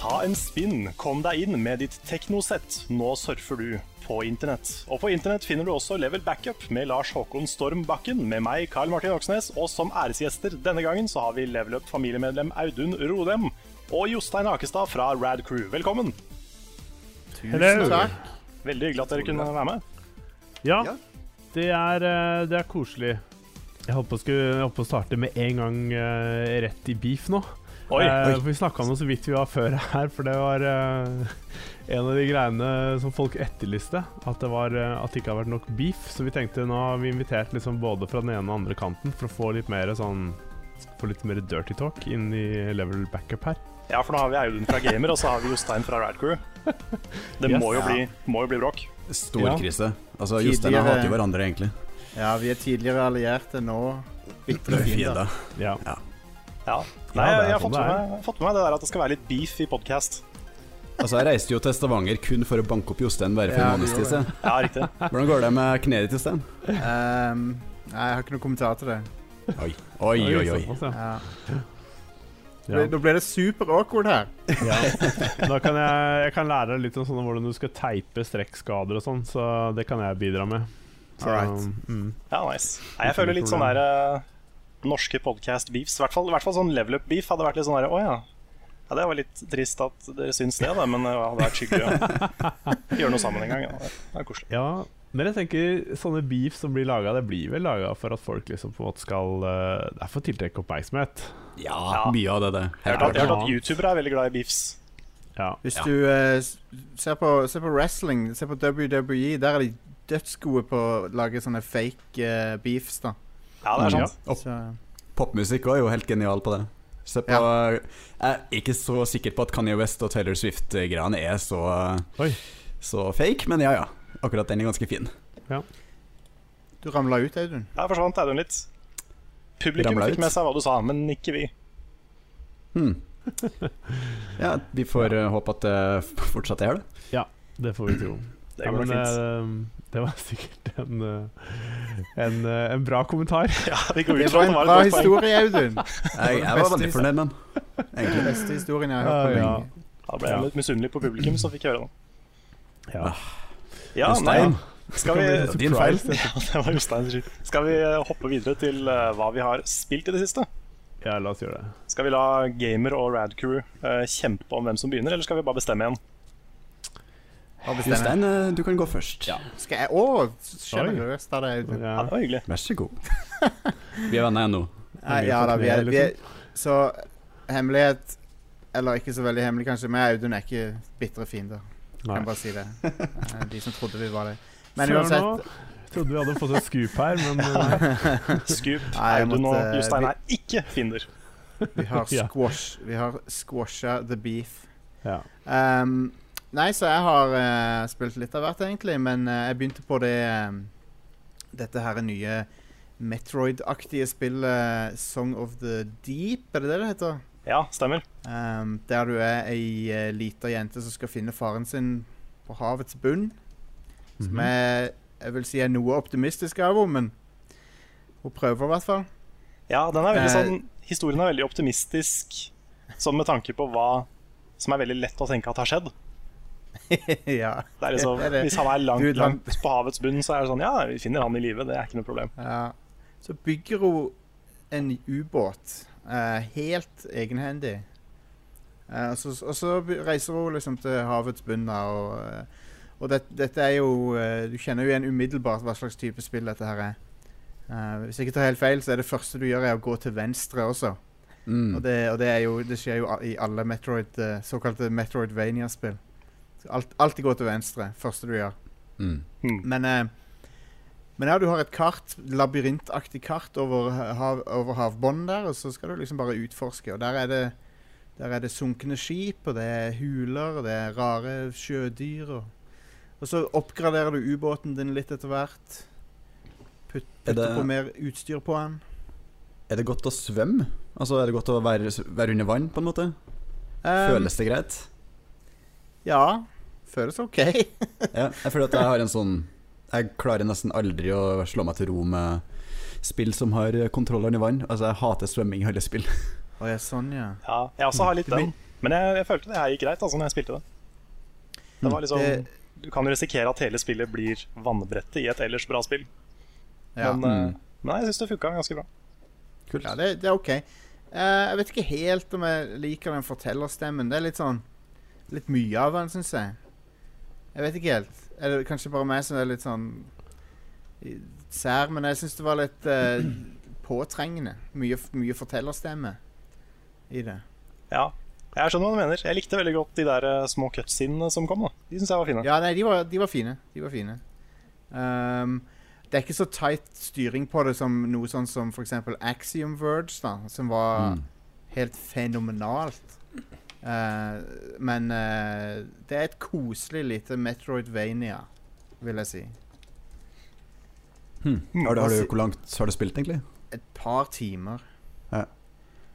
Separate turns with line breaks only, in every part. Ta en spinn, kom deg inn med ditt teknosett. Nå surfer du på internett. Og på internett finner du også Level Backup med Lars Håkon Storm Bakken, med meg, Karl Martin Oksnes, og som æresgjester denne gangen så har vi Level Up familiemedlem Audun Rodem og Jostein Akestad fra Rad Crew. Velkommen!
Hello.
Veldig hyggelig at dere kunne være med.
Ja, det er, eh, det er koselig. Jeg holdt på å skulle- jeg holdt på å starte med en gang eh, rett i beef nå.
Oi,
Eh, for vi snakka om det så vidt vi var før her, for det var eh, en av de greiene som folk etterlyste. At det, var, eh, at det ikke har vært nok beef. Så vi tenkte nå har vi invitert liksom både fra den ene og andre kanten for å få litt mer sånn Få litt mer dirty talk inn i level backup her.
Ja, for nå har vi Audun fra Gamer, og så har vi Jostein fra Rad Crew. Det
Yes.
må jo bli, må jo bli bråk.
Stor
Ja.
krise. Altså,
Tidligere-
Jostein og jeg hater jo hverandre, egentlig.
Ja, vi er tidligere allierte nå. Bitre
Fiender.
fiender.
Ja.
Ja. Nei,
det er
jeg, jeg, har
sånn
fått
det
med,
er.
jeg har fått med meg det der at det skal være litt beef i podkast.
Altså, jeg reiste jo til Stavanger kun for å banke opp Jostein bare for
Ja,
en måneds tid siden.
Ja, riktig.
Hvordan går det med kneet ditt, Jostein?
Ehm, nei, jeg har ikke noen kommentar til det.
Oi, oi, oi. oi.
såpass, ja.
Ja.
Sånn, altså. Ja.
Nå ble det super awkward her.
Ja. Da kan jeg, jeg kan lære deg litt om sånn, hvordan du skal teipe strekkskader og sånn, så det kan jeg bidra med. Så,
Alright.
mm.
Ja, nice. Nei, jeg føler litt sånn der eh, norske podcast-beefs. I hvert fall, i hvert fall sånn level up-beef hadde vært litt sånn der Å ja. ja. Det var litt trist at dere syns det, da, men eh, det hadde vært hyggelig å gjøre noe sammen en gang. Ja. Det er koselig.
Ja, men jeg tenker sånne beef som blir laga, det blir vel laga for at folk liksom på en måte skal eh, Det er for å tiltrekke oppmerksomhet.
Ja, mye av det der.
Jeg har hørt at, jeg har hørt at
Ja.
youtubere er veldig glad i beefs.
Ja.
Hvis du eh, s- ser, på, ser på wrestling, ser på WWE, der er de dødsgode på å lage sånne fake eh, beefs, da.
Ja, det er
Ja.
sant.
Så,
Popmusikk også er jo helt genial på det. Se på, Jeg er ikke så sikker på at Kanye West og Taylor Swift-greiene er så,
Oi.
så fake, men ja ja. Akkurat den er ganske fin.
du ramla ut, Audun.
Der forsvant Audun litt. Publikum
Ramla ut.
fikk med seg hva du sa, men ikke vi.
Hmm. Ja, Vi får eh, håpe at det fortsatt er det.
Det får vi tro.
Det
Ja,
går
men
nok fint.
eh, det var sikkert en, eh, en, eh, en bra kommentar.
Ja, vi går
Det
ut fra
var
at
en
det
bra
var sånn et godt poeng.
historie, Audun.
Jeg, jeg var veldig fornøyd med den.
Den
Egentlig.
beste historien jeg
Ja,
har hørt på
ja.
lenge.
Da ble jeg litt misunnelig på publikum som fikk høre det.
Ja.
Ja, nei,
Jostein,
skal
Det
vi
kan bli
din feil.
surprise.
Ja, det var Josteins skyld. Skal vi hoppe videre til eh, hva vi har spilt i det siste?
Ja, la oss gjøre det.
Skal vi la gamer og rad crew eh, kjempe om hvem som begynner, eller skal vi bare bestemme igjen?
Bare bestemme.
Jostein, eh, du kan gå først.
Skal jeg Å, sjenerøst av deg, Audun.
Ja.
Ja, det var hyggelig.
Vær så god. Vi er venner ennå.
Nei,
Vi
ja
får
da, vi er,
kne,
vi er Så hemmelighet Eller ikke så veldig hemmelig, kanskje, men Audun er ikke bitre fiender. Kan
Nei.
bare si det. Eh, De som trodde vi var det. Men
Før
uansett
nå trodde vi hadde fått et scoop her, men eh,
Scoop.
Nei, jeg
Audun og
måtte-
Jostein
vi-
er ikke finder.
Vi har
eh, Ja.
squash Vi har squasha the beef.
ja.
Ehm, nei, så jeg har eh, spilt litt av hvert, egentlig. Men eh, jeg begynte på det ehm, Dette her nye Metroid-aktige spillet eh, Song of the Deep, er det det det heter?
Ja, stemmer.
Ehm, der du er ei eh, lita jente som skal finne faren sin på havets bunn. Som
Mhm.
jeg, jeg vil si er noe optimistisk av henne, men hun prøver i hvert fall.
Ja, den er veldig
Eh.
sånn Historien er veldig optimistisk, sånn med tanke på hva som er veldig lett å tenke at har skjedd.
ja.
Det er liksom,
Det er det.
Hvis han er langt,
Dude, han-
langt på havets bunn, så er det sånn Ja, vi finner han i live. Det er ikke noe problem.
ja. Eh, Så bygger hun en ubåt eh, helt egenhendig. Eh, og så- og så by- reiser hun liksom til havets bunn. da, Og, eh, og det, dette er jo eh, Du kjenner jo igjen umiddelbart hva slags type spill dette her er. Eh, hvis jeg ikke tar helt feil, så er det første du gjør, er å gå til venstre også. Og,
Mm.
det, og det, er jo, det skjer jo a- i alle Metroid, eh, såkalte Metroidvania-spill. Så Alt, alltid gå til venstre, første du gjør.
Mm.
Hmm.
Men, eh, men ja, du har et kart, labyrintaktig kart over, hav, over havbånden der, og så skal du liksom bare utforske. Og der er det, der er det sunkne skip, og det er huler, og det er rare sjødyr. Og, og så oppgraderer du ubåten din litt etter hvert. Putt,
Er
putter
det-
på mer utstyr på den.
Er det godt å svømme? Altså, er det godt å være, være under vann, på en måte?
Eh,
Føles det greit?
Ja. Føles OK.
Ja, jeg føler at jeg har en sånn Jeg klarer nesten aldri å slå meg til ro med spill som har kontroll under vann. Altså, jeg hater svømming i alle spill.
Å ja, sånn, ja.
Ja, jeg også har litt
Det blir-
den. Men jeg, jeg følte det her gikk greit altså, når jeg spilte det. Det var liksom
Det-
Du kan jo risikere at hele spillet blir vannbrettet i et ellers bra spill.
Ja.
Men, eh, men jeg syns det funka ganske bra.
Kult.
Ja, det, det er OK. Eh, jeg vet ikke helt om jeg liker den fortellerstemmen. Det er litt sånn Litt mye av den, syns jeg. Jeg vet ikke helt. Er det kanskje bare meg som er litt sånn i- sær, men jeg syns det var litt eh, påtrengende. Mye, f- mye fortellerstemme i det.
Ja, jeg skjønner hva du mener. Jeg likte veldig godt de der eh, små cutscenene som kom. da De syns jeg var fine.
Ja, nei, de var, de var fine. De var fine. Ehm, det er ikke så tight styring på det som noe sånn som f.eks. Axiom Verge, da, som var
Mm.
helt fenomenalt. Eh, men eh, det er et koselig lite Metroidvania, vil jeg si.
Har du, har du, hvor langt har du spilt, egentlig?
Et par timer.
Ja.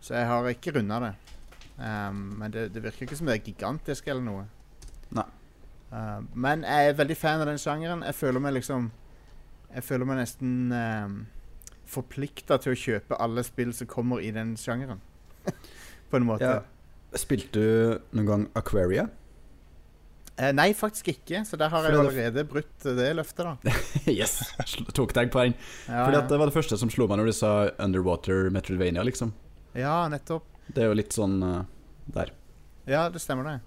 Så jeg har ikke runda det. Ehm, men det, det virker ikke som det er gigantisk eller noe.
Nei.
Eh, men jeg er veldig fan av den sjangeren. Jeg føler meg liksom Jeg føler meg nesten um, forplikta til å kjøpe alle spill som kommer i den sjangeren. På en måte.
Ja. Spilte du noen gang Aquaria?
Eh, nei, faktisk ikke. Så der har jeg
Fordi
allerede brutt eh, det løftet, da.
yes! Sl- Tok deg på den.
Ja,
Fordi at det var det første som slo meg når du sa Underwater Metroidvania, liksom.
ja nettopp.
Det er jo litt sånn eh, der.
Ja, det stemmer det.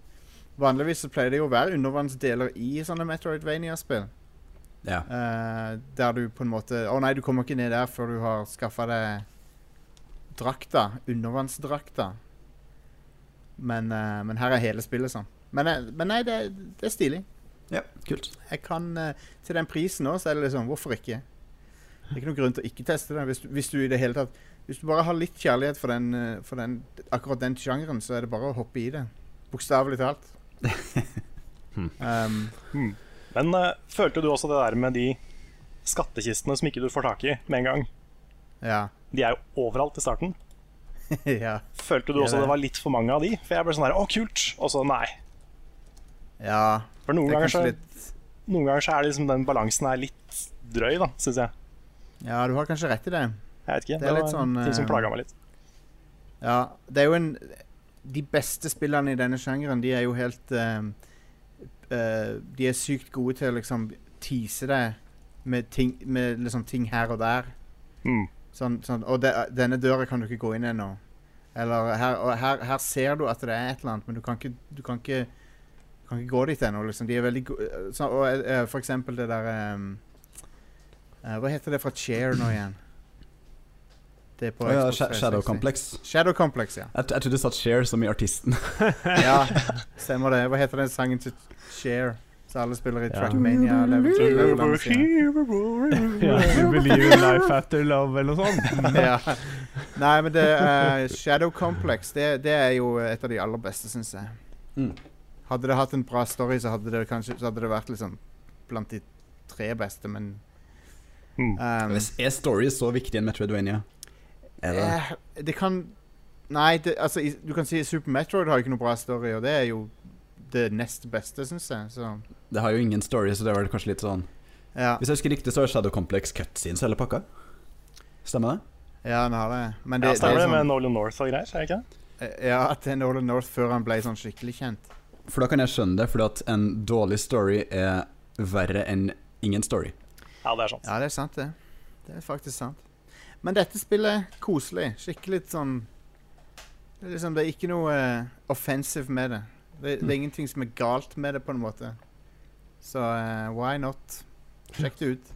Vanligvis så pleier det jo å være undervannsdeler i sånne Metroidvania-spill.
Ja.
Eh, der du på en måte Å nei, du kommer ikke ned der før du har skaffa deg drakta. Undervannsdrakta. Men, eh, men her er hele spillet sånn. Men, eh, men nei, det, det er stilig.
ja kult.
Jeg kan eh, Til den prisen nå, så er det liksom Hvorfor ikke? Det er ikke noen grunn til å ikke teste det. Hvis du, hvis du i det hele tatt Hvis du bare har litt kjærlighet for, den, eh, for den, akkurat den sjangeren, så er det bare å hoppe i det. Bokstavelig talt. um,
Men eh, følte du også det der med de skattkistene som ikke du får tak i med en gang?
ja.
De er jo overalt i starten.
ja.
Følte du
Ja,
også
det-
det var litt for mange av de? For jeg ble sånn her Å, kult! Og så nei.
Ja.
For noen
Det er
ganger, så,
kanskje litt
noen ganger så er det liksom den balansen er litt drøy, da, syns jeg.
Ja, du har kanskje rett i det.
Jeg vet ikke.
Det er litt sånn,
ting som
eh,
plaga meg litt.
Ja, det er jo en De beste spillerne i denne sjangeren, de er jo helt ehm, eh, De er sykt gode til å liksom tease deg med ting, med liksom ting her og der.
Mm.
Sånn, sånn Og de, denne døra kan du ikke gå inn ennå. Eller her, og her, her ser du at det er et eller annet, men du kan ikke, du kan ikke, du kan ikke gå dit ennå. Liksom. De er veldig gode sånn, Og eh, for eksempel det der ehm, eh, Hva heter det fra Chair nå igjen? Det er på
Å ja,
Xbox
Sha- Shadow
360.
Complex.
Shadow Complex, ja.
Jeg, t- jeg trodde du sa Share som i artisten.
Ja, stemmer det. Hva heter den sangen til Share? Så alle spiller i
Ja.
Trackmania level 2. level 1, sier jeg.
Ja, you believe in life after love, eller noe sånt.
Ja. Nei, men det eh, Shadow Complex det, det er jo et av de aller beste, syns jeg.
Mm.
Hadde det hatt en bra story, så hadde det kanskje Så hadde det vært liksom blant de tre beste, men
Mm.
ehm,
Hvis Er story så viktig i en Metroidvania? Er det?
eh, det kan Nei, det, altså, i, du kan si Super Metroid har ikke noe bra story, og det er jo det nest beste, syns jeg. Så
det har jo ingen story, så det var kanskje litt sånn
ja.
Hvis jeg husker riktig, så har Shadow Complex cutscenes hele pakka. Stemmer det?
Ja, han har det. Men det,
Ja,
det
stemmer
er
det med
sånn-
Nolan North og greier, er det ikke det?
Eh, Ja, at det er Nolan North før han ble sånn skikkelig kjent.
For da kan jeg skjønne det, fordi at en dårlig story er verre enn ingen story.
Ja, det er sånn. sant.
Ja, det er sant, det. Det er faktisk sant. Men dette spillet er koselig. Skikkelig sånn Det er, liksom, det er ikke noe eh, offensive med det. Det, det er ingenting som er galt med det, på en måte. Så eh, why not? Sjekk det ut.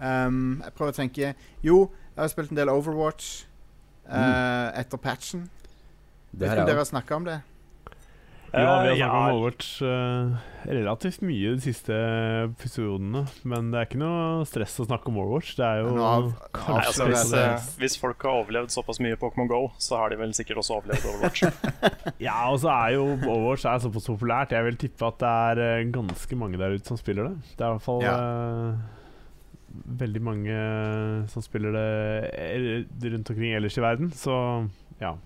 Um, jeg prøver å tenke Jo, jeg har spilt en del Overwatch eh, etter patchen.
Det
Vet
her
ikke om
er
dere
jo
har snakka om det?
Jo,
Eh,
vi har snakket om
ja.
Overwatch eh, relativt mye de siste episodene, men det er ikke noe stress å snakke om Overwatch. Det er jo
Nå av,
Nei, altså,
avslører
hvis,
jeg det.
eh, hvis folk har overlevd såpass mye i Pokémon GO, så har de vel sikkert også overlevd Overwatch.
Ja, og så er jo Overwatch er såpass populært. Jeg vil tippe at det er eh, ganske mange der ute som spiller det. Det er i hvert fall eh, veldig mange som spiller det eh, rundt omkring ellers i verden, så ja.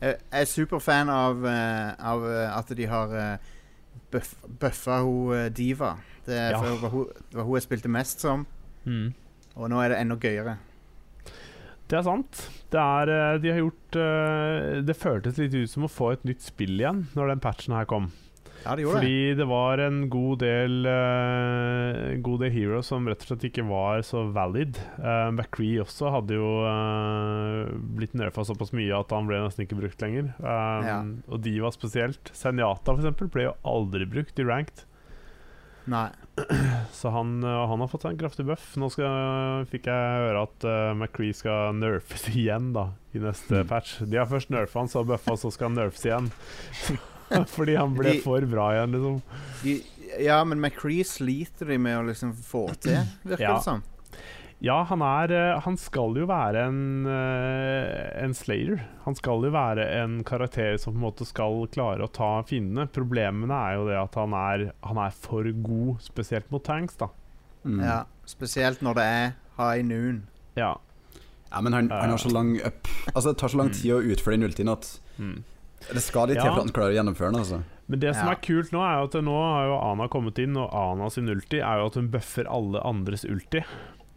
Jeg jeg er superfan av, eh, av eh, at de har eh, buff, buffa hun eh, Diva. Det, er-
Ja.
for det, var hun, det var hun jeg spilte mest som, og nå er det enda gøyere.
Det er sant. Det er, eh, de har gjort eh, Det føltes litt ut som å få et nytt spill igjen når den patchen her kom.
Ja, det gjorde det.
Fordi det var en god del eh, En god del heroes som rett og slett ikke var så valid. Uh, McCree også hadde jo eh, blitt nerfa såpass mye at han ble nesten ikke brukt lenger. Um,
Ja.
Og de var spesielt. Senjata for eksempel ble jo aldri brukt i ranked,
Nei.
så han, eh, han har fått seg en kraftig buff. Nå skal, fikk jeg høre at eh, McCree skal nerfes igjen da i neste patch. De har først nerfa han, så buffa, så skal han nerfes igjen. Fordi han ble
De-
for bra igjen, liksom.
De, ja, men McCree sliter de med å liksom få til, virker
Ja.
det som.
Ja, han er eh, Han skal jo være en, eh, en slayer. Han skal jo være en karakter som på en måte skal klare å ta fiendene. Problemene er jo det at han er, han er for god, spesielt mot tanks, da.
mm.
Ja, spesielt når det er high noon.
Ja.
Ja, men han, han har så lang up Altså, det tar så lang tid å utføre den ultien at
Mm.
det skal litt til
Ja.
for at han klarer å gjennomføre den, altså.
Men det som
Ja.
er kult nå, er jo at nå har jo Ana kommet inn, og Ana sin ulti er jo at hun bøffer alle andres ulti.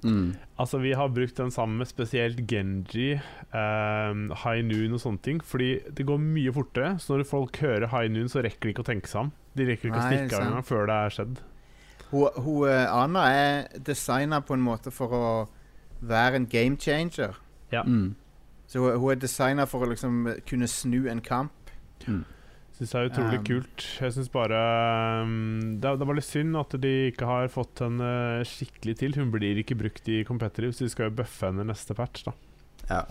Mm.
Altså, vi har brukt den sammen med spesielt Genji, ehm, High Noon og sånne ting. Fordi det går mye fortere, så når folk hører High Noon, så rekker de ikke å tenke seg om. De rekker ikke
Nei,
å stikke av
sant.
engang før det er skjedd.
Hun, hun, eh, Anna er designa på en måte for å være en game changer.
Mm.
Så hun, hun er designa for å liksom kunne snu en kamp.
Syns det er utrolig
Um.
kult. Jeg syns bare um, det, er- det var litt synd at de ikke har fått henne skikkelig til. Hun blir ikke brukt i competitive, så de skal jo bøffe henne neste patch, da.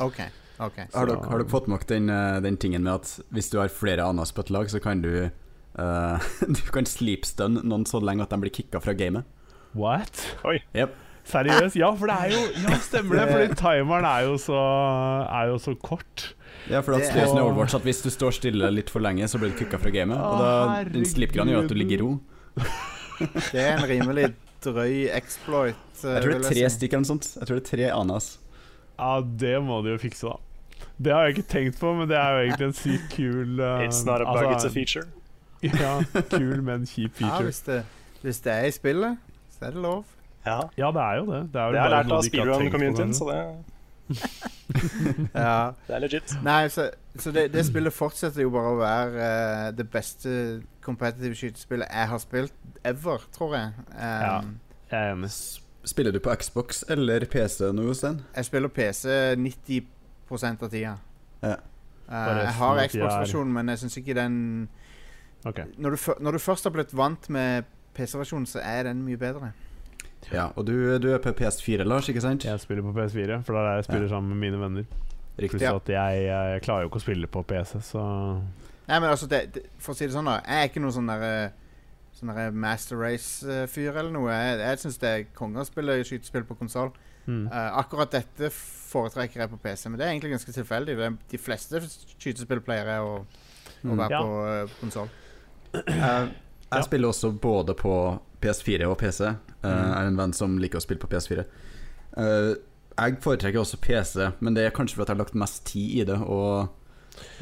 OK. ok
Har dere, har dere fått med dere den, eh, den tingen med at hvis du har flere anas på et lag, så kan du eh, Du kan sleepstun noen så lenge at de blir kicka fra gamet.
What?
Yep.
Seriøst? Ja, for det er jo Ja, stemmer det! Fordi timeren er jo så, er jo så kort.
Ja, for at
Det-
Støsen i Overwatch at hvis du står stille litt for lenge, så blir du kicka fra gamet. Og da
Å,
den slipgran gjør at du ligger i ro.
Det er en rimelig drøy exploit. eh,
Jeg tror det
vil
er tre
si.
stykker eller noe sånt. Jeg tror det er tre anas.
Ja, det må de jo fikse, da. Det har jeg ikke tenkt på, men det er jo egentlig en sykt kul uh,
It's not a bug, it's a
altså,
feature.
Ja, kul, men kjip
Ja,
feature.
hvis det, hvis det er i spillet, så er det lov.
Ja.
Ja, det er jo det. Det er,
Det har jeg
vel bare
lært
noe
av
de ikke har tenkt på
speedrun-communityen,
engang.
så det,
Ja.
det er legit.
Nei, så, så det, det spillet fortsetter jo bare å være eh, det beste competitive skytespillet jeg har spilt ever, tror jeg. Um,
Ja. Jeg er enig.
Spiller du på Xbox eller PC nå, Jostein?
Jeg spiller PC 90 av tida.
Ja.
Eh, jeg
resten
har
av tida er-
Xbox-versjonen, men jeg syns ikke den
Ok.
når du, fø- når du først har blitt vant med PC-versjonen, så er den mye bedre.
Ja, og du, du er på PS4, Lars, ikke sant?
Jeg spiller på PS4, for det er der jeg spiller sammen med mine venner.
Riktig.
Pluss at jeg, jeg klarer jo ikke å spille på PC, så
Nei, men altså, det, det, for å si det sånn da Jeg er ikke noen sånn der, eh, sånn der Master Race-fyr eller noe Jeg, jeg synes det er konger å spille skytespill på konsol
mm.
Eh, Akkurat dette foretrekker jeg på PC Men det er egentlig ganske tilfeldig det er, De fleste skytespill pleier jeg å, å være
Ja.
på eh, konsol Eh,
Jeg,
Mm. Eh, Ja.
jeg spiller også både på PS4 og PC. Eh,
Mm.
Jeg er en venn som liker å spille på PS4. Eh, jeg foretrekker også PC, men det er kanskje fordi jeg har lagt mest tid i det. Og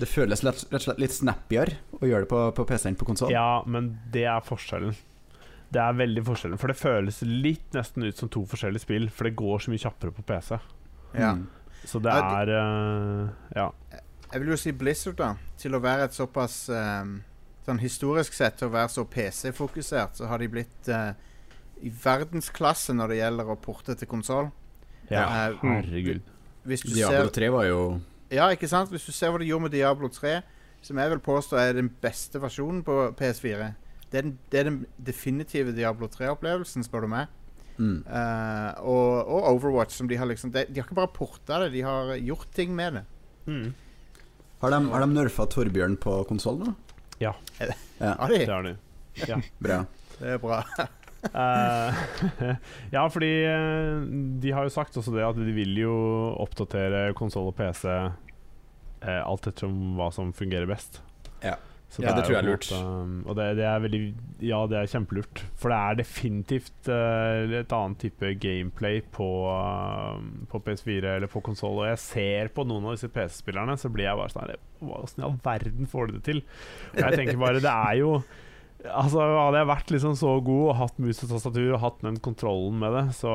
det føles lett, rett og slett litt snappigere å gjøre det på, på PC enn på konsoll.
Ja, men det er forskjellen. Det er veldig forskjellen, for det føles litt nesten ut som to forskjellige spill, for det går så mye kjappere på PC.
ja.
Mm.
Så det
Ja,
er eh, Ja.
Jeg vil jo si Blizzard da Til å være et såpass eh, sånn historisk sett til å være så PC-fokusert, så har de blitt eh, i verdensklasse når det gjelder å porte til konsoll.
Ja,
Eh,
herregud.
Hvis du ser
Diablo 3 var jo
Ja, ikke sant? Hvis du ser hva de gjorde med Diablo 3, som jeg vil påstå er den beste versjonen på PS4 Det er den, det er den definitive Diablo 3-opplevelsen, spør du meg.
mm.
Eh, og, og Overwatch, som de har liksom De, de har ikke bare porta det, de har gjort ting med det.
Mm. Har de, har de nerfa Torbjørn på konsoll nå?
Har de?
Det har de.
Bra.
Det er bra.
Eh, ja, fordi eh, de har jo sagt også det at de vil jo oppdatere konsoll og PC eh, alt ettersom hva som fungerer best.
Ja.
Så
Ja, det
jo
tror jeg er
på en måte- og det, det er veldig Ja, det er kjempelurt. For det er definitivt eh, et annet type gameplay på, eh, på PS4 eller på konsoll. Og jeg ser på noen av disse PC-spillerne, så blir jeg bare sånn her, Hva Åssen i all verden får de det til? Og jeg tenker bare, det er jo Altså, Hadde jeg vært liksom så god og hatt mus og tastatur og hatt den kontrollen med det, så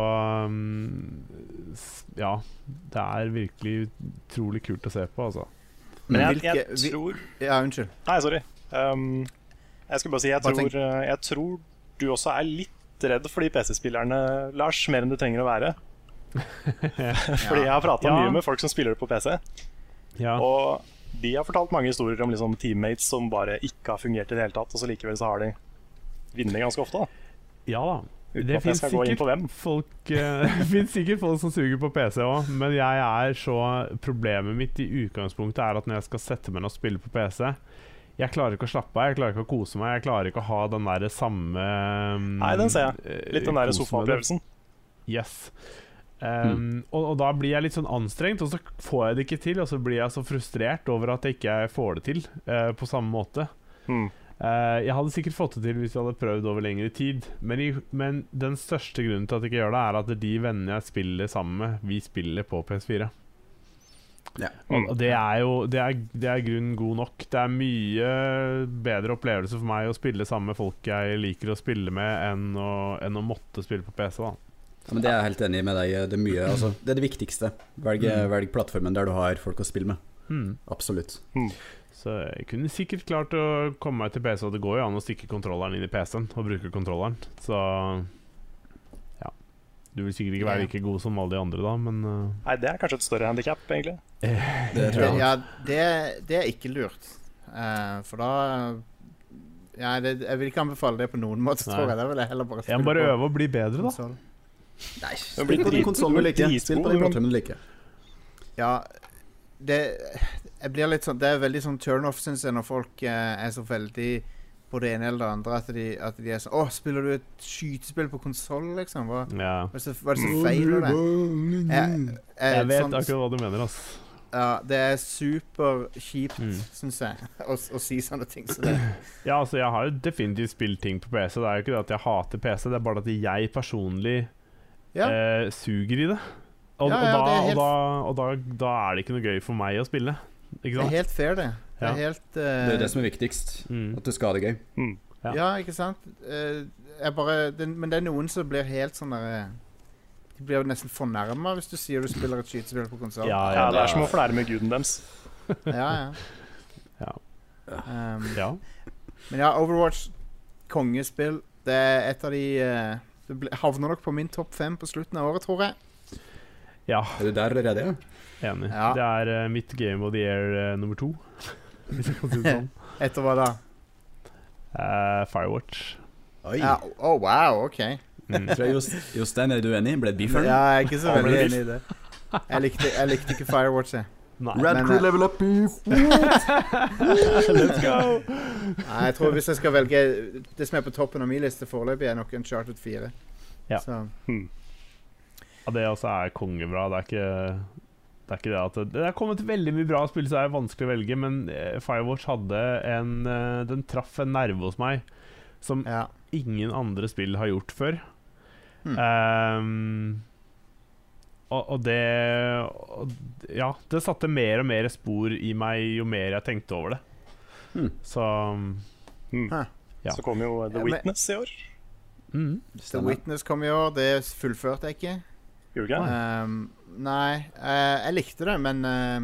um, s- Ja. Det er virkelig utrolig kult å se på, altså.
Men jeg,
Hvilke-
jeg
vi-
tror
Ja, unnskyld.
Nei, sorry. Um, jeg skulle bare si jeg
Bare
tror,
tenk.
eh, jeg tror du også er litt redd for de PC-spillerne, Lars, mer enn du trenger å være. Fordi jeg har prata
Ja.
mye med folk som spiller det på PC,
Ja.
og de har fortalt mange historier om liksom, teammates som bare ikke har fungert i det hele tatt, og så likevel så har de vunnet ganske ofte. da
ja da.
Uten
Det
at jeg
fins
skal gå inn
sikkert,
på hvem.
folk, eh, det finnes sikkert folk som suger på PC òg, men jeg er så Problemet mitt i utgangspunktet er at når jeg skal sette meg ned og spille på PC jeg klarer ikke å slappe av, jeg klarer ikke å kose meg, jeg klarer ikke å ha den der samme mm,
Nei, den ser
Eh,
Litt den der sofaopplevelsen.
Yes. Um, og, og da blir jeg litt sånn anstrengt, og så får jeg det ikke til. Og så blir jeg så frustrert over at jeg ikke får det til eh, på samme måte.
Mm.
Eh, jeg hadde sikkert fått det til hvis jeg hadde prøvd over lengre tid, men, i, men den største grunnen til at jeg ikke gjør det, er at de vennene jeg spiller sammen med, vi spiller på PS4.
Ja.
Og og det er jo det er, det er grunn god nok. Det er mye bedre opplevelse for meg å spille sammen med folk jeg liker å spille med, enn å, enn å måtte spille på PC. da
Ja, men Det er jeg helt enig med deg i. Det er mye, altså, det er det viktigste. Velg, velg plattformen der du har folk å spille med.
Mm.
Absolutt.
Så jeg kunne sikkert klart å komme meg til PC, og det går jo an å stikke kontrolleren inn i PC-en og bruke kontrolleren, så Ja. Du vil sikkert ikke være
Ja.
like god som alle de andre, da, men øh,
Nei, det er kanskje et større handikap, egentlig.
Det tror
Det,
jeg.
ja, det, det er ikke lurt. Eh, for da Ja, det, jeg vil ikke anbefale det på noen måte,
Nei.
tror jeg. Da vil jeg heller bare
Jeg må bare øve og bli bedre, da.
konsoll.
Nei,
Det blir
spill på den
drit-
konsollen du
det blir
liker. Spill på den
dritgod, liksom.
plattformen du liker.
Ja, det Jeg blir litt sånn Det er veldig sånn turnoff, syns jeg, når folk eh, er så veldig på det ene eller det andre at de, at de er sånn Å, spiller du et skytespill på konsoll, liksom? Hva
Ja.
hva er det som- hva er det som feiler det? Jeg,
Jeg vet
sånn-
akkurat hva du mener, ass.
Ja, det er superkjipt,
Mm.
syns jeg, å, å si sånne ting som det.
Ja, altså, jeg har jo definitivt spilt ting på PC. Det er jo ikke det at jeg hater PC, det er bare at jeg personlig
Ja.
eh, suger i det. Og,
Ja, ja,
og, da,
det er helt-
og, da, og da, da er det ikke noe gøy for meg å spille, ikke
Det er
sant?
helt fair, det. Det er
Ja.
helt
Det
eh,
er det som er viktigst.
Mm.
At du skal ha det gøy.
ja.
Ja, ikke sant? Eh, jeg bare, det, men det er noen som blir helt sånn derre De blir jo nesten fornærma hvis du sier du spiller et skytespill på konsoll.
Ja,
Ja, Det er som å flære med guden deres.
ja. ja.
Ja.
Um,
ja.
men ja, Overwatch, kongespill, det er et av de eh, Det ble, havner nok på min topp fem på slutten av året, tror jeg.
ja.
Er du der allerede? ja?
Enig.
Ja.
Det er eh, mitt game of the year eh, nummer to. Hvis jeg kan si det sånn.
Etter hva da?
Eh, Firewatch.
Oi.
Ja, oh, wow, OK.
Mm.
Tror jeg Jost- Jostein, er du uenig? Ble det beef her?
Ja,
nå?
jeg er ikke så
Ja,
veldig
men-
enig i det. Jeg likte, jeg likte ikke Firewatch, jeg.
Nei.
Red Men, Crew eh,
level up beef!
Let's go!
Nei, jeg tror hvis jeg skal velge Det som er på toppen av min liste foreløpig, er nok Uncharted 4.
Ja.
Så,
Ja, det også er kongebra. Det er ikke det er ikke det at det- Det er kommet veldig mye bra spill, så det er vanskelig å velge, men eh, Firewatch hadde en eh, Den traff en nerve hos meg som
ja.
ingen andre spill har gjort før.
Hmm.
Ehm, og, og det og, d- Ja, det satte mer og mer spor i meg jo mer jeg tenkte over det.
Hmm.
Så Ja.
Mm. Så kom jo uh,
Ja,
The
men-
Witness i år.
mm,
The Witness kom i år. Det fullførte jeg ikke. Ehm,
Gjorde du ikke det?
Um, nei, eh, jeg likte det, men eh,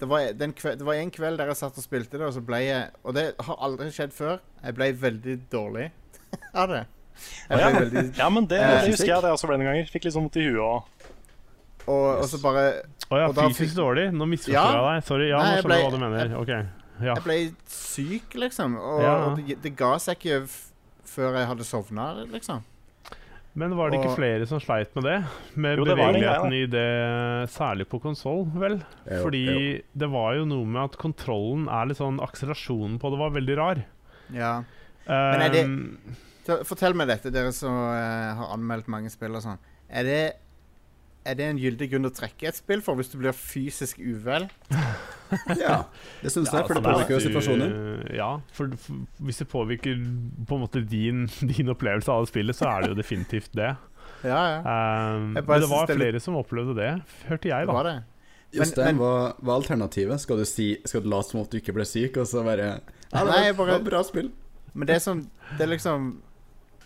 Det var, den kve, det var en kveld der jeg satt og spilte det, og så ble jeg Og det har aldri skjedd før. Jeg ble veldig dårlig av det. Jeg
ja.
ble veldig,
ja, men det,
eh,
det husker jeg det også ble noen ganger. Fikk litt sånn vondt i huet og
og, og så bare
Å ja,
Og da
fysisk
fikk-
dårlig? Nå misforstår
Ja.
jeg deg. Sorry. Ja,
Nei, jeg
nå skjønner jeg
ble-
hva du mener. Ok. Ja.
Jeg ble syk, liksom. Og,
Ja.
og det, det ga seg ikke f før jeg hadde sovna, liksom.
Men var det ikke
og-
flere som sleit med det? Med
Jo, det var en
bevegeligheten i det, særlig på konsoll, vel?
Jo,
Fordi det var jo noe med at kontrollen er litt sånn Akselerasjonen på det var veldig rar.
Ja. er det-
Um,
Ta- Fortell meg dette, dere som eh, har anmeldt mange spill og sånn. Er det, er det en gyldig grunn å trekke et spill for hvis du blir fysisk uvel?
Ja, det syns jeg, for det
altså,
påvirker jo
hvis du-
situasjoner.
Ja, for, for hvis det påvirker på en måte din, din opplevelse av det spillet, så er det jo definitivt det.
Ja, ja.
Um, men
Jeg
det var
bare synes det er litt-
flere som opplevde det, hørte jeg,
Det
da.
var det. Men-
Jostein,
men-
hva, hva er alternativet? Skal du, si, skal du late som om du ikke ble syk, og så bare Ja,
Nei,
det
jeg
var
bare-
det var bra spill.
Men det er sånn Det er liksom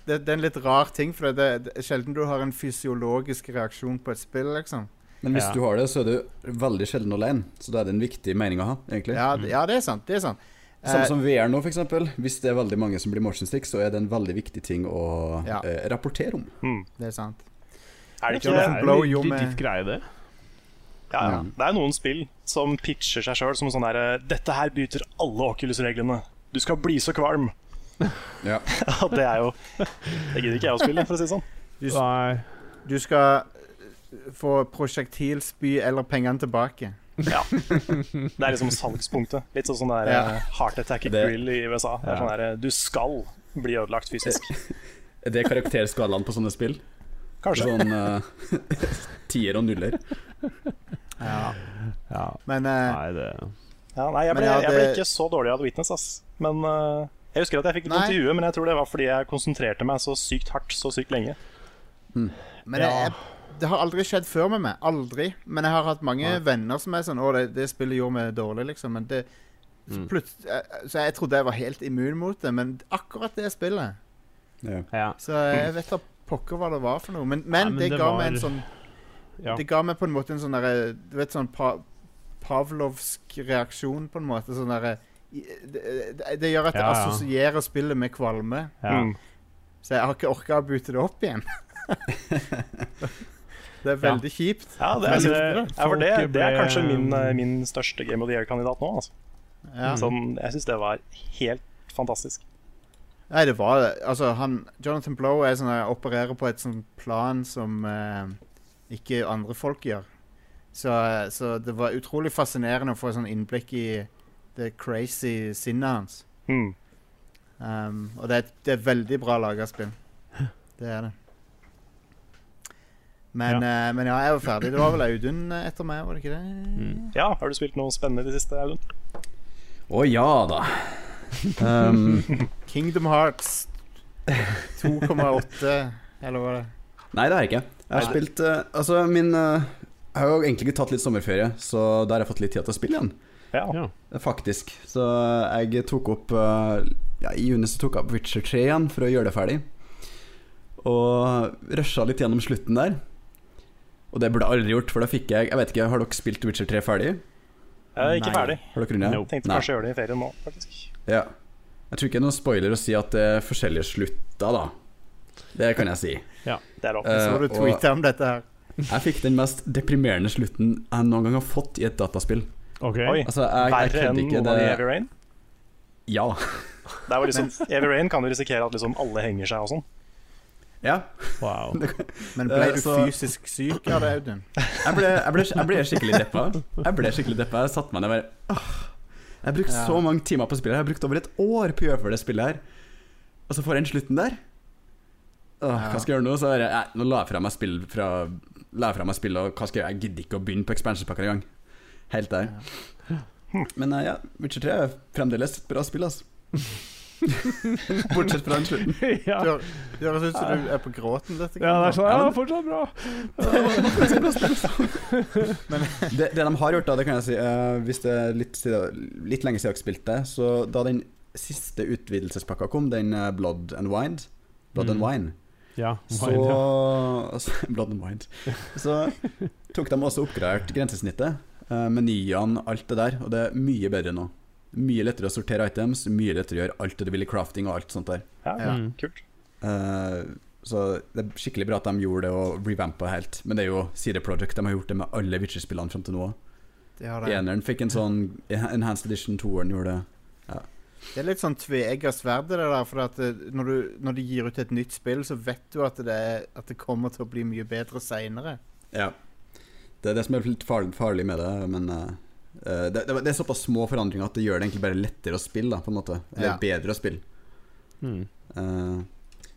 Det, det er en litt rar ting, for det, det er sjelden du har en fysiologisk reaksjon på et spill, liksom.
Men hvis
Ja.
du har det, så er du veldig sjelden alene, så da er det en viktig mening å ha, egentlig.
Ja, det, ja, det er sant. Det er sant. Eh,
Samme som VR nå, f.eks. Hvis det er veldig mange som blir motion sick, så er det en veldig viktig ting å
Ja.
eh, rapportere om.
det er sant.
Er det
Det
ikke
Jonathan
er jo
Blow gjorde
virkelig
med-
ditt greie, det.
Ja,
Mm.
ja. Det er noen spill som pitcher seg sjøl som sånn derre Dette her bryter alle Oculus-reglene. Du skal bli så kvalm.
Ja.
Ja, det er jo Det gidder ikke jeg å spille, for å si det sånn.
Nei.
Du skal eh, få prosjektilspy eller pengene tilbake.
Ja. Det er liksom salgspunktet. Litt sånn sånn der
Ja.
eh, Heart Attack
Det-
Grill i USA. Det er sånn der, eh, du skal bli ødelagt fysisk.
Er det karakterskalaen på sånne spill?
Kanskje.
Sånn uh, tier og nuller.
Ja.
Ja,
Men eh,
nei, det
Ja, nei, jeg
Men
ble,
ja,
jeg ble
det-
ikke så dårlig av The Witness, ass. Men eh, jeg husker at jeg fikk litt vondt i
Nei.
huet, men jeg tror det var fordi jeg konsentrerte meg så sykt hardt så sykt lenge.
Men
Ja.
jeg, jeg, det har aldri skjedd før med meg. Aldri. Men jeg har hatt mange venner som er sånn Å, det, det spillet gjorde meg dårlig, liksom. Men det så plut- jeg- Så jeg trodde jeg var helt immun mot det, men akkurat det spillet
Ja.
Ja.
Så jeg vet da pokker hva det var for noe. Men, men,
Nei, Mm. men
det,
det
ga
var-
meg en sånn
Ja.
Det ga meg på en måte en sånn derre Du vet sånn pa, Pavlovsk reaksjon, på en måte. Sånn derre i- det, det, det gjør at jeg
Ja, ja.
assosierer spillet med kvalme.
Ja.
Mm.
Så jeg har ikke orka å bute det opp igjen. det er veldig kjipt.
Ja, det,
Men
altså,
det-
ja, for det,
folk
det er
ble-
kanskje min, eh, min største Game of the Year-kandidat nå. Altså.
Ja.
Sånn, jeg syns det var helt fantastisk.
Nei, det var det. Altså, han Jonathan Blow er sånn, eh, opererer på et sånt plan som eh, ikke andre folk gjør. Så, eh, så det var utrolig fascinerende å få sånn innblikk i det crazy sinnet hans.
Mm.
Um, og det er, et- det er veldig bra laga spill. Det er det. Men ja. men ja, jeg var ferdig. Det var vel Audun eh, etter meg, var det ikke det?
Ja, har du spilt noe spennende i det siste, Audun?
Å ja da. Um,
Kingdom Hearts 2,8 Eller hva er det?
nei, det har jeg ikke. Jeg har spilt eh, Altså, min eh, Jeg har jo egentlig ikke tatt litt sommerferie, så da har jeg fått litt tid til å spille igjen.
Ja.
Ja.
Faktisk. Så jeg tok opp eh, ja, I juni så tok jeg opp Witcher 3 igjen for å gjøre det ferdig. Og rusha litt gjennom slutten der. Og det burde jeg aldri gjort, for da fikk jeg Jeg vet ikke, Har dere spilt Witcher 3 ferdig?
Jeg er ikke
Nei.
ferdig.
Har dere runda?
Nope.
Tenkte
Nei.
kanskje å gjøre det i ferien nå, faktisk.
Ja. Jeg tror ikke det er noen spoiler å si at det er forskjellige slutter, da. Det kan jeg si.
Det er lov.
Eh,
Så har du
og-
tweeta om dette her.
Jeg fikk den mest deprimerende slutten jeg noen gang har fått i et dataspill.
OK.
Oi.
Altså, jeg, jeg
Verre enn
kødder ikke.
noen av de i Heavy
Det,
Rain.
ja.
Det var liksom, Heavy Rain kan jo risikere at liksom alle henger seg og sånn.
ja.
Wow.
Men ble
Eh,
du
så-
fysisk syk av det, Audun?
Jeg ble, jeg ble, jeg ble skikkelig deppa. Jeg ble skikkelig deppa. Jeg satte meg ned og bare «Åh, Jeg har brukt så mange timer på spillet. her. Jeg har brukt over et år på å gjøre for det spillet her. Og så får jeg den slutten der. Åh, hva skal jeg gjøre nå? Så bare, nei, nå la jeg fra meg spill fra La jeg fra meg spill, og hva skal jeg gjøre? Jeg gidder ikke å begynne på expansion-pakker engang. Helt der. Men eh, ja, Witcher 3 er fremdeles et bra spill, altså. Bortsett fra den slutten.
ja.
Du hø- Det høres ut som du er på gråten. Dette,
ja, det er sånn.
Ja,
Ja,
men-
fortsatt bra.
det, det de har gjort, da, det kan jeg si eh, Hvis det er litt, siden, litt lenge siden jeg spilte, så da den siste utvidelsespakka kom, den eh, Blood and Wind Blood and
Mm.
Wine.
Ja,
Så
Wine, ja.
altså, Blood and Wind. Så tok de også oppgradert grensesnittet. eh, menyene, alt det der. Og det er mye bedre nå. Mye lettere å sortere items, mye lettere å gjøre alt det du vil i crafting og alt sånt der.
Ja,
Ja.
Mm.
Kult.
Eh, så det er skikkelig bra at de gjorde det og revampa helt. Men det er jo CD Projekt, de har gjort det med alle Witcher-spillene fram til nå.
Det, har det.
Eneren fikk en sånn Enhanced Edition, toeren gjorde det.
det er litt sånn tveegga sverd, det der. For at eh, når, du, når de gir ut et nytt spill, så vet du at det, er, at det kommer til å bli mye bedre seinere.
Ja. Det er det som er litt farlig, farlig med det, men eh, eh, det, det, det er såpass små forandringer at det gjør det egentlig bare lettere å spille, da, på en måte. Eller
Ja.
bedre å spille.
Mm.
Eh,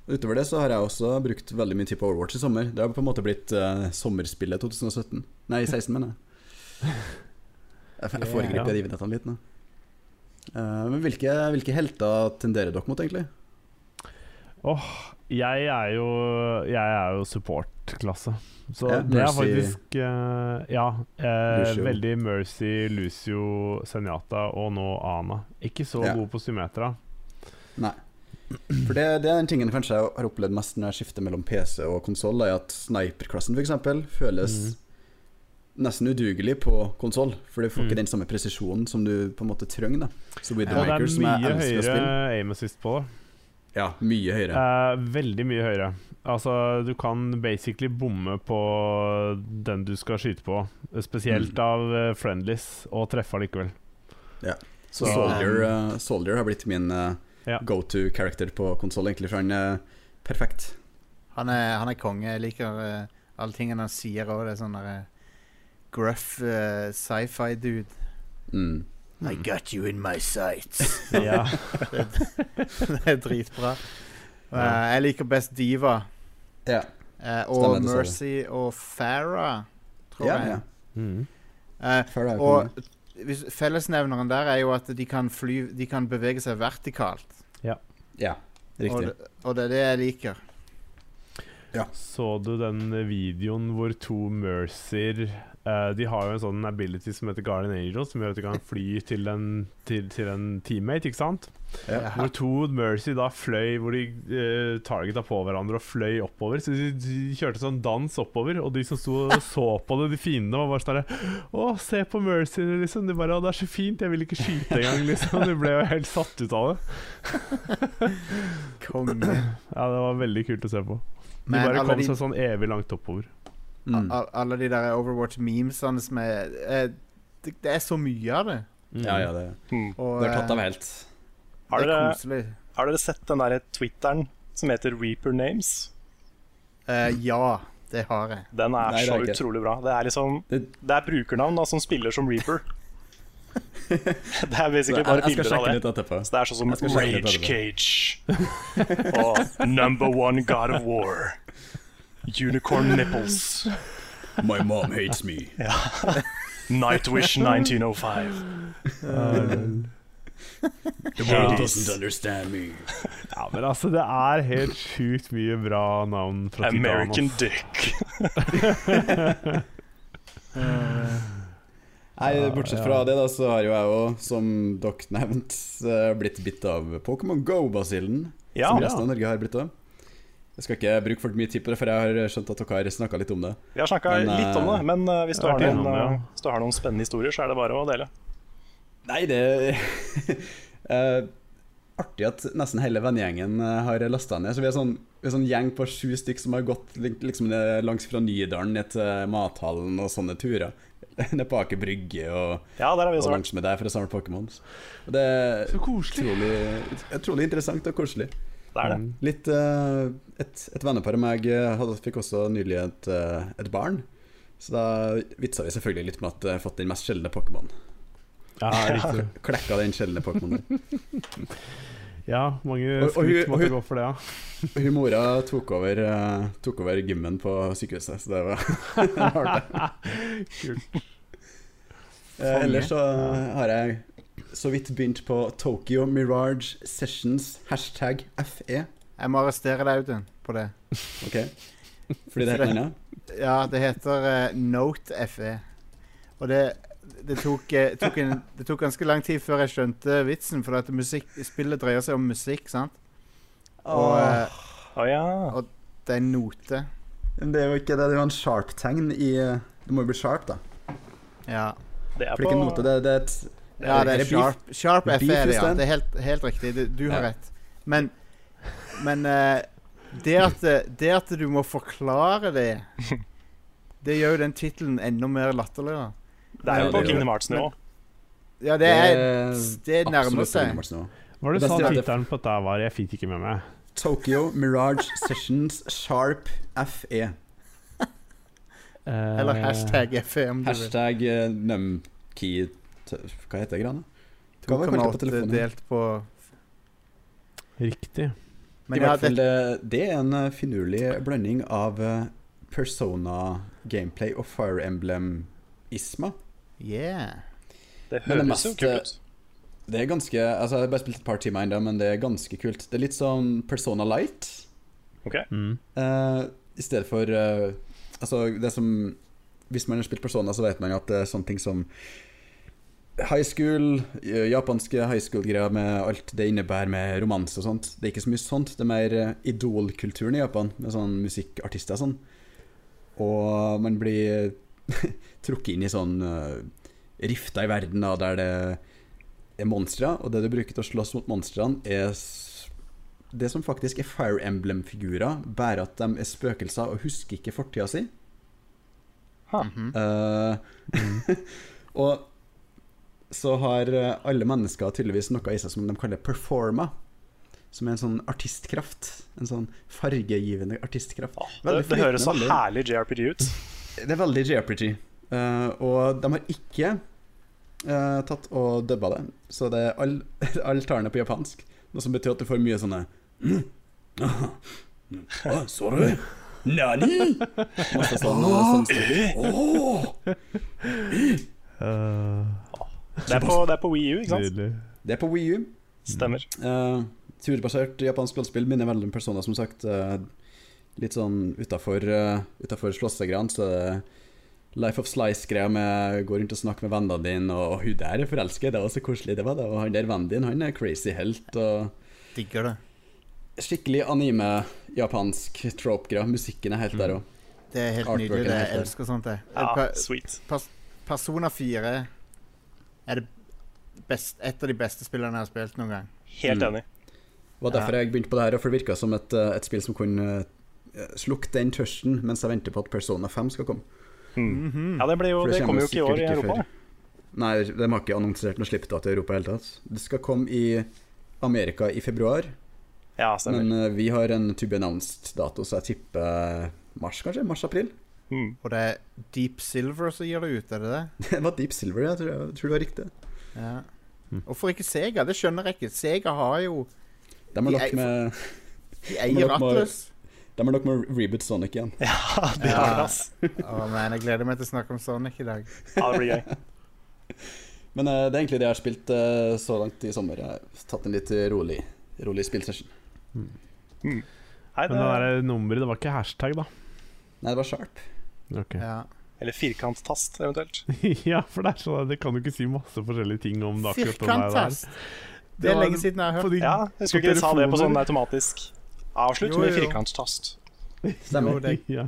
utover det så har jeg også brukt veldig mye tid på Overwatch i sommer. Det har på en måte blitt eh, sommerspillet 2017. Nei, 16, mener jeg. Jeg, f- jeg foregriper
Ja.
de vinettene litt nå. Eh, men hvilke, hvilke helter tenderer dere mot, egentlig?
Jeg er jo, jeg er jo support-klasse. Så
Ja,
det er
Mercy.
faktisk eh, Ja. eh,
Lucio.
veldig Mercy, Lucio, Senjata og nå Ana. Ikke så
Ja.
god på Symmetra.
Nei. For det, det er den tingen kanskje jeg har opplevd mest når jeg skifter mellom PC og konsoll, er at sniperklassen f.eks.
Mm.
føles nesten udugelig på konsoll. For du får
Mhm.
ikke den samme presisjonen som du på en måte trenger. da Så
Og det er
Widowmaker, som jeg
mye
elsker å
høyere
spille
aim assist på det.
Ja, mye høyere.
Eh, veldig mye høyere. Altså, du kan basically bomme på den du skal skyte på. Spesielt
Mm.
av eh, friendlies, og treffe likevel.
Så
Så-
Soldier, eh, Soldier har blitt min eh,
Ja.
go to character på konsoll, egentlig, for han er perfekt.
Han er, han er konge. Jeg liker eh, alle tingene han sier òg. Det er sånn derre gruff eh, sci-fi-dude.
Mm.
I got you in my sights.
Ja.
det er dritbra. Og, eh,
Ja.
jeg liker best Diva.
Ja.
eh,
Stemmer,
og
det sa du.
Mercy og Farah, tror
Ja,
jeg.
ja.
Mm.
Eh,
Farah er
og
konge.
hvis, fellesnevneren der er jo at de kan, fly, de kan bevege seg vertikalt.
ja.
Og
Riktig.
det, og det er det jeg liker.
Så du den videoen hvor to Mercer eh, De har jo en sånn ability som heter Guardian Angel, som gjør at de kan fly til en, til, til en teammate, ikke sant?
Ja.
Hvor to Mercy da fløy Hvor de uh, targeta på hverandre og fløy oppover. Så de, de kjørte sånn dans oppover, og de som sto og så på det, de fiendene, var bare sånn der, Å, se på Mercy, liksom. De bare Å, det er så fint, jeg vil ikke skyte engang, liksom. De ble jo helt satt ut av det.
Konge.
Ja, det var veldig kult å se på. De
Men
bare
alle
kom
de-
seg sånn evig langt oppover.
Mm.
Al- Alle de der Overwatch-memesene som er eh, det, det er så mye av det.
Mm.
Ja, ja, det,
Hmm.
Og,
det er tatt
eh,
av helt.
Har,
det er
dere,
koselig.
har dere sett den derre Twitteren som heter Reaper Names?
Eh, ja, det har jeg.
Den er
Nei, det
så
er ikke.
utrolig bra. Det er liksom
Det-
Det er brukernavn da som spiller som Reaper. det er
Så
basically
jeg,
bare
jeg skal
bilder av
sjekke
det.
litt etterpå.
Så det er sånn som
Jeg skal sjekke
Rage
litt
Cage og Number One God of War. Unicorn Nipples.
My mom hates me.
Nightwish 1905.
The
world doesn't
understand me.
Ja, men altså, det er helt sjukt mye bra navn fra
American
Titan.
Dick.
Nei, bortsett fra det, da, så har jo jeg òg, som dere nevnte, eh, blitt bitt av Pokémon Go-basillen.
Ja,
som resten av Norge har blitt av. Jeg skal ikke bruke for mye tid på det, for jeg har skjønt at dere har snakka litt om det.
vi har snakka
Men, eh,
litt om det, men eh, hvis du,
jeg
har
har vært
noen,
innom det, ja.
eh, hvis du har noen spennende historier, så er det bare å dele.
Nei, det eh, Artig at nesten hele vennegjengen eh, har lasta ned. Så vi er sånn, vi er sånn gjeng på sju stykk som har gått li- liksom ned langs fra Nydalen ned til Mathallen og sånne turer. Ned på Aker Brygge og,
Ja, der har vi
og
også vært.
langs med deg for å samle Pokémons. Og Det er
Så koselig.
utrolig, utrolig interessant og koselig.
Det er det.
Litt eh, et, et vennepar av meg eh, hadde, fikk også nylig et, eh, et barn. Så da vitsa vi selvfølgelig litt med at jeg har fått den mest sjeldne Pokémon.
Ja, riktig.
Klekka den sjeldne Pokémonen.
Ja, mange
Og- og hun-
skut
og
måtte
hun-
gå for det, ja.
Hun mora tok over, eh, tok over gymmen på sykehuset, så det var
Kult.
Eh, Ellers så har jeg så vidt begynt på Tokyo Mirage Sessions hashtag E, FE.
Jeg må arrestere deg, Audun, på det.
Ok? Fordi det er helt annet?
Ja, det heter eh, Note FE. Og det, det, tok, eh, tok en, det tok ganske lang tid før jeg skjønte vitsen, for at musikk, spillet dreier seg om musikk, sant? Og eh,
Å ja.
det er en note.
eh, Men det er jo ikke det, det er jo en sharp-tegn i Det må jo bli sharp, da.
Ja.
Det er
For det er ikke en note, det, det er et
Ja, det er
beef.
sharp, sharp
Beef
F er det,
is
ja.
den.
Det er helt, helt riktig. Du, du har
Ja.
rett. Men, men eh, det, at, det at du må forklare det, det gjør jo den tittelen enda mer latterlig. da.
Det er jo
Ja,
på
det er
Kingdom Hearts-nivå.
Ja, det er det
absolutt
nærmer seg.
nærmer seg nå.
Hva var det
Det
du sa
beste er at det-
tittelen på dette var? Jeg fikk ikke med meg.
Tokyo Mirage Sessions Sharp E. FE.
Eh,
Eller hashtag FE, om du vil.
Hashtag eh, numkey t- Hva heter det greiene? Hva var kortet på
2,8
telefonen?
delt på
Riktig.
I
Men ja,
hvert fall,
det,
det, det er en eh, finurlig blanding av eh, Persona-gameplay og Fire Emblem-isma.
yeah.
Det
Men det
høres jo
meste-
kult ut.
Det er ganske Altså, jeg har bare spilt et par timer ennå, men det er ganske kult. Det er litt som Persona Light.
Mm.
Eh, I stedet for eh, Altså, det som Hvis man har spilt Persona, så vet man at det er sånne ting som High school, eh, japanske high school-greier med alt det innebærer med romanse og sånt. Det er ikke så mye sånt. Det er mer eh, idolkulturen i Japan, med sånn musikkartister og sånn. Og man blir trukket inn i sånn eh, rifter i verden da, der det er monstre, og det du bruker til å slåss mot monstrene, er s- det som faktisk er Fire Emblem-figurer, bare at de er spøkelser og husker ikke fortida si.
Mhm.
Eh, og så har eh, alle mennesker tydeligvis noe i seg som de kaller performa. Som er en sånn artistkraft. En sånn fargegivende artistkraft.
Åh, det,
Veldig
det høres så
flytende, veldig-
herlig JRPG ut.
det er veldig JRPG. eh, og de har ikke eh, tatt og dubba det. Så det er all, all talene på japansk. Noe som betyr at du får mye sånne ah, Sorry. Nani? Masse sånn, sånn Åh!
Eh,
Det er på, det er på Wii U, ikke sant?
nydelig.
Det er på Wii U.
Stemmer.
Eh, turbasert japansk rollespill minner veldig om Persona, som sagt. Eh, litt sånn utafor uh, slåssegreiene, så er det Life of Slice-greia med gå rundt og snakke med vennene dine, og «Å, hun der er forelsket, det var så koselig, det var det. Og han der vennen din, han er crazy helt, og
Digger det.
Skikkelig anime-japansk trope-greia. Musikken er helt der òg.
Det er helt
Artworken
nydelig. Det
er helt
jeg
der.
elsker sånt. Jeg.
Ja,
Pa-
sweet.
Persona 4 er det best, et av de beste spillene jeg har spilt noen gang.
Helt
Mm.
enig.
var derfor jeg begynte på det her, og for det virka som et, eh, et spill som kunne eh, slukke den tørsten mens jeg venter på at Persona 5 skal komme.
Mm. Ja, det, blir jo,
For
det kommer jo ikke i år
kommer
i
sikkert
Europa.
Nei, de har ikke annonsert noe slippdato i Europa i det hele tatt. Det skal komme i Amerika i februar,
Ja, stemmer.
men eh, vi har en to be announced-dato, så jeg tipper eh, mars, kanskje? Mars-april?
Mm.
Og det er Deep Silver som gir det ut, er det det?
Det var Deep Silver, jeg tror, jeg tror det var riktig.
Ja.
Hm.
Hvorfor ikke Sega? Det skjønner jeg ikke. Sega har jo
De har
De
nok
er-
med,
De
Men
eier
dere må-
Atlus.
de har nok med å reboot Sonic igjen.
Ja, det er det, ass.
Å, man, jeg gleder meg til å snakke om Sonic i dag.
Ja, det blir gøy.
Men eh, det er egentlig det jeg har spilt eh, så langt i sommer. Jeg har tatt en litt rolig, rolig spillsession.
Nei,
Men
det,
det der nummeret, det var ikke hashtag, da.
Nei, det var Sharp.
Ok.
Ja.
eller firkanttast, eventuelt.
ja, for det er sånn at det kan jo ikke si masse forskjellige ting om det akkurat den der.
Firkanttast. Det
Det
er
var-
lenge siden jeg har hørt.
På de-
Ja, jeg skulle ikke de sa det på sånn
telefoner.
automatisk avslutt
Jo,
med
jo.
firkanttast.
Stemmer.
Jo, det er
ja.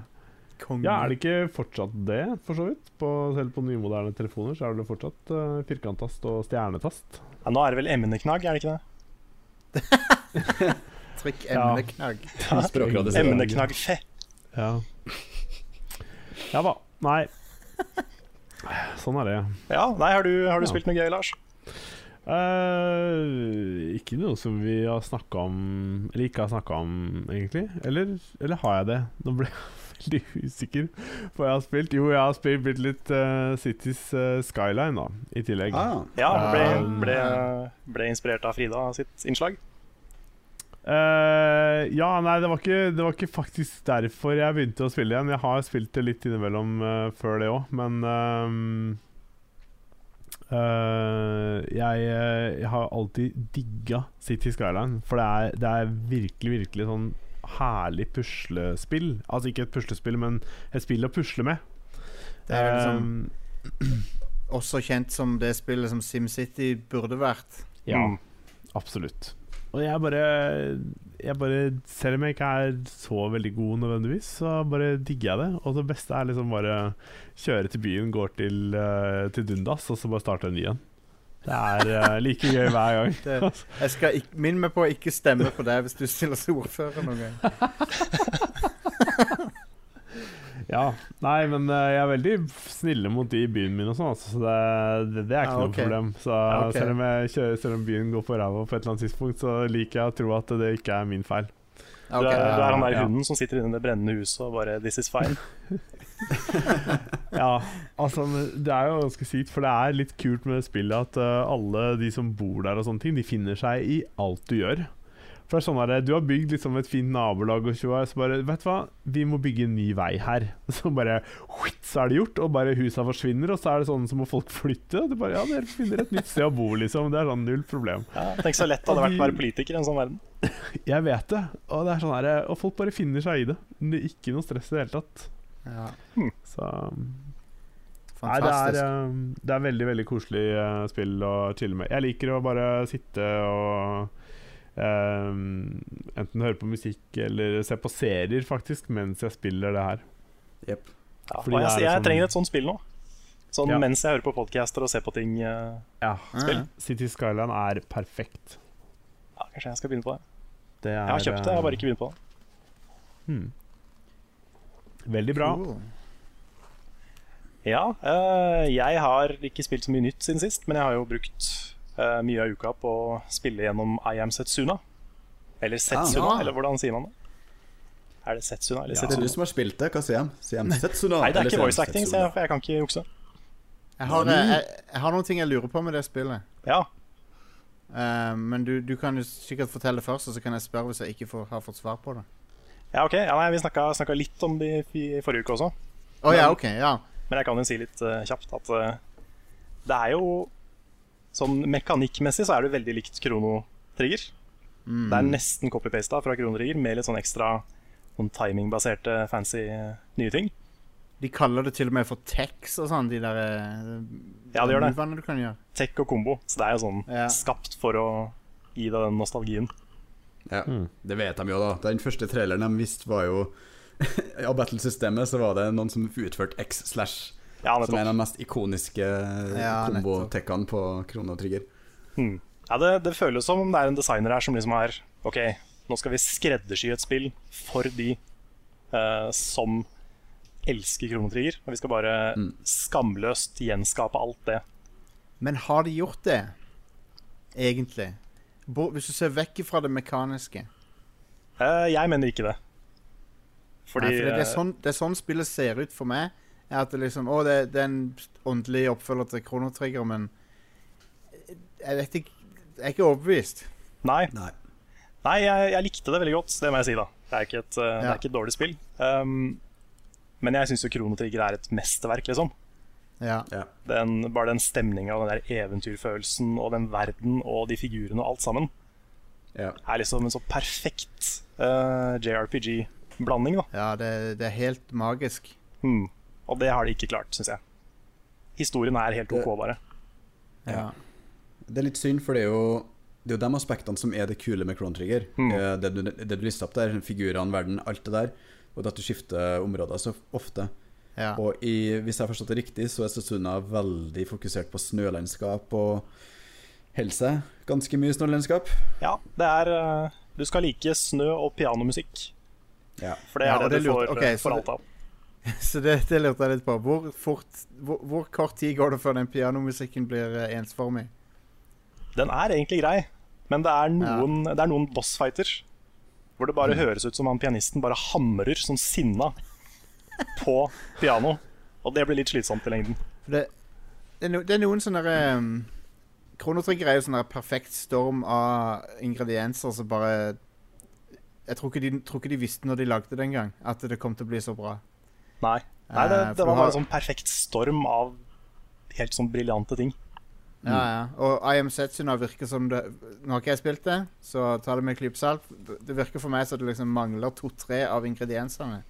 konge.
ja, er det ikke fortsatt det, for så vidt? På, selv på nymoderne telefoner så er det fortsatt uh, firkanttast og stjernetast.
Ja, nå er det vel emneknagg, er det ikke det?
Trykk
Ja.
emneknagg.
Språkrådet sier det.
Emneknagg fe.
Ja. ja da. Nei. Sånn er det.
Ja, nei, har du, har du
Ja.
spilt noe gøy, Lars?
Eh, ikke noe som vi har snakka om Eller ikke har snakka om, egentlig. Eller, eller har jeg det? Nå ble jeg veldig usikker på hva jeg har spilt. Jo, jeg har spilt, spilt litt eh, Cities eh, Skyline da, i tillegg.
Ah,
Ja, ble,
Um,
ble, ble inspirert av Frida sitt innslag.
Eh, ja, nei, det var, ikke, det var ikke faktisk derfor jeg begynte å spille igjen. Jeg har spilt det litt innimellom eh, før det òg, men eh, eh, jeg, eh, jeg har alltid digga City Skyline, for det er, det er virkelig, virkelig sånn herlig puslespill. Altså ikke et puslespill, men et spill å pusle med.
Det er liksom
Eh,
også kjent som det spillet som SimCity burde vært.
ja,
Mm.
absolutt. Og jeg bare, jeg bare Selv om jeg ikke er så veldig god nødvendigvis, så bare digger jeg det. Og det beste er liksom bare kjøre til byen, går til, eh, til Dundas, og så bare starte en ny en. Det er eh, like gøy hver gang. Altså,
Det, jeg skal ikk- Minn meg på å ikke stemme på deg hvis du stiller som ordfører noen gang.
Ja. Nei, men eh, jeg er veldig snille mot de i byen min og sånn, altså, så det, det, det er ikke
Ja, Ah, ok.
noe problem. Så
Ja, ok.
selv, om jeg kjører, selv om byen går på ræva på et eller annet tidspunkt, så liker jeg å tro at det ikke er min feil.
Du,
Ok.
er, du er han der
Ja.
hunden som sitter inne i det brennende huset og bare This is fine.
Ja, altså men det er jo ganske sykt, for det er litt kult med det spillet at eh, alle de som bor der og sånne ting, de finner seg i alt du gjør. For det er sånn der, Du har bygd liksom et fint nabolag, og tjoa, så bare Vet du hva, vi må bygge en ny vei her. Så bare whitt, Så er det gjort, og bare husa forsvinner, og så er det sånn så må folk flytte. Og det bare, ja, dere finner et nytt sted å bo, liksom. Det er sånn null problem.
Ja, tenk så lett det hadde vært å være politiker i en sånn verden.
Jeg vet det, og det er sånn der, og folk bare finner seg i det. Det er ikke noe stress i det hele tatt.
Ja,
Så um, Nei, det er,
fantastisk.
eh, det er veldig veldig koselig eh, spill å chille med. Jeg liker å bare sitte og eh, enten høre på musikk eller se på serier, faktisk, mens jeg spiller det her.
Jep.
Ja, og
Fordi
jeg,
det er
jeg
sånn-
trenger et sånt spill nå. Sånn
Ja.
mens jeg hører på podcaster og ser på ting. eh,
Ja,
Ja,
Mm. City Skyline er perfekt.
Ja, kanskje jeg skal begynne på det.
Det er,
Jeg har kjøpt det, jeg har bare ikke begynt på det.
eh, Veldig bra.
Cool.
Ja, eh, jeg har ikke spilt så mye nytt siden sist, men jeg har jo brukt eh, mye av uka på å spille gjennom I Am Setsuna. Eller Setsuna,
Ah.
eller hvordan sier man det? Er det Setsuna eller
Ja. Det er
Setsuna?
du som har spilt det. Hva sier han? Sier han Setsuna?
Nei, det er
eller
ikke
sier han
voice acting, så
Setsuna?
jeg, jeg kan ikke jukse.
Jeg har, eh, jeg, jeg har noen ting jeg lurer på med det spillet.
Ja,
Eh, men du, du kan jo sikkert fortelle først, og så kan jeg spørre hvis jeg ikke får, har fått svar på det.
ja ok. Ja, nei, vi snakka, snakka litt om det i i forrige uke også.
Å ja, OK. Ja.
Men jeg kan jo si litt eh, kjapt at eh, det er jo Sånn mekanikkmessig så er det veldig likt kronotrigger. Det
Mm.
er nesten copy-pasta fra kronotrigger med litt sånn ekstra sånn timingbaserte fancy eh, nye ting.
De kaller det til og med for tex og sånn, de der eh,
Ja, de gjør det.
Mm.
movene du kan gjøre.
Tech og kombo. Så det er jo sånn
Ja.
skapt for å gi deg den nostalgien.
Ja, Det vet de jo, da. Den første traileren de visste, var jo Av battlesystemet så var det noen som utførte X slash,
Ja,
som er
nettopp.
en av de mest ikoniske
Ja, nettopp.
kombotekkene på krone og trigger.
Mm. Ja, det, det føles som om det er en designer her som liksom har OK, nå skal vi skreddersy et spill for de eh, som elsker kronotrigger. Og vi skal bare skamløst gjenskape alt det.
Men har de gjort det, egentlig? Bo, hvis du ser vekk fra det mekaniske.
Eh, jeg mener ikke det. Fordi eh,
Nei, for det, det, er sånn, det er sånn spillet ser ut for meg. Er at det liksom, å, det, det er en åndelig oppfølger til Kronotrigger, men eh, jeg vet ikke Jeg er ikke overbevist.
eh, Nei,
Nei.
nei jeg, jeg likte det veldig godt, det må jeg si, da. Det er ikke et, eh, det er ikke et dårlig spill. Um, men jeg syns jo Kronotrigger er et mesterverk, liksom.
Ja.
Ja.
Den, bare den stemninga og den der eventyrfølelsen og den verden og de figurene og alt sammen
ja.
er liksom en så perfekt eh, JRPG-blanding, da.
Ja, det, det er helt magisk.
Hmm. Og det har de ikke klart, syns jeg. Historien er helt OK, bare.
Ja.
Det er litt synd, for det er jo det er jo de aspektene som er det kule med Chrono Trigger.
Mm.
Eh, Det, du, det du lister opp der, figurene, verden, alt det der. Og det at du skifter områder så ofte.
Ja.
Og i, hvis jeg har forstått det riktig, så er Setsuna veldig fokusert på snølandskap og helse. Ganske mye snølandskap.
Ja, det er eh, Du skal like snø og pianomusikk,
Ja.
for det
Ja,
er
og
det
det
du
lurte-
får, eh,
ok, så
får
det-
alt av.
Så det, det lurte jeg litt på. Hvor, fort, hvor, hvor kort tid går det før den pianomusikken blir eh, ensformig?
Den er egentlig grei, men det er noen, det er noen bossfighter hvor det
Mm.
bare høres ut som han pianisten bare hamrer som sinna på piano. Og det blir litt slitsomt i lengden.
For det, det, er no, det er noen sånne der, um, Kronotrigger er jo sånn der perfekt storm av ingredienser som bare Jeg tror ikke, de, tror ikke de visste når de lagde det engang, at det kom til å bli så bra.
Nei, Nei det,
Eh, for
det var
du har-
bare en sånn perfekt storm av helt sånn briljante ting.
Ja, ja. Og I Am Setsuna virker som det Nå har ikke jeg spilt det, så ta det med en klype salt. Det virker for meg som det liksom mangler to-tre av ingrediensene.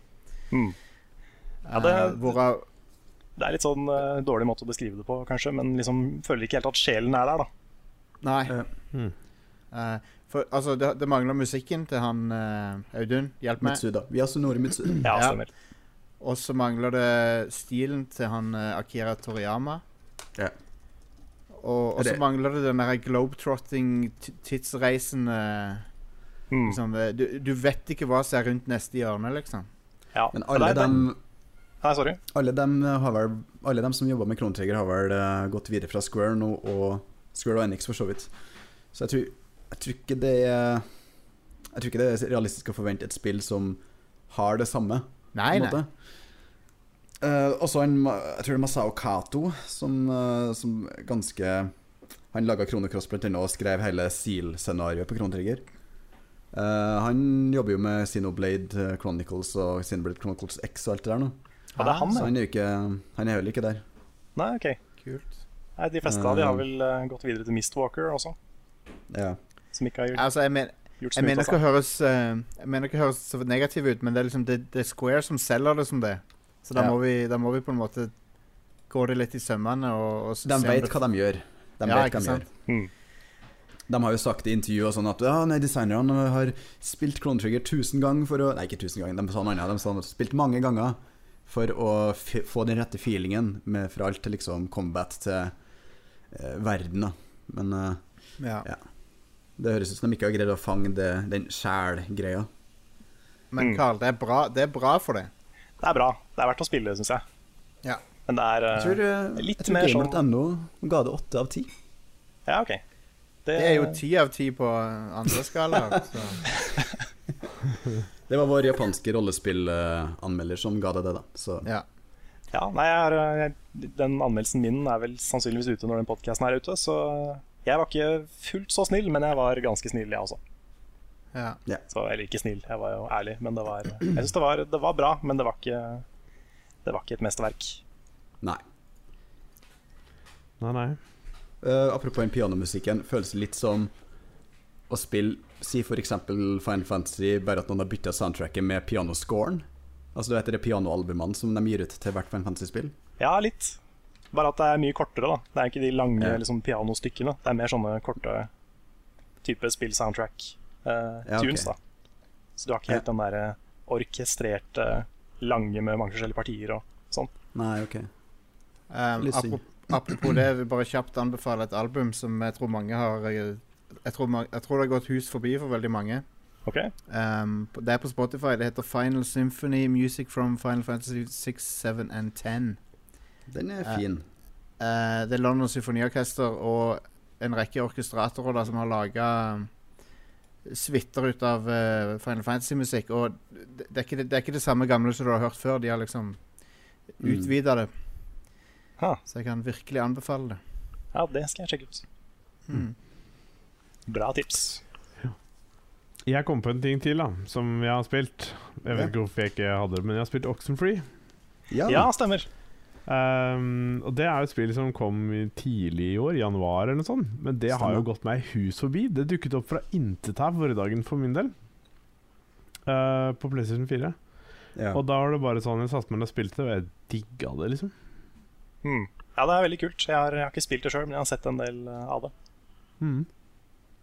Mm. det-
Eh, hvorav
Det er litt sånn eh, dårlig måte å beskrive det på, kanskje, men liksom føler ikke helt at sjelen er der, da.
Nei.
Ja.
Eh, For altså, det, det mangler musikken til han eh, Audun. Hjelp meg.
Mitsuda. Vi har Sonori Mitsuda.
Ja,
Ja.
stemmer.
Og så mangler det stilen til han eh, Akira Toriyama.
Ja.
Og, og
Er
så
det-
mangler det den derre globetrotting-tidsreisende
Mm.
eh, liksom, eh, du, du vet ikke hva som er rundt neste hjørne, liksom.
Ja.
Men
Nei,
alle
nei,
dem,
Nei, sorry.
alle dem, eh, har vel, alle dem som jobba med Krontrigger, har vel eh, gått videre fra Square nå, og Square og Enix for så vidt. Så jeg tror, jeg tror ikke det er Jeg tror ikke det er realistisk å forvente et spill som har det samme.
Nei,
på en
nei.
måte. Eh, også en, ma- jeg tror det er Masao Kato som, eh, som ganske Han laga Kronocross blant annet og skrev hele Seal-scenarioet på Kronetrigger. Eh, han jobber jo med Sinoblade Chronicles og Sinoblade Chronicles X og alt det der nå.
Ja, det er han,
Så
ja.
han er jo ikke Han er heller ikke der.
Nei, OK.
Kult.
Nei, de fleste av de har vel eh, gått videre til Mistwalker også,
Ja.
som ikke har gjort,
Altså, jeg, men,
gjort så
jeg
mye
mener
ut av
ikke
seg.
å høres eh, Jeg mener ikke å høres så negativ ut, men det er liksom det, det er Square som selger det som det. Så da,
Ja.
må vi, da må vi på en måte gå det litt i sømmene og, og s-
De
se om
vet
det-
hva de gjør. De
Ja,
vet hva
ikke
de
sant?
gjør. De har jo sagt i intervju og sånn at ja, nei, designerne har spilt Chrono Trigger 1000 ganger for å Nei, ikke 1000 ganger, de sa noe annet. De sa de har spilt mange ganger for å f få den rette feelingen med, fra alt til liksom combat til eh, verden, da. Men eh,
Ja.
det høres ut som de ikke har greid å fange det, den sjæl-greia. Mm.
Men Carl, det er bra, det er bra for det.
Det er bra. Det er verdt å spille, syns jeg.
Ja.
Men det er
Jeg
eh,
tror,
litt
jeg tror
mer sånn-
Gamer.no ga det åtte av ti.
Ja, OK.
Det er jo ti av ti på eh, andre skalaer. så.
Det var vår japanske rollespillanmelder som ga det det, da. Så
Ja.
Ja, nei, jeg har, eh, jeg, den anmeldelsen min er vel sannsynligvis ute når den podkasten er ute, så jeg var ikke fullt så snill, men jeg var ganske snill, jeg også.
Ja.
Så, eller ikke snill, jeg var jo ærlig, men det var Jeg syns det, var- det var bra, men det var ikke Det var ikke et mesterverk.
nei.
Nei, nei.
Eh, apropos den pianomusikken, føles det litt som å spille Si for eksempel Final Fantasy, bare at noen har bytta soundtracket med pianoscoren. Altså du vet det pianoalbumene som de gir ut til hvert Final Fantasy-spill?
Ja, litt. Bare at det er mye kortere, da. Det er ikke de lange
Ja.
liksom, pianostykkene. Det er mer sånne korte type spill-soundtrack-tunes,
Ja, ok.
da. Så du har ikke helt den der eh, orkestrerte lange med mange forskjellige partier og sånn.
Nei, ok.
Um,
Litt synd.
apropos, apropos det, jeg vil bare kjapt anbefale et album som jeg tror mange har eh, Jeg tror, ma- jeg tror det har gått hus forbi for veldig mange.
OK?
Um, på- det er på Spotify. Det heter Final Symphony Music from Final Fantasy 6, 7 and 10.
Den er
Ja.
fin.
Eh, det er London Symfoniorkester og en rekke orkestratorer da, som har laga suiter ut av eh, Final Fantasy-musikk. Og det, det, er ikke det, det er ikke det samme gamle som du har hørt før. De har liksom
Mm.
utvida det.
Ha.
Så jeg kan virkelig anbefale det.
Ja, det skal jeg sjekke ut.
Mm.
Bra tips.
Jeg kom på en ting til da, som jeg har spilt. Jeg vet
Ja.
ikke hvorfor jeg ikke hadde det, men jeg har spilt Oxenfree.
Ja.
Ja, stemmer.
Ehm, og Det er jo et spill som kom i- tidlig i år, i januar eller noe sånt. Men det har jo
Stemmer.
gått meg hus forbi. Det dukket opp fra intet her vårdagen for min del. Eh, på PlayStation 4.
Ja.
Og da var det bare sånn jeg satte meg ned og spilte det, og jeg digga det, liksom.
Hmm. Ja, det er veldig kult. Jeg har, jeg har ikke spilt det sjøl, men jeg har sett en del eh, av det.
Mm.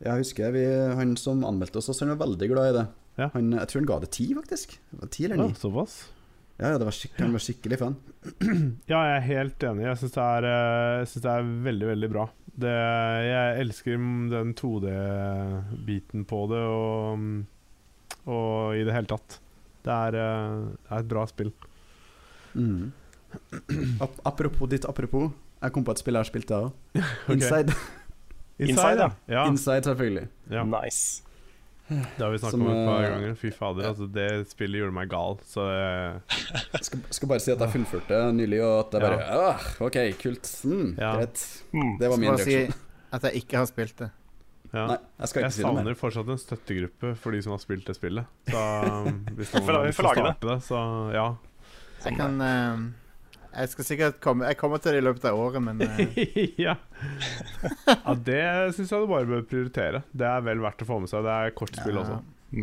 Jeg husker vi, han som anmeldte oss, også, han var veldig glad i det.
Ja.
Han, jeg tror han ga det ti, faktisk. Det var Ti eller
Ja,
ni.
såpass.
Ja, ja, det var skikkelig, han var skikkelig fan.
Ja, jeg er helt enig. Jeg syns det, er, eh, jeg synes det er veldig, veldig bra. Det, jeg elsker m- den 2D-biten på det, og, og i det hele tatt. Det er, eh, det er et bra spill.
Mm. Ap apropos ditt apropos, jeg kom på et spill jeg har spilt, jeg òg. Inside.
Inside, ja.
ja.
Inside, selvfølgelig.
ja.
Nice.
Det har vi snakket
Som,
om et par
eh,
ganger. Fy fader, altså, det spillet gjorde meg gal. Så eh,
skal, skal bare si at jeg fullførte nylig, og at jeg bare «Åh, OK, kult. Mm,
Ja.
Greit.
Hmm.
Det var
Så
min
bare si
reaksjon.
at jeg ikke har spilt det.
ja.
Nei, jeg skal ikke
Jeg
si noe mer.
savner fortsatt en støttegruppe for de som har spilt det spillet. Så um, hvis
Vi får
noen
la-
har
vi
lyst
får
til å
lage det.
starte det, så ja.
Jeg kan eh, Jeg skal sikkert komme Jeg kommer til det i løpet av året, men eh,
ja. ja, det syns jeg du bare bør prioritere. Det er vel verdt å få med seg. Det er kortspill
Ja.
også.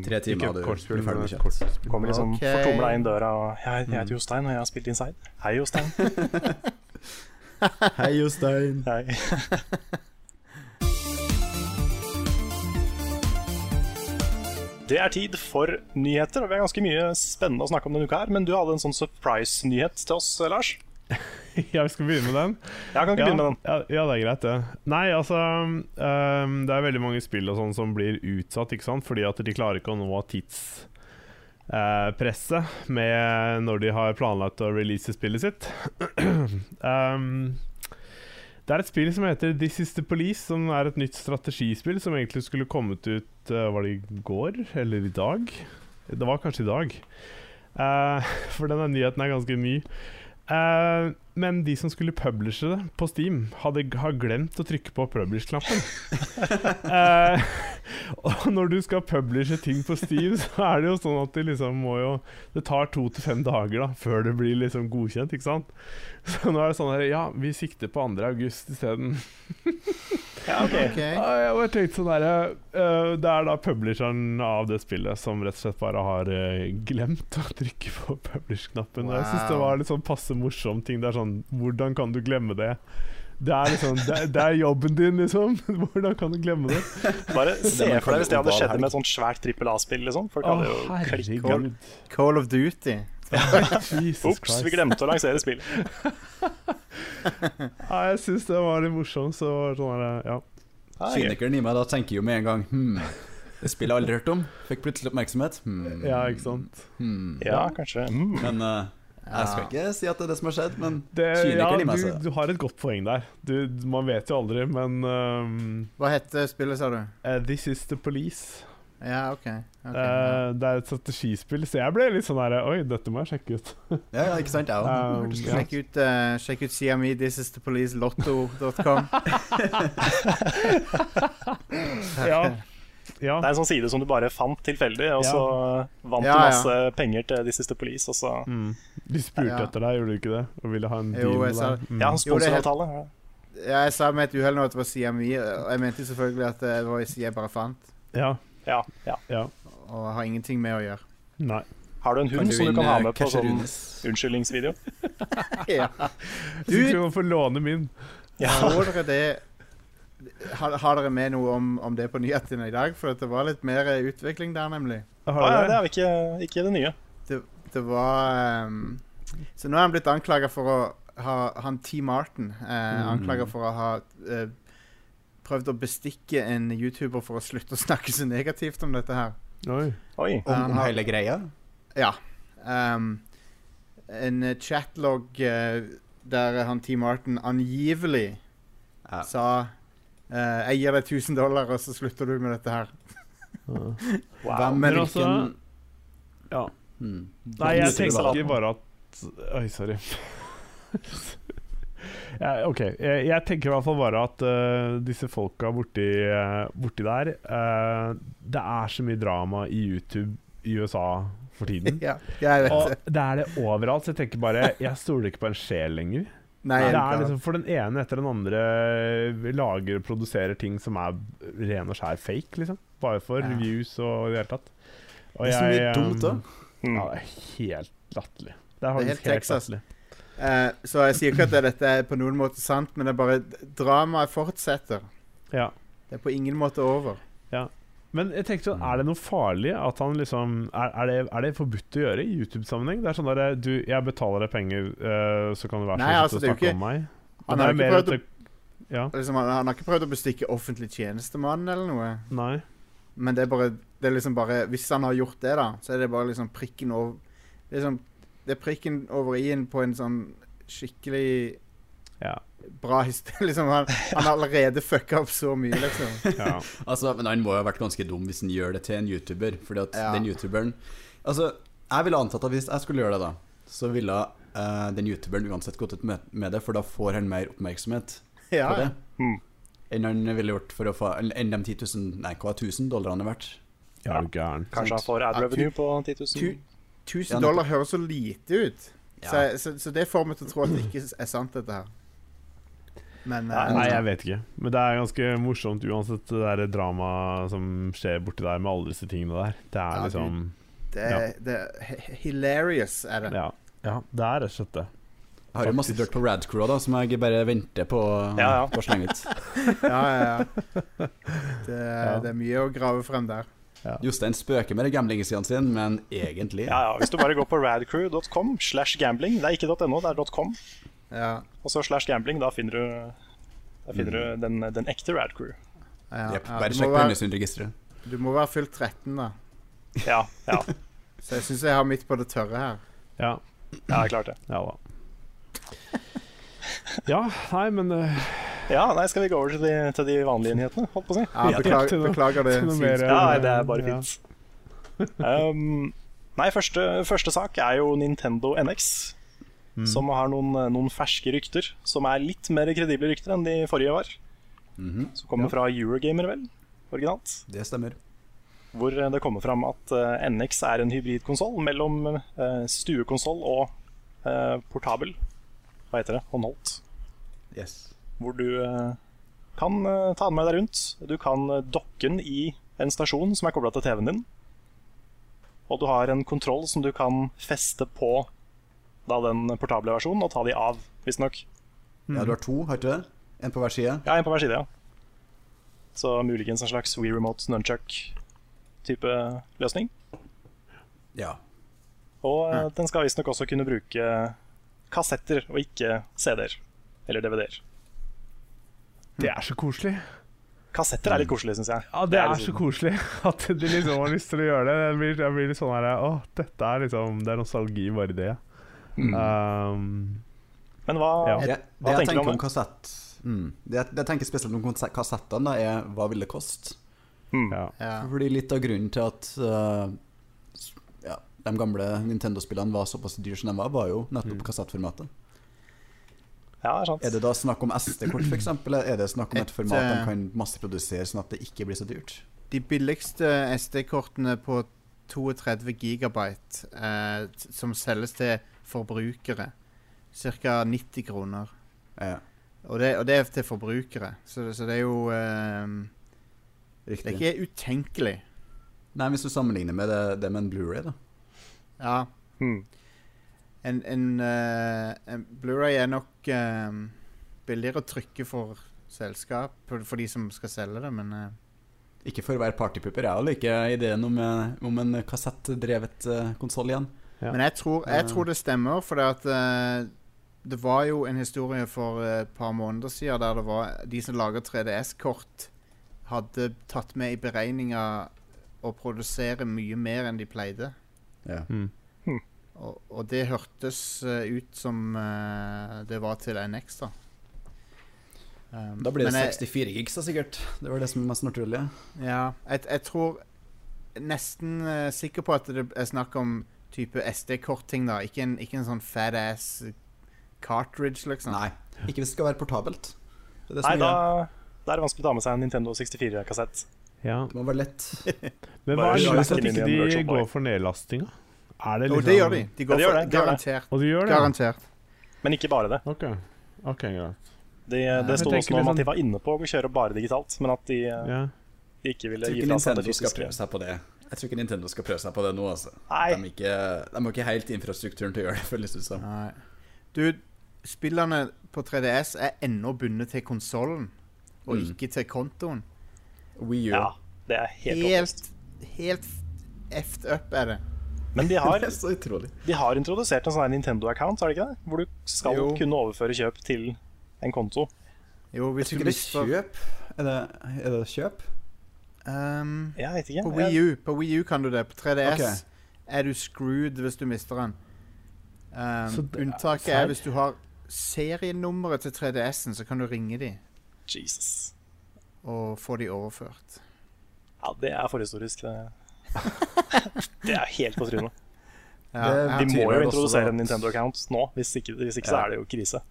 Tre timer,
Ikke
og du
kortspill,
blir ferdig
men
med kjøtt.
Kommer liksom
Ok.
fortumla inn døra og Jeg, jeg heter Jostein, og jeg har spilt Inside. Hei, Jostein.
Hei, Jostein.
Hei. Det er tid for nyheter, og vi har ganske mye spennende å snakke om denne uka her. Men du hadde en sånn surprise-nyhet til oss, eh, Lars.
Ja, vi skal begynne med den.
Ja, kan ikke
ja,
begynne med den.
Ja, ja, det er greit, det. Nei, altså øhm, Det er veldig mange spill og sånn som blir utsatt, ikke sant? Fordi at de klarer ikke å nå tidspresset med når de har planlagt å release spillet sitt. Øhm, det er et spill som heter This Is The Police, som er et nytt strategispill som egentlig skulle kommet ut øh, Var det i går? Eller i dag? Det var kanskje i dag. Eh, for denne nyheten er ganske ny. Eh, men de som skulle publishe det på Steam, hadde har glemt å trykke på publish-knappen. Eh, og når du skal publishe ting på Steam, så er det jo sånn at det liksom må jo Det tar to til fem dager da før det blir liksom godkjent, ikke sant? Så nå er det sånn her Ja, vi sikter på 2. august isteden.
Ja, ok.
OK.
Ja, jeg bare tenkte sånn derre eh, Det er da publisheren av det spillet som rett og slett bare har eh, glemt å trykke på publish-knappen. Og Jeg syns det
Wow.
var litt sånn passe morsom ting. Det er sånn Hvordan kan du glemme det? Det er liksom Det, er- det er jobben din, liksom. Hvordan kan du glemme det?
Bare se
man
for deg hvis det hadde
kaller oval
skjedd
helg.
med et sånt svært trippel A-spill, liksom. Folk
Å,
hadde jo klikket opp.
herregud.
Call of Duty.
Jesus
Ops, vi
Christ.
glemte å lansere spill.
Ja, jeg syns det var litt morsomt. Så var det sånn her, ja.
Ja, det er gøy.
Kynikeren i meg da tenker jo med en gang Hm, det spillet jeg aldri hørt om. Fikk plutselig oppmerksomhet. Hmm,
ja,
Mm.
ikke sant.
hmm.
ja, kanskje. Mm.
Men eh, jeg skal ikke si at det er det som har skjedd, men
Det, ja,
kynikeren i meg
du,
altså.
sier det.
du har et godt poeng der. Du, man vet jo aldri, men øhm,
Hva heter spillet, sa du?
eh, This is the police.
Ja, OK. ok, ja.
Eh, det er et strategispill, så jeg ble litt sånn der Oi, dette må jeg sjekke ut.
Ja, ja, ikke sant? Jeg også.
Um, ja.
Sjekk ut, uh, sjekk ut sida mi thisisthepolicelotto.com.
ja. ja.
Det er en sånn side som du bare fant tilfeldig, og
Ja.
så vant du
Ja, ja.
masse penger til This Is The Police, og så
Mm. De spurte
Ja.
etter deg, gjorde de ikke det? Og ville ha en
Jo,
deal
jeg
med
sa
deg? Mm.
Ja, en
Jo, det er helt-
sponsoravtale. ja.
Ja, jeg sa med et uhell nå at det var sida mi, og jeg mente selvfølgelig at eh, det var ei side jeg bare fant.
ja.
Ja, ja.
Og har ingenting med å gjøre.
Nei.
Har du en
Kan
hund som du kan
vinne
ha med på
Cash
sånn
Runes?
unnskyldningsvideo?
Ja.
Så ikke man får låne min.
Ja.
Så dere det har, har dere med noe om, om det på nyhetene i dag? For at det var litt mer eh, utvikling der, nemlig.
Har
Ah, ja,
du
det
det?
er jo ikke, ikke det nye.
Det var ehm, Så nå er han blitt anklaga for å ha Han T. Martin eh, anklaga for å ha eh, prøvd å bestikke en YouTuber for å slutte å snakke så negativt om dette her.
Oi.
Oi.
Ja, han
Om, om
har-
hele greia?
Ja. Ehm, en eh, chatlog eh, der han T. Martin angivelig
Ja.
sa eh, 'Jeg gir deg 1000 dollar, og så slutter du med dette her'.
Ja.
Hvem,
Men
hvilken
altså- Ja.
Hmm.
Nei,
Hvem
jeg
skulle det
tenker
være?
bare at Oi, sorry. ja, OK. Jeg, jeg tenker i hvert fall bare at øh, disse folka borti, øh, borti der øh, Det er så mye drama i YouTube i USA for tiden.
ja, jeg vet
Og
det.
det er det overalt, så jeg tenker bare Jeg stoler ikke på en sjel lenger.
Nei,
Det
jeg
er
liker det.
liksom For den ene etter den andre eh, lager og produserer ting som er ren og skjær fake, liksom. Bare for
Ja.
views og i det hele tatt. Og
Det er så mye
jeg,
dumt, da.
um,
Mm.
Ja, det er helt latterlig. Det er
helt
faktisk helt,
Texas.
latterlig.
Eh, så jeg sier ikke at dette er på noen måte sant, men det er bare dramaet fortsetter.
Ja.
Det er på ingen måte over.
Men jeg tenkte sånn, er det noe farlig at han liksom Er, er, det, er det forbudt å gjøre i YouTube-sammenheng? Det er sånn derre Du, jeg betaler deg penger, eh, så kan du være
Nei,
så
altså,
snill å
det er jo
snakke
ikke-
om meg. Men
Han har,
det er
ikke
mer
prøvd,
at det- Ja.
å- liksom, han han har ikke prøvd å bestikke offentlig tjenestemann eller noe.
Nei.
Men det er bare, det er liksom bare Hvis han har gjort det, da, så er det bare liksom prikken over liksom, Det er prikken over i-en på en sånn skikkelig
Ja.
bra historie. Liksom, han, han har allerede fucka opp så mye, liksom.
Ja.
Altså, men han må jo ha vært ganske dum hvis han gjør det til en YouTuber. Fordi at
Ja.
den YouTuberen Altså, jeg ville antatt at hvis jeg skulle gjøre det, da, så ville eh, den YouTuberen uansett gått ut med, med det, for da får han mer oppmerksomhet
Ja,
på det.
Mm.
Enn han ville gjort for å få Enn de 10 000 Nei, hva er 1000 dollarene verdt?
Ja, du gæren.
Kanskje han får ad
Ja, tu-
revenue på 10 000?
Ja,
tu- 1000
nettopp.
dollar høres så lite ut. Så,
Ja.
så, så det får meg til å tro at det ikke er sant, dette her. Men eh,
Nei, jeg vet ikke. Men det er ganske morsomt uansett det der dramaet som skjer borti der med alle disse tingene der. Det er
Ja, du-
liksom
det, er- det er he- hilarious, er det.
Ja. ja det er rett og slett det.
Jeg har jo masse dirt på Radcrow, da, som jeg bare venter på
Ja, ja.
på å slenge ut.
Ja, ja, ja. Det, det er mye å grave frem der.
Ja.
Jostein spøker med de gamblingsidene sine, men egentlig
Ja, ja, Hvis du bare går på radcrew.com slash gambling Det er ikke .no, det er .com.
Ja,
Og så slash gambling, da finner du, da finner du den, den ekte radcrew.
ja,
Jep,
ja.
Bare
Du,
sjekk
må
på
være,
Brønnøysundregisteret.
du må være fylt 13, da.
Ja, ja,
Så jeg syns jeg har midt på det tørre her.
Ja,
ja, klart det.
ja da. Ja, nei, men eh,
Ja, nei, Skal vi gå over til de, til de vanlige nyhetene? holdt på å si?
Ja,
Ja, til
beklager,
noe-
beklager det.
til noe
Siv.
mer, eh,
Ja, nei, det er bare
ja.
fint. Um, nei, første, første sak er jo Nintendo NX, som har noen, noen ferske rykter. Som er litt mer kredible rykter enn de forrige var. Som kommer fra Eurogamer, vel? Originalt.
Det stemmer.
Hvor det kommer fram at eh, NX er en hybridkonsoll mellom uh, stuekonsoll og eh, portabel. Hva heter det? Håndholdt.
Yes.
hvor du eh, kan eh, ta den med deg rundt. Du kan eh, dokke den i en stasjon som er kobla til TV-en din. Og du har en kontroll som du kan feste på da, den portable versjonen, og ta de av, visstnok.
Hmm.
Ja, du har to, har du ikke det? En på hver side.
Ja, en på hver side, ja. Så muligens en slags Wii Remote Nunchuck-type løsning.
Ja.
Og eh,
Mm.
den skal visstnok også kunne bruke kassetter og ikke CD-er. Eller DVD-er.
det er så koselig.
Kassetter er litt
Mm.
koselig, syns jeg.
Ja, det er
liksom-
så koselig at de liksom har lyst til å gjøre det. Jeg blir, jeg blir litt sånn her Å, dette er liksom Det er nostalgi bare i det.
Mm.
Um,
Men hva
Ja.
Jeg,
Hva
det jeg
tenker du om
tenker om
det?
kassett mm. Det jeg, det jeg tenker spesielt om konse- kassettene, da, er hva vil det koste?
ja.
Ja.
Fordi litt av grunnen til at eh, s- ja, de gamle Nintendo-spillene var såpass dyre som de var, var jo nettopp kassettformatet.
ja, det er sant.
Er det da snakk om SD-kort, f.eks., eller er det snakk om et,
Et,
format de
eh,
kan masseprodusere, sånn at det ikke blir så dyrt?
De billigste SD-kortene på 32 gigabyte eh, t- som selges til forbrukere, ca. 90 kroner.
Ja,
Og det, og det er til forbrukere, så, så det er jo eh, Det
riktig.
er ikke utenkelig.
Nei, hvis du sammenligner med det, det med en Blu-ray, da.
Ja.
Mm.
En, en, eh, en Blu-ray er nok eh, billigere å trykke for selskap, for, for de som skal selge det, men eh,
Ikke for å være partypupper, jeg liker ideen om, eh, om en kassettdrevet uh, konsoll igjen.
Ja.
Men jeg tror, jeg
Ja.
tror det stemmer, for det, at, eh, det var jo en historie for eh, et par måneder siden der det var de som lager 3DS-kort, hadde tatt med i beregninga å produsere mye mer enn de pleide.
Ja.
Mm.
Og, og det hørtes eh, ut som eh, det var til NX, da. Um,
Da blir det
men jeg-
64 gigs, da, sikkert. Det var det som er mest naturlig.
ja, jeg, jeg tror Nesten eh, sikker på at det er snakk om type SD-kortting, da. Ikke en, ikke en sånn fat ass cartridge, liksom.
Nei, ikke hvis det skal være portabelt. Det er det som
Nei,
er
da,
greia.
da er det vanskelig å ta med seg en Nintendo 64-kassett.
ja.
Det må være lett.
Men hva
Bare
er
slå
grunnen til at
inn i
ikke
en
de
workshop,
går
bare.
for nedlastinga? Er det
Jo,
liksom
det gjør de. De
sånn- Ja, de gjør
går
det,
for
de gjør det.
garantert.
Og du gjør det?
Garantert.
Men ikke bare det.
ja? OK. Ok, greit.
De, det
jeg
sto
tenker
også noe om
liksom-
at de var inne på å kjøre bare digitalt, men at de, eh,
Ja.
de ikke ville
Jeg tror
gi
ikke
fra seg
Nintendo
det
skal
fysiske.
prøve seg på det. Jeg tror ikke Nintendo skal prøve seg på det nå, altså.
Nei.
De, er ikke, de har ikke helt infrastrukturen til å gjøre det, føles det som.
Nei. Du, spillene på 3DS er ennå bundet til konsollen, og
Mm.
ikke til kontoen.
Wii U.
Ja, det er helt håpløst.
Helt, helt effed up er det.
Men de har,
Det er så utrolig.
de har introdusert en sånn her Nintendo-account, har de ikke det? Hvor du skal
Jo.
kunne overføre kjøp til en konto.
Jo,
Tror
hvis du
ikke det er
mister
kjøp? Er det, er det kjøp?
um,
Jeg vet ikke.
På
jeg-
Wii U, på Wii U kan du det. På 3DS
Ok.
er du screwed hvis du mister den. Um,
Så det er
unntaket er
feil.
hvis du har serienummeret til 3DS-en, så kan du ringe de
Jesus.
og få de overført.
Ja, det er forhistorisk. Det, det er helt på trynet.
Ja,
Det-
ja,
De må jo
tydeligvis også
introdusere
at-
en Nintendo-account nå. Hvis ikke, hvis ikke så
Ja.
er det jo krise.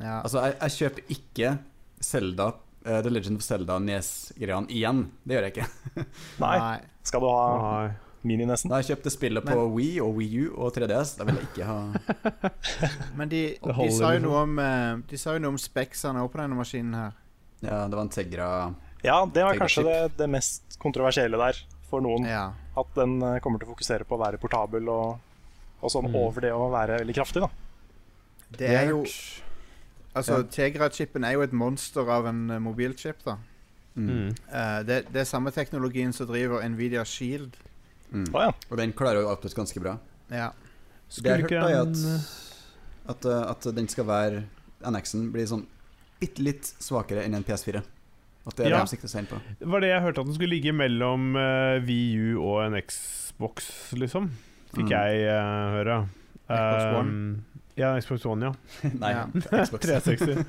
ja.
Altså, jeg, jeg kjøper ikke Zelda, eh, The Legend of Zelda Nes-greiene igjen. Det gjør jeg ikke.
Nei.
Nei.
Skal du ha
Nei.
mini-nessen?
Da jeg kjøpte spillet på Wii og Wii U og 3DS, da vil jeg ikke ha
Men de, de,
holder
sa jo
liksom.
noe om, eh, de sa jo noe om speksene også på denne maskinen her.
Ja, det var en Tegra
Ja, det var
Tegra
kanskje
chip.
det, det mest kontroversielle der for noen.
Ja.
At den eh, kommer til å fokusere på å være portabel og, og sånn over det å være veldig kraftig, da.
Det er jo
Hørt.
Altså,
Ja.
Tegra-chipen er jo et monster av en eh, mobilchip, da.
Mm.
Mm.
Eh, det, det er samme teknologien som driver Nvidia Shield.
Mm.
Å ja.
Og den klarer jo oppnås ganske bra.
Ja.
Det jeg
Skulle
har
ikke
hørt, da, er
en
at, at, uh, at den skal være NX-en blir sånn bitte litt svakere enn en PS4. At det er
Ja.
det de sikter seg inn på.
Det eh, var det jeg hørte at den skulle ligge mellom uh, VU og en Xbox, liksom. Fikk
Mm.
jeg eh, høre.
Xbox One?
Um, ja, en Xbox One, ja.
Nei,
Ja.
Xbox.
360.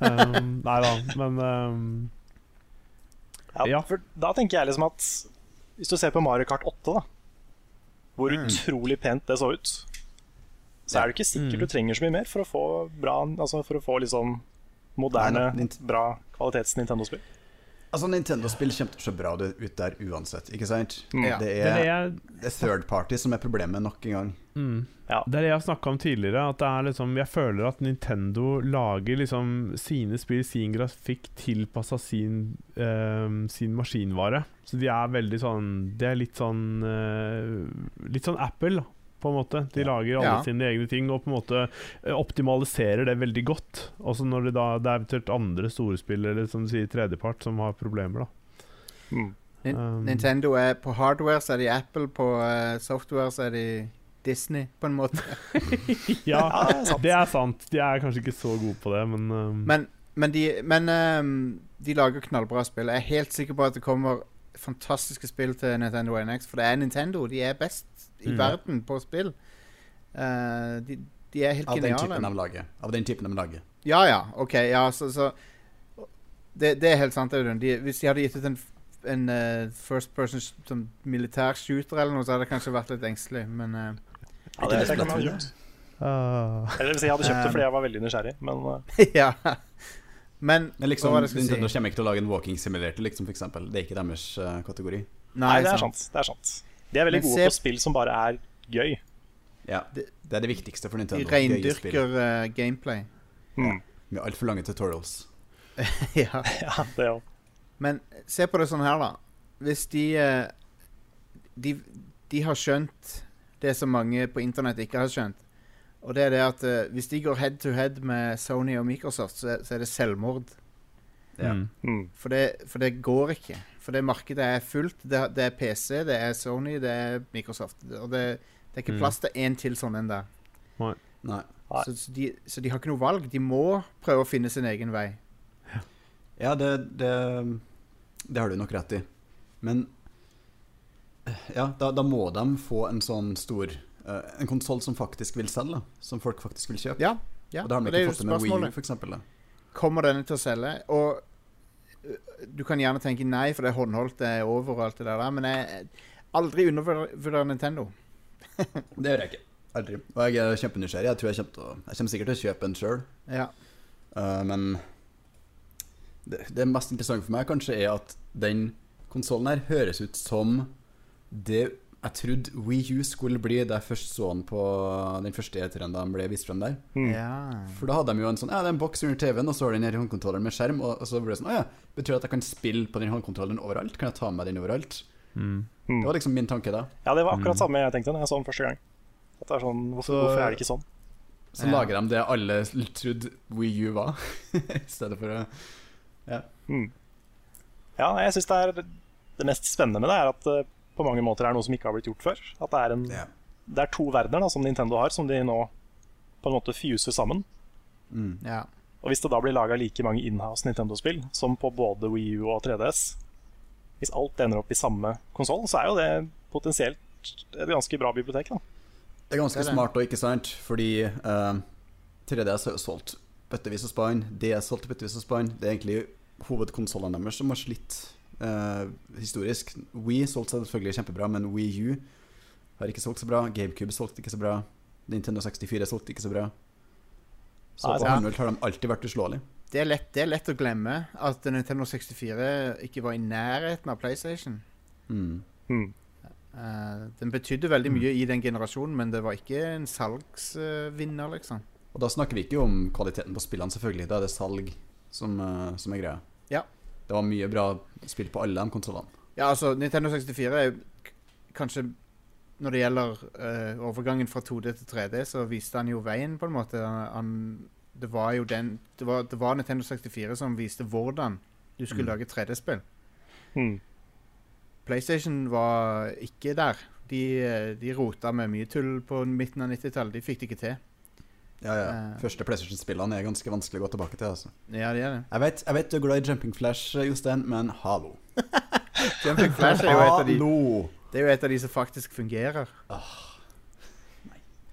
um, nei da, men um,
Ja,
Ja.
For da tenker jeg liksom at Hvis du ser på Mario Kart 8, da hvor utrolig pent det så ut, så er det ikke sikkert
Mm.
du trenger så mye mer for å få bra Altså for å få liksom moderne,
Nei, nei, Nint-
bra kvalitets Nintendo-spill.
Altså, Nintendo-spill kommer til å se bra ut der uansett, ikke sant?
Mm.
Ja.
Det,
det er det
er,
jeg
det er third party som er problemet nok en gang.
Mm.
Ja.
Det er det jeg har snakka om tidligere. At det er liksom, jeg føler at Nintendo lager liksom sine spill, sin grafikk, tilpassa sin, ehm, sin maskinvare. Så de er veldig sånn Det er litt sånn eh, Litt sånn Apple, da, på en måte. De lager alle
Ja.
sine egne ting og på en måte eh, optimaliserer det veldig godt. Også når det da det er eventuelt andre storspill eller som du sier tredjepart som har problemer, da.
Mm.
Nin
Um,
Nintendo er på hardware, så er de Apple. På eh, software, så er de Disney, på en måte.
Ja, det er sant. De er kanskje ikke så gode på det, men, ehm,
Men, men, de, men ehm, de lager knallbra spill. Jeg er helt sikker på at det kommer fantastiske spill til Nintendo NX, for det er Nintendo. De er best i
Mm.
verden på spill. Eh, de, de er helt
Av den typen
geniale.
de lager. Av den typen de lager.
Ja, ja. OK. Ja, så, så det, det er helt sant, Audun. De, hvis de hadde gitt ut en, f- en eh, first person sh- som militær shooter eller noe, så hadde jeg kanskje vært litt engstelig, men eh,
Ja, det, det kan man ha gjort.
ah.
Eller hvis jeg hadde kjøpt det
Um.
fordi jeg var veldig nysgjerrig, men eh,
Ja.
Men
Men Hva
liksom,
var det jeg skulle
Nintendo
si?
kommer ikke til å lage en walking simulator, liksom, for eksempel. Det er ikke deres eh, kategori.
Nei, det er sant. Det er sant. De er veldig
Men
gode
se-
på spill som bare er gøy.
Ja,
Det-
Det er det viktigste for
De
Nintendo. Gøye spill
reindyrker eh, gameplay.
Mm.
Med altfor lange tutorials.
ja.
Ja, det er jo.
Men se på det sånn her, da. Hvis de eh, De, de har skjønt det som mange på internett ikke har skjønt. Og det er det at eh, hvis de går head to head med Sony og Microsoft, så, så er det selvmord.
Ja.
Mm.
Mm.
For det, for det går ikke. For det markedet er fullt. Det, det er PC, det er Sony, det er Microsoft. Og det, det er ikke
Mm.
plass til én til sånn en der.
Nei.
Nei.
Så, så, de, så de har ikke noe valg. De må prøve å finne sin egen vei.
Ja, det, det, det har du nok rett i. Men eh, ja, da, da må de få en sånn stor eh, En konsoll som faktisk vil selge, da. som folk faktisk vil kjøpe.
Ja, ja.
og det har de
er
ikke
jo
fått til med Wii U,
spørsmålet.
for eksempel, da.
Kommer denne til å selge? Og øh, du kan gjerne tenke nei, for det er håndholdt, det er over og alt det der, der, men jeg aldri undervurder Nintendo.
Det gjør jeg ikke. Aldri. Og jeg er kjempenysgjerrig. Jeg tror jeg kommer, til å, jeg kommer sikkert til å kjøpe en sjøl,
Ja.
men det, det mest interessante for meg kanskje er at den konsollen her høres ut som det jeg trodde Wii U skulle bli da jeg først så den på den første E3-en da den ble vist frem der.
Mm.
ja.
For da hadde de jo en sånn Ja, det er en boks under TV-en, og så har den her håndkontrolleren med skjerm, og, og så ble det sånn Å ja, betyr det at jeg kan spille på den håndkontrolleren overalt? Kan jeg ta med den overalt?
Mm.
Det var liksom min tanke da.
Ja, det var akkurat samme jeg tenkte når jeg så den første gang. At det er sånn, hvorfor,
Så-
hvorfor er det ikke sånn?
Så
Ja.
lager de det alle trodde Wii U var, i stedet for å
Ja, nei, jeg synes det er Det mest spennende med det er at det på mange måter er noe som ikke har blitt gjort før. At det er, en,
Ja.
det er to verdener da, som Nintendo har, som de nå på en måte fuser sammen.
ja.
Og hvis det da blir laga like mange inhouse Nintendo-spill som på både Wii U og 3DS, hvis alt ender opp i samme konsoll, så er jo det potensielt et ganske bra bibliotek, da.
Det er ganske
Det er det.
smart og ikke sant, fordi eh, 3DS har jo solgt bøttevis og spann. DS solgte bøttevis og spann. Det er egentlig hovedkonsollene deres som har slitt eh, historisk. Wii solgte seg selvfølgelig kjempebra, men Wii U har ikke solgt så bra. GameCube solgte ikke så bra. Nintendo 64 solgte ikke så bra. Så
Ah,
Nei,
på
sant.
håndhold har de alltid vært uslåelige.
Det, er lett, det er lett å glemme at Nintendo 64 ikke var i nærheten av PlayStation.
Mm.
Mm.
Eh, den betydde veldig mye i den generasjonen, men det var ikke en salgsvinner, liksom.
Og da snakker vi ikke om kvaliteten på spillene, selvfølgelig. Da er det salg som, eh, som er greia.
Ja.
Det var mye bra spill på alle de konsollene.
Ja, altså, Nintendo 64 er jo k- kanskje Når det gjelder eh, overgangen fra 2D til 3D, så viste han jo veien, på en måte. Han, han, det var jo den det var, det var Nintendo 64 som viste hvordan du Du skulle
Mm.
lage 3D-spill.
Mm.
PlayStation var ikke der. De, eh, de rota med mye tull på midten av 90-tallet. De fikk det ikke til.
Ja, ja.
Eh.
Første PlayStation-spillene er ganske vanskelig å gå tilbake til. altså
Ja, det er det.
Jeg vet, jeg vet du er glad i Jumping Flash, Jostein, men hallo.
Jumping Flash er jo et av de
Hallo!
Det er jo et av de som faktisk fungerer.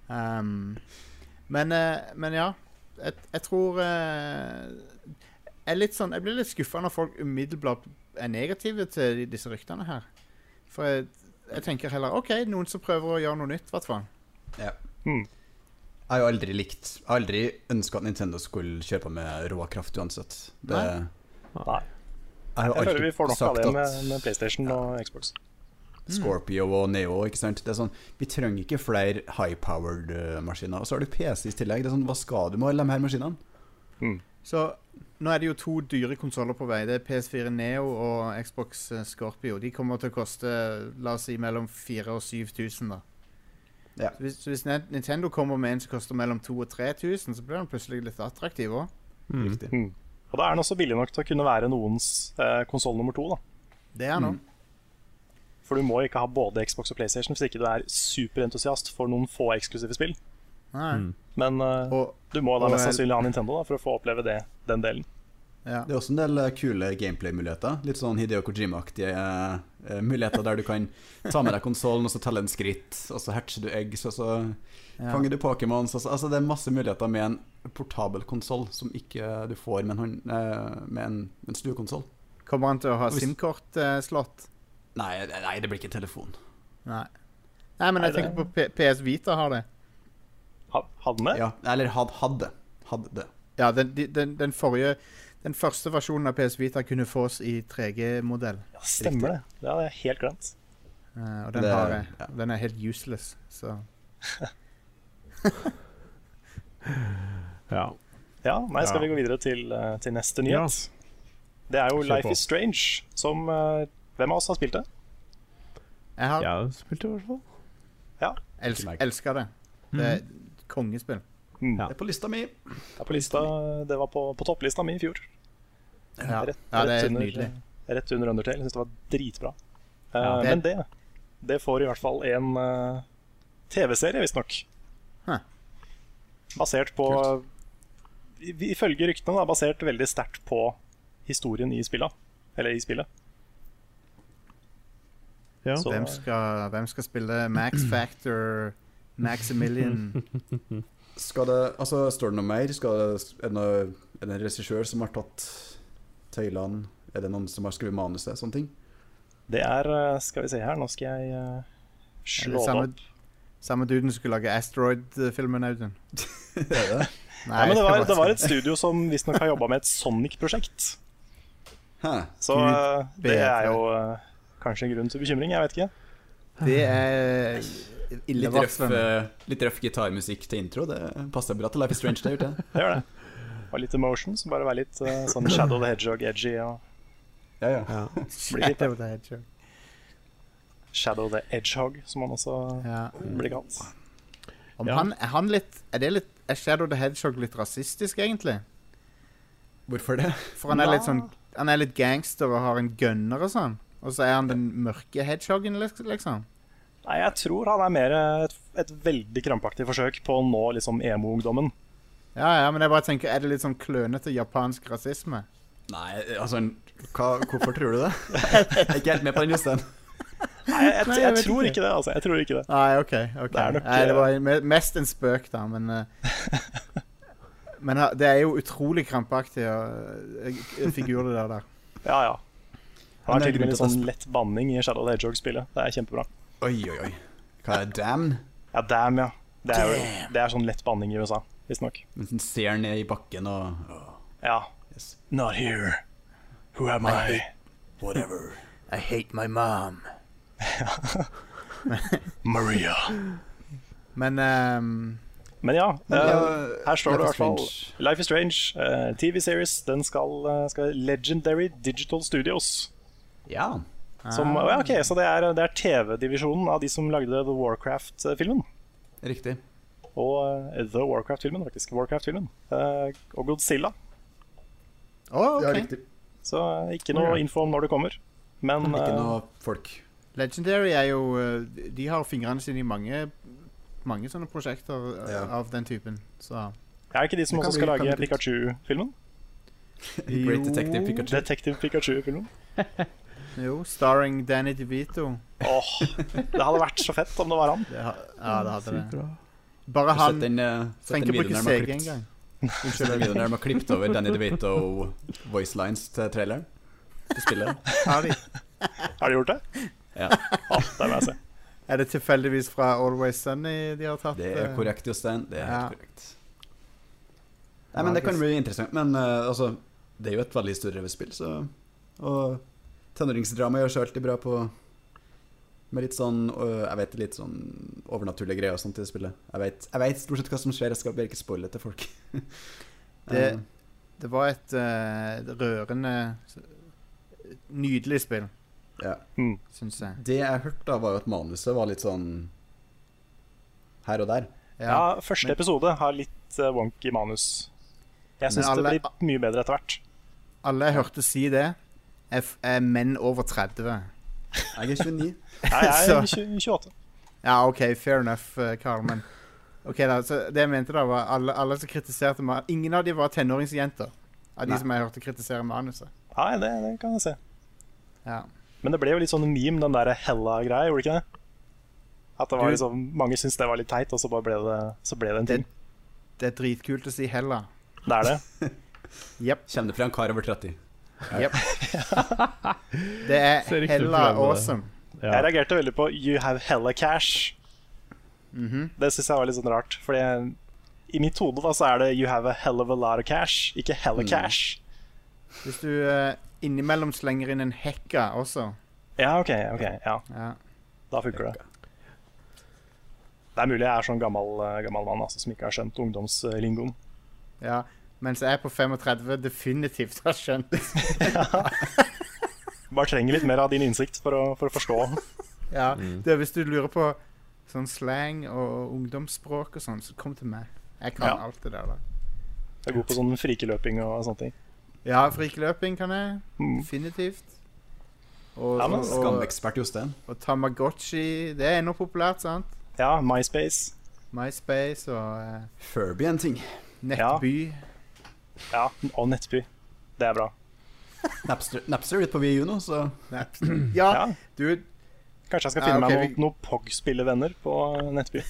Um, men, eh, men ja, jeg, jeg tror eh, jeg, er litt sånn, jeg blir litt skuffa når folk umiddelbart er negative til de- disse ryktene her. For jeg, jeg tenker heller OK, noen som prøver å gjøre noe nytt, i hvert fall.
Jeg har jo aldri likt Jeg har aldri ønska at Nintendo skulle kjøre på med rå kraft uansett. Det,
Nei.
Nei.
jeg har jo
Jeg føler vi får
alltid
nok av
sagt
det med, med
at
PlayStation og Xbox.
Scorpio og Neo ikke sant? Det er sånn, Vi trenger ikke flere high-powered eh, maskiner. Og så har du PC i tillegg. Det er sånn, Hva skal du med alle de her maskinene?
Så nå er det jo to dyre konsoller på vei. Det er PS4 Neo og Xbox eh, Scorpio. De kommer til å koste eh, la oss si, mellom 4000 og 7000. da.
Ja.
Så hvis, så hvis Nin- Nintendo kommer med en som koster mellom 2000 og 3000, så blir den plutselig litt attraktiv òg.
Mm.
Riktig.
Og da er den også billig nok til å kunne være noens eh, konsoll nummer to. da
Det er
Mm.
nå.
For du må ikke ha både Xbox og PlayStation hvis ikke du er superentusiast for noen få eksklusive spill.
Nei.
Men eh,
Og,
du må da
og
mest
jeg-
sannsynlig ha Nintendo da for å få oppleve det, den delen.
ja.
Det er også en del eh, kule gameplay-muligheter. Litt sånn Hideo Kojima-aktige eh, muligheter der du kan ta med deg konsollen og så telle en skritt, og så hatcher du eggs, og så
Ja.
fanger du Pokémons. og så- Altså, det er masse muligheter med en portabel konsoll som ikke du får med en, hånd- eh, med en, med en stuekonsoll.
Kommer han til å ha eh,
Hvis-
SIM-kort-slott?
Nei, nei, det blir ikke telefon.
Nei. Nei, men jeg
Nei, det-
tenker på P PS Vita har det.
Ha, hadde den det?
Ja, eller had, hadde. Hadde det.
Ja, den, de- den, den forrige Den første versjonen av PS Vita kunne fås i 3G-modell.
Ja, stemmer det. Det hadde jeg helt glemt.
Eh, og den,
Det-
har jeg.
ja.
den er helt useless, så
Ja.
Ja, nei, Skal vi
Ja.
gå videre til, eh, til neste nyhet? Det er jo
Kjør på.
Life is Strange, som eh, Hvem av oss har spilt det?
Jeg har
Jeg har spilt det, i hvert fall.
els
Ikke meg. Mhm.
elska det. Det er et kongespill.
Det er på lista mi.
Det, er på lista, det var på, på topplista mi i fjor.
Ja,
Rett,
ja det
rett
er
under,
nydelig.
Rett under Undertale. Jeg syns det var dritbra. Eh,
Ja.
Men det Det får i hvert fall en eh, TV-serie, visstnok.
Huh.
Basert på i- Ifølge ryktene da, basert veldig sterkt på historien i spillet. Eller i spillet.
Ja.
Så-
Hvem skal, hvem skal spille Max Factor, Maximilian
Skal det, altså, står det noe mer? Skal det, er, det noe, er det en regissør som har tatt tøylene? Er det noen som har skrevet manuset? Sånne ting.
Det er eh, Skal vi se her, nå skal jeg eh,
Er det
slå det
samme,
opp.
samme duden som skulle lage Asteroid-filmen, Audun?
Er det?
Nei,
Ja, men det, var,
jeg
det
skal
var
bare-
et studio som visstnok har jobba med et Sonic-prosjekt.
Hæ?
Så
Gud
eh, det
bedre.
er jo eh, kanskje en grunn til bekymring. Jeg vet ikke.
Det er
Litt røff,
illevarslende.
eh, litt røff gitarmusikk til intro. Det passer bra til Life is Strange. Det har gjort det.
Det gjør det. Og litt emotion, så bare være litt eh, sånn Shadow the Hedgehog edgy og
Ja, ja.
eh, blir litt-
Shadow the Hedgehog.
Shadow the Edgehog, som han også
Ja.
blir kalt.
Om
Ja.
han, er han litt Er det litt Er Shadow the Hedgehog litt rasistisk, egentlig?
Hvorfor det?
For han er litt sånn Han er litt gangster og har en gunner og sånn. Og så er han den mørke hedgehoggen, liks- liksom.
Nei, jeg tror han er mer eh, et, et veldig krampaktig forsøk på å nå liksom emo-ungdommen.
Ja, ja, men jeg bare tenker Er det litt sånn klønete japansk rasisme?
Nei, altså hva, Hvorfor tror du det? Jeg er ikke helt med på den, Jostein.
Nei, jeg,
Nei,
jeg,
jeg
jeg
vet
tror
ikke.
ikke det, altså. Jeg tror ikke det.
Nei, OK. ok.
Det er nok,
Nei, det var
eh,
me- mest en spøk, da, men eh, Men ha- det er jo utrolig krampaktig eh, eh, figur, det der. der.
Ja, ja. Han
Men
har
det er
til og med
grunn
litt
til at
sånn lett banning i Shadow the Hedgehog-spillet. Det er kjempebra.
Oi, oi, oi. Hva er damn?
Ja, damn, ja. Det er, jo, det er sånn lett banning i USA, visstnok.
Mens den ser ned i bakken og åh,
Ja.
yes.
Not here. Who am I?
Whatever.
I hate my mom.
Maria.
Men ehm,
Men ja,
Men,
eh,
ja,
her står det i
Life
hvert
is
fall
Strange.
Life is Strange, eh, TV-series, den skal, eh, skal Legendary Digital Studios.
Ja.
Som,
Ah.
ja, ok, Så det er, det er TV-divisjonen av de som lagde The Warcraft-filmen.
Riktig.
Og eh, The Warcraft-filmen, faktisk. Warcraft-filmen. Eh, og Godzilla.
Å, ok.
Ja, riktig.
Så ikke noe
Ok.
info om når det kommer. Men
Ikke
eh,
noe folk.
Legendary er jo eh, De har fingrene sine i mange, mange sånne prosjekter eh,
Ja.
av den typen. Så
er ikke de som
Det kan
også skal
bli- kan
lage
bli kult.
Pikachu-filmen?
Great Detective Pikachu.
Detektiv Pikachu-filmen?
jo, starring Danny DeVito.
Åh, Det hadde vært så fett om det var han.
Det ha, ja, det hadde
Sykt
det.
bra.
Bare
Sett
han
den, eh, sett
trenger
den
ikke
videoen
bruke
der de har
CG
klippet-
engang.
sett den videoen der de har klippet over Danny DeVito voice lines til traileren. Til spillet.
Har de?
Har de gjort det?
Ja.
Åh, det må jeg se.
Er det tilfeldigvis fra Always Sunny de har tatt?
Det er
eh,
korrekt, Jostein. Det er helt
Ja.
korrekt. Nei, men Det kan bli interessant. Men eh, altså, det er jo et veldig historiedrevet spill, så Og tenåringsdrama gjør seg alltid bra på med litt sånn øh, jeg vet, litt sånn overnaturlige greier og sånt i spillet. Jeg vet, jeg vet stort sett hva som skjer, jeg skal bare ikke spoile til folk.
Det-
Eh,
Det var et eh, rørende Nydelig spill,
ja.
syns jeg.
Det jeg hørte, da var jo at manuset var litt sånn her og der.
Ja, første episode har litt eh, wonky manus. Jeg syns
Men alle-
det blir mye bedre etter hvert.
Alle jeg hørte si det, er, f er menn over 30.
Jeg er 29.
Nei, jeg er
Så-
20 28.
Ja, OK, fair enough, eh, Karl, men OK, da. Så det jeg mente, da, var alle, alle som kritiserte meg Ingen av de var tenåringsjenter. Av de
Nei.
som jeg hørte kritisere manuset.
Nei, det, det kan jeg se.
Ja.
Men det ble jo litt sånn meme, den der Hella-greia, gjorde det ikke det? At det var
Du-
liksom, Mange syntes det var litt teit, og så bare ble det, så ble det en ting.
Det er dritkult å si Hella.
Det er det.
Jepp.
Kommer det fra en kar over 30?
Jepp. det
Ser
er
ikke ut til å prøve
Hella
det.
awesome.
Jeg
Ja.
reagerte veldig på 'You have hella cash'.
Mhm.
Det syns jeg var litt sånn rart. Fordi jeg- i mitt hode da, så er det 'you have a hell of a lot of cash', ikke 'hella
Mm.
cash'.
Hvis du eh, innimellom slenger inn en hekka også.
Ja, OK. ok, ja
Ja.
Da funker det. Det er mulig jeg er sånn gammel, eh, gammel mann altså, som ikke har skjønt ungdomslingoen.
Ja, mens jeg på 35 definitivt har skjønt det.
Bare trenger litt mer av din innsikt for å, for å forstå.
Ja,
Mm.
det er Hvis du lurer på sånn slang og ungdomsspråk og sånn, så kom til meg. Jeg kan
Ja.
alt det der. da.
Jeg er god på sånn frikeløping og sånne ting.
Ja, frikeløping kan jeg.
Mm.
Definitivt. Og,
Ja, men
og, og,
Skamekspert Jostein.
og Tamagotchi. Det er ennå populært, sant?
Ja, MySpace.
MySpace og eh,
Furby er en ting.
Nettby.
Ja, og Nettby. Det er bra.
Napster, Napster er litt på VU nå, så
Nap- Ja,
Ja,
du,
Kanskje jeg skal
Ja,
finne
ok,
meg
vi-
noen noe Pog-spillevenner på Nettby.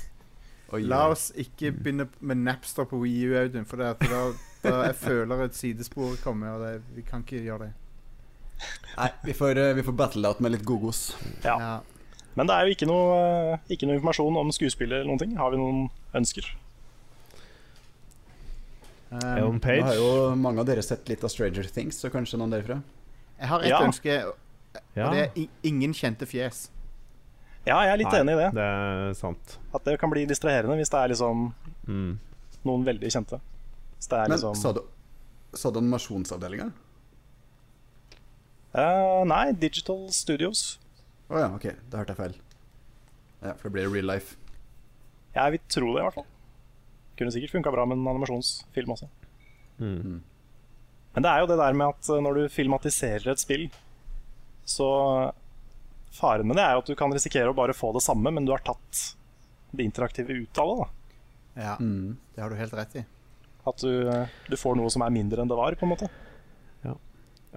Oi,
la oss ikke begynne med Napster på Wii U, Audun, for det at da, da jeg føler et sidespor komme, og det, vi kan ikke gjøre det.
Nei, vi får, eh, vi får battle out med litt godgos.
Ja.
Ja.
Men det er jo ikke noe, eh, ikke noe informasjon om skuespillet eller noen ting. Har vi noen ønsker?
Um,
Ellen
Nå har
Page.
jo mange av dere sett litt av Stranger Things, så kanskje noen derfra?
Jeg har et
Ja.
ønske,
Ja,
og det er i- ingen kjente fjes.
Ja, jeg er litt
Nei.
enig i det.
det er sant.
At det kan bli distraherende hvis det er liksom
Mm.
noen veldig kjente. Hvis det er
Men
liksom
sa du, sa du animasjonsavdelinga?
Eh, Nei, Digital Studios.
Å ja, ok, da hørte jeg feil. Ja, For det blir real life.
Jeg vil tro det, i hvert fall. Kunne sikkert funka bra med en animasjonsfilm også.
Mm.
Men det er jo det der med at eh, når du filmatiserer et spill, så Faren med det er jo at du kan risikere å bare få det samme, men du har tatt det interaktive ut av det. da
Ja,
Mm.
det har du helt rett i.
At du, eh, du får noe som er mindre enn det var, på en måte.
Ja,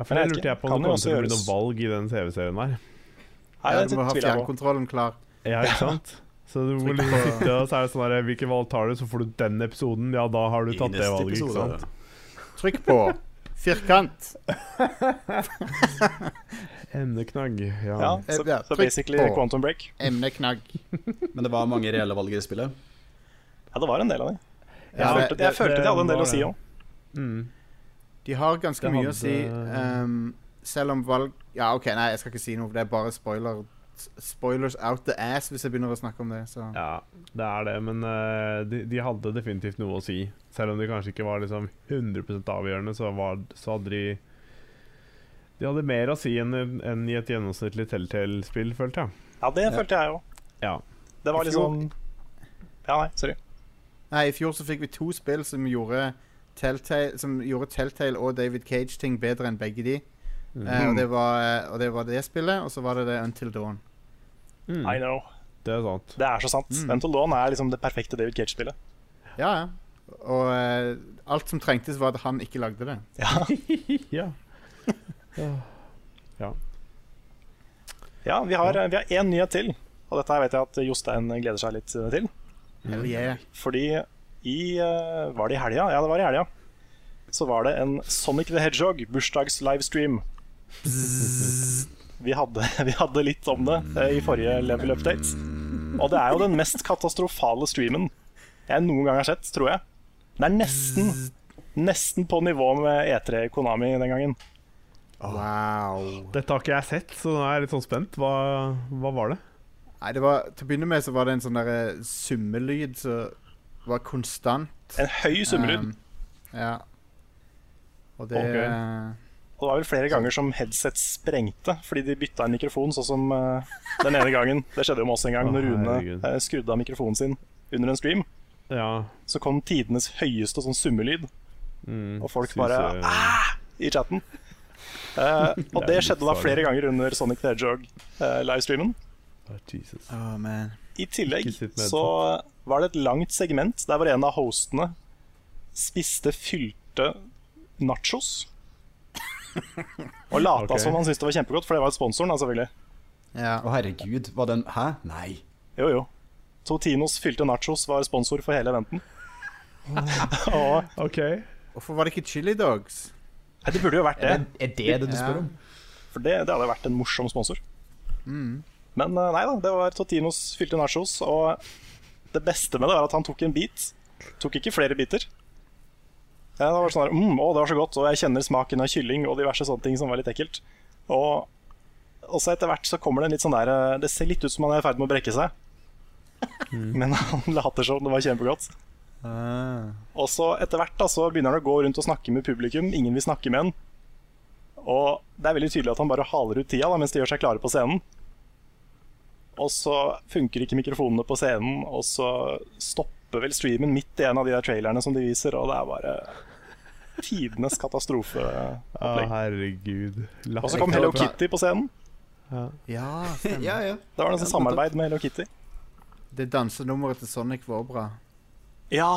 for det
Jeg vet ikke.
lurte jeg på
Kan
om det
jo
kommer til å
også
bli noe
gjøres.
valg i den TV-serien der.
Nei,
Ja,
det
du må ha
tviler jeg på.
fjernkontrollen klar.
Ja, ikke sant? Så du må
Trykk
liksom
på-
sitte og så er det sånn der, Hvilke valg tar du, så får du den episoden. Ja, da har du tatt det valget, ikke sant?
Trykk på firkant.
Emneknagg. Ja.
Ja, så,
Eh, Ja,
så
trykk
basically
på.
Quantum Break.
Emneknagg.
Men det var mange reelle valg i det spillet.
Ja, det var en del av det. Jeg
Ja,
følte,
det,
jeg
det-
følte de hadde en del
var
å si
det.
òg.
Mm.
de har ganske
det
mye å
hadde-
si, ehm, selv om valg Ja, OK, nei, jeg skal ikke si noe, for det er bare spoiler. s- Spoilers out the ass hvis jeg begynner å snakke om det. Så.
ja, det er det. Men eh, de, de hadde definitivt noe å si. Selv om de kanskje ikke var liksom 100 avgjørende, så, var, så hadde de De hadde mer å si enn enn i et gjennomsnittlig Telltale-spill, følte jeg.
Ja, det følte jeg òg.
Ja.
Det var
I fjor-
liksom Ja, nei, sorry.
Nei, I fjor så fikk vi to spill som gjorde Telltale, som gjorde Telltale og David Cage ting bedre enn begge de. Eh, og, det var, og det var det spillet, og så var det det Until Dawn.
Mm.
I know.
Det er sant.
Det er så sant.
Mm.
Until Dawn er liksom det perfekte David Cage-spillet.
Ja, ja. Og eh, alt som trengtes, var at han ikke lagde det.
Ja.
Ja.
ja, vi har eh, vi har én nyhet til, og dette her vet jeg at Jostein gleder seg litt eh, til.
Hell yeah.
Fordi i eh, Var det i helga? Ja, det var i helga. Så var det en Sonic the Hedgehog bursdags-livestream. Vi hadde, vi hadde litt om det eh, i forrige Level Update. Og det er jo den mest katastrofale streamen jeg noen gang har sett, tror jeg. Det er nesten, nesten på nivå med E3 Konami den gangen.
Wow.
Dette har ikke jeg sett, så nå er jeg litt sånn spent. Hva, hva var det?
Nei, det var, til å begynne med så var det en sånn der eh, summelyd som var konstant.
En høy summerud.
Um, ja. Og det
Ok.
eh,
Og det var vel flere ganger som headset sprengte fordi de bytta en mikrofon, sånn som eh, den ene gangen. Det skjedde jo med oss en gang
Å,
når Rune
herregud.
eh, skrudde av mikrofonen sin under en stream.
Ja.
Så kom tidenes høyeste sånn summelyd
Mm,
Og folk
synes
bare, "Ah!" i
jeg-
chatten. Eh, og det
litt
skjedde da
farlig.
flere ganger under Sonic the eh, Hedgehog-livestreamen.
Ah, Jesus.
Åh, man.
I tillegg
Ikke sitt med
så var det et langt segment der hvor en av hostene spiste fylte nachos. Og lata
Ok.
som han syntes det var kjempegodt, for det var jo sponsoren. da, selvfølgelig
Ja.
Å, herregud. Var den Hæ? Nei.
Jo, jo. Totinos fylte nachos var sponsor for hele eventen. og
OK.
Hvorfor var det ikke Chili Dogs?
Nei, det burde jo vært det,
Er det er det, det du spør om?
for det, det hadde vært en morsom sponsor.
Mm.
Men eh, nei da, det var Totinos fylte nachos, og det beste med det var at han tok en bit. Tok ikke flere biter. Ja, det var sånn der, mm, å, det var så godt, og jeg kjenner smaken av kylling og diverse sånne ting som var litt ekkelt. Og og så etter hvert så kommer det en litt sånn der eh, Det ser litt ut som han er i ferd med å brekke seg.
Mm.
Men han later som det var kjempegodt.
Ah.
Og så etter hvert da, så begynner han å gå rundt og snakke med publikum. Ingen vil snakke med han. Og det er veldig tydelig at han bare haler ut tida da, mens de gjør seg klare på scenen. Og så funker ikke mikrofonene på scenen, og så stopper vel streamen midt i en av de der trailerne som de viser, og det er bare tidenes
Å,
katastrofeopplegg.
herregud.
Og så kom Hello Kitty på scenen.
Ja,
Ja, ja.
Det var nesten samarbeid med Hello Kitty.
det dansenummeret til Sonic var bra.
Ja,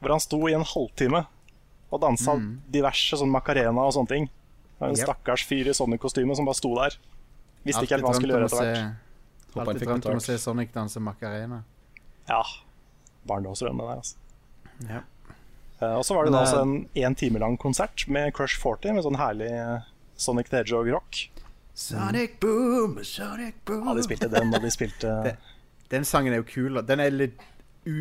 hvor han sto i en halvtime og dansa diverse sånn macarena og sånne ting. Det var En
Yep.
stakkars fyr i Sonic-kostyme som bare sto der. Visste ikke helt hva han skulle gjøre etter hvert.
Håper han
alltid
fikk
drømt om å
betalt.
se Sonic danse Macarena.
Ja, Barndomsdrømmen der, altså.
Ja.
Eh, og så var det
Men,
da
eh,
også en én time lang konsert med Crush 40, med sånn herlig eh, Sonic the Hedgehog-rock.
Sonic boom, sonic boom.
Ja, de spilte den, og de spilte
Det- Den sangen er jo kul. og Den er litt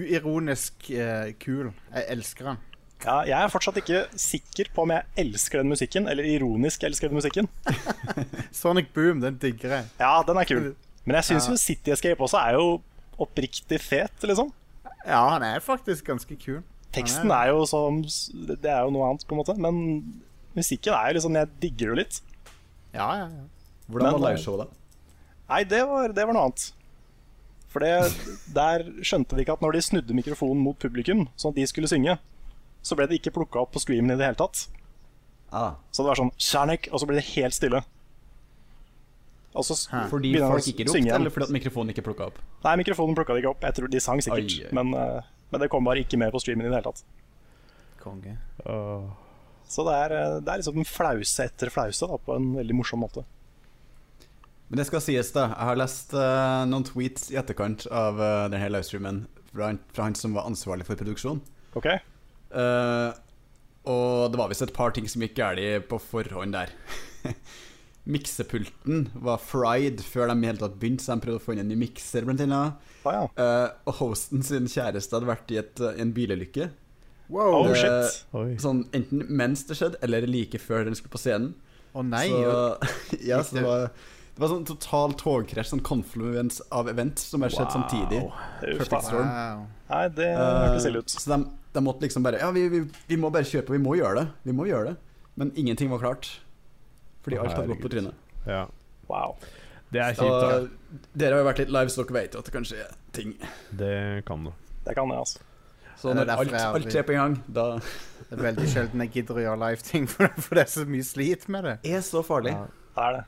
uironisk eh, kul. Jeg elsker den.
Ja, jeg er fortsatt ikke sikker på om jeg elsker den musikken, eller ironisk elsker den musikken.
Sonic Boom, den digger jeg.
Ja, den er kul. Men jeg syns jo City Escape også er jo oppriktig fet, liksom.
Ja, han er faktisk ganske kul.
Teksten
Ja,
er jo som Det er jo noe annet, på en måte. Men musikken er jo liksom Jeg digger det jo litt.
Ja, ja, ja.
Hvordan
Men-
var liveshowet, da?
Nei, det var, det var noe annet. For det, der skjønte de ikke at når de snudde mikrofonen mot publikum, sånn at de skulle synge, så ble det ikke plukka opp på streamen i det hele tatt.
Ah,
Så det var sånn Kjernek, og så ble det helt stille. Og så s-
Ah, fordi
begynner han
folk
å synge
ikke ropte,
igjen.
eller fordi at mikrofonen ikke plukka opp?
Nei, mikrofonen plukka de ikke opp. Jeg tror de sang sikkert,
Ai, ai.
Men, eh, men det kom bare ikke med på streamen i det hele tatt.
Konge.
Så det er, eh, det er liksom flause etter flause, da, på en veldig morsom måte.
Men det skal sies, da. Jeg har lest eh, noen tweets i etterkant av eh, denne livestreamen fra, han- fra han som var ansvarlig for produksjonen.
Ok?
Eh, og det var visst et par ting som gikk galt på forhånd der. Miksepulten var fried før de i hele tatt begynte, så de prøvde å få inn en ny mikser, blant annet.
Ah, ja.
Eh, og hosten sin kjæreste hadde vært i et, eh, en bilulykke.
Wow. Å
Oh
Det-
shit.
Oi.
Sånn enten mens det skjedde, eller like før den skulle på scenen.
nei.
så, ja, så det var det var sånn total togkrasj, sånn confluence av event som har skjedd samtidig.
Uff,
Perfect
da.
storm.
Wow.
Nei, det
Eh,
hørtes ille ut.
Så de, de måtte liksom bare Ja, vi, vi, vi må bare kjøpe, vi må gjøre det. Vi må gjøre det. Men ingenting var klart. Fordi
Å,
alt hadde gått på
herregud.
trynet.
Ja.
Wow.
Det er
Så
kjipt,
dere har jo vært litt live, så dere vet jo at det kanskje er ting.
da. Det kan du.
Det kan jeg, altså.
Så
Det er
når
derfor
alt,
jeg aldri-
alt skjer på en gang, da
Det er veldig sjelden jeg gidder å gjøre live-ting, for, for det er så mye slit med det.
Er så farlig.
Ja.
Det er det.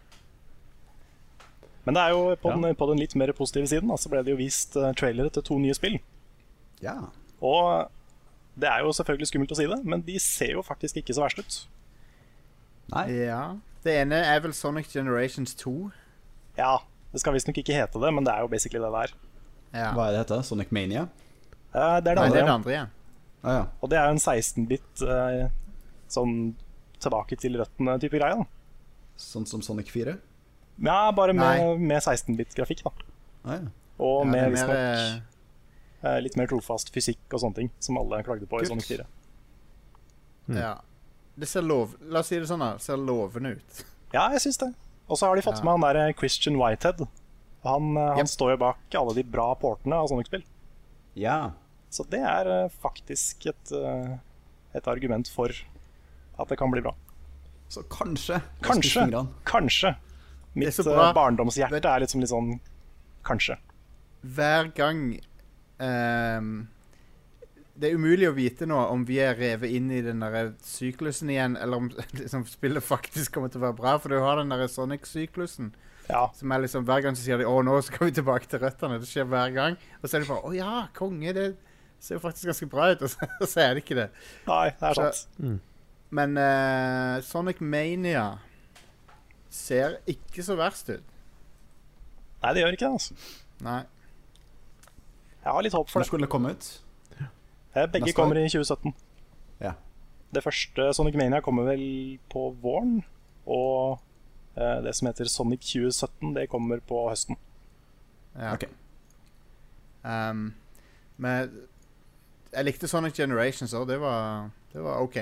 Men det er jo på
Ja.
den, på den litt mer positive siden da, så ble det jo vist eh, trailere til to nye spill.
Ja.
Og det er jo selvfølgelig skummelt å si det, men de ser jo faktisk ikke så verst ut.
Nei.
Ja. Det ene er vel Sonic Generations 2.
Ja, det skal visstnok ikke hete det, men det er jo basically det der.
Ja.
Hva er det heter? Sonic Mania?
Eh, Det er det
Nei, det er det
andre.
andre, ja.
Ah, ja.
Og det er jo en 16-bit eh, sånn tilbake til røttene-type greie. da.
Sånn som Sonic 4?
Ja, bare
Nei.
med, med 16-bit-grafikk, da.
Ah, ja.
Og
Ja, det
med
er mer, eh,
visstnok eh, litt mer trofast fysikk og sånne ting, som alle klagde på
Kult.
i Sonic 4.
Ja. Det ser lov... La oss si det sånn, da. Det ser lovende ut.
Ja, jeg syns det. Og så har de fått
Ja.
med han der eh, Christian Whitehead. Han, eh, han
Yep.
står jo bak alle de bra portene av Sonic-spill.
ja.
Så det er eh, faktisk et, eh, et argument for at det kan bli bra.
Så kanskje. Spiss
Kanskje.
fingrene.
Kanskje.
er
Mitt
så
eh,
bra.
barndomshjerte
Men-
er litt som litt sånn kanskje.
hver gang ehm, Det er umulig å vite nå om vi er revet inn i den der syklusen igjen, eller om liksom, spillet faktisk kommer til å være bra. For du har den der Sonic-syklusen.
Ja.
Som er liksom Hver gang så sier de 'Å, nå skal vi tilbake til røttene'. Det skjer hver gang. Og så er det bare 'Å ja, konge', det ser jo faktisk ganske bra ut. Og så, og så er det ikke det.
Nei, det er
Så-
sant.
Men eh, Sonic Mania ser ikke så verst ut.
Nei, det gjør ikke det. altså.
Nei.
Jeg har litt håp for
Når
det.
skulle det komme ut?
Eh, Begge
neste
kommer i 2017.
Ja.
Det første Sonic Mania kommer vel på våren. Og eh, det som heter Sonic 2017, det kommer på høsten.
Ja.
Ok.
Ehm, men jeg likte Sonic Generations òg. Det, var- det var OK.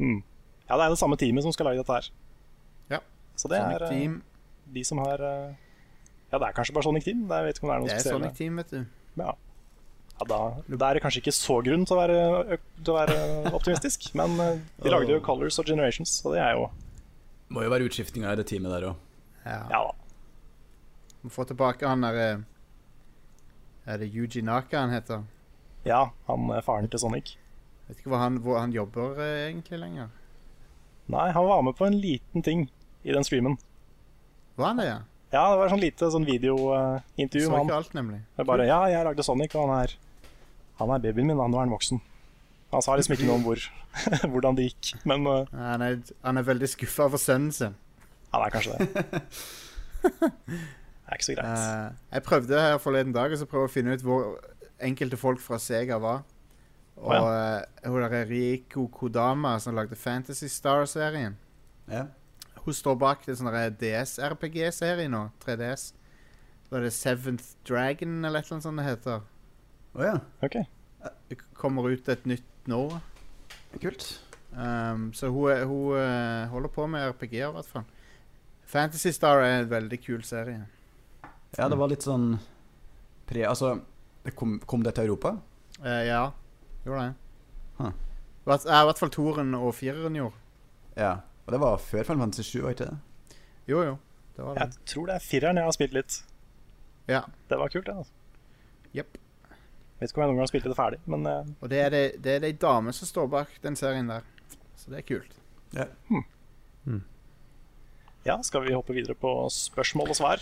Mm. Ja, det er det samme teamet som skal lage dette her.
Ja.
Så det
Sonic
er eh,
Team.
de som har eh, Ja, det er kanskje bare Sonic Team. Jeg vet ikke om det er
Det
noe
er
spesielt.
Sonic Team, vet du.
Ja. Ja, da, da er det kanskje ikke så grunn til å være, ø- til å være optimistisk, men eh, de lagde
Oh.
jo Colors og Generations, så det er jo
Må jo være utskiftinga i det teamet der òg.
Ja.
Ja da.
Må få tilbake han der eh, Er det Yuji Naka han heter?
Ja, han eh, faren til Sonic.
Vet ikke hvor han, hvor han jobber eh, egentlig lenger.
Nei, han var med på en liten ting i den streamen.
Var han det, ja?
Ja, det var sånn lite sånn
Så
videointervju med
ikke
han.
alt, nemlig.
Det er bare Ja, jeg lagde Sonic, og han er Han er babyen min, og nå er han voksen. Han sa liksom ikke noe om hvor, hvordan det gikk, men eh,
Nei, Han er, han er veldig skuffa over sønnen sin.
han er kanskje det. Det er ikke så greit.
Eh, jeg prøvde her forleden dag og så prøvde jeg å finne ut hvor enkelte folk fra Sega var. Og
Å,
eh, hun der Riko Kodama som lagde Fantasy Star-serien.
Ja.
Hun står bak en sånn der DS-RPG-serie nå. 3DS. Da er det Seventh Dragon eller et eller annet sånt det heter.
Å ja.
Ok.
Det kommer ut et nytt nå.
Kult.
Um, så hun, er- hun eh, holder på med RPG-er, i hvert fall. Fantasy Star er en veldig kul serie.
Ja, det var litt sånn pre... Altså, det kom, kom det til Europa?
Eh, ja, gjorde det.
Huh.
Hvert- ja, I hvert fall toeren og fireren gjorde.
Ja. Og det var før Final Fantasy 7, var ikke det?
Jo, jo. Det var det.
Jeg tror det er fireren jeg har spilt litt.
Ja.
Det var kult, det. altså.
Jepp.
Vet ikke om jeg noen gang spilte det ferdig, men eh,
Og det er det, det er de dame som står bak den serien der. Så det er kult.
ja, skal vi hoppe videre på spørsmål og svar?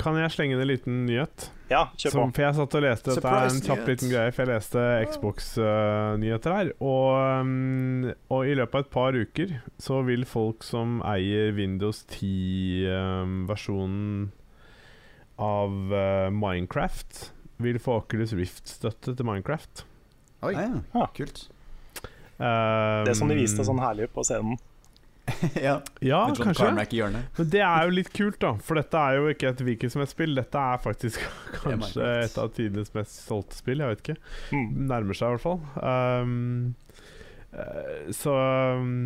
Kan jeg slenge inn en liten nyhet?
Ja, kjør på.
Som, for jeg satt og leste Dette er en kjapp
Surprise-nyhet.
liten greie, for jeg leste Xbox-nyheter her. Og, um, og i løpet av et par uker så vil folk som eier Windows 10-versjonen av eh, Minecraft, vil få Oculus Rift-støtte til Minecraft.
Oi.
Ah, ja.
Ah.
Kult.
Um,
Det som de viste sånn herlig på scenen.
ja,
Ja,
litt sånn
kanskje.
Carmack i hjørnet.
Men det er jo litt kult, da. For dette er jo ikke et hvilket som helst spill. Dette er faktisk kanskje
Minecraft.
et av tidenes mest solgte spill. Jeg vet ikke.
Mm.
Nærmer seg i hvert fall. Um, eh, så um,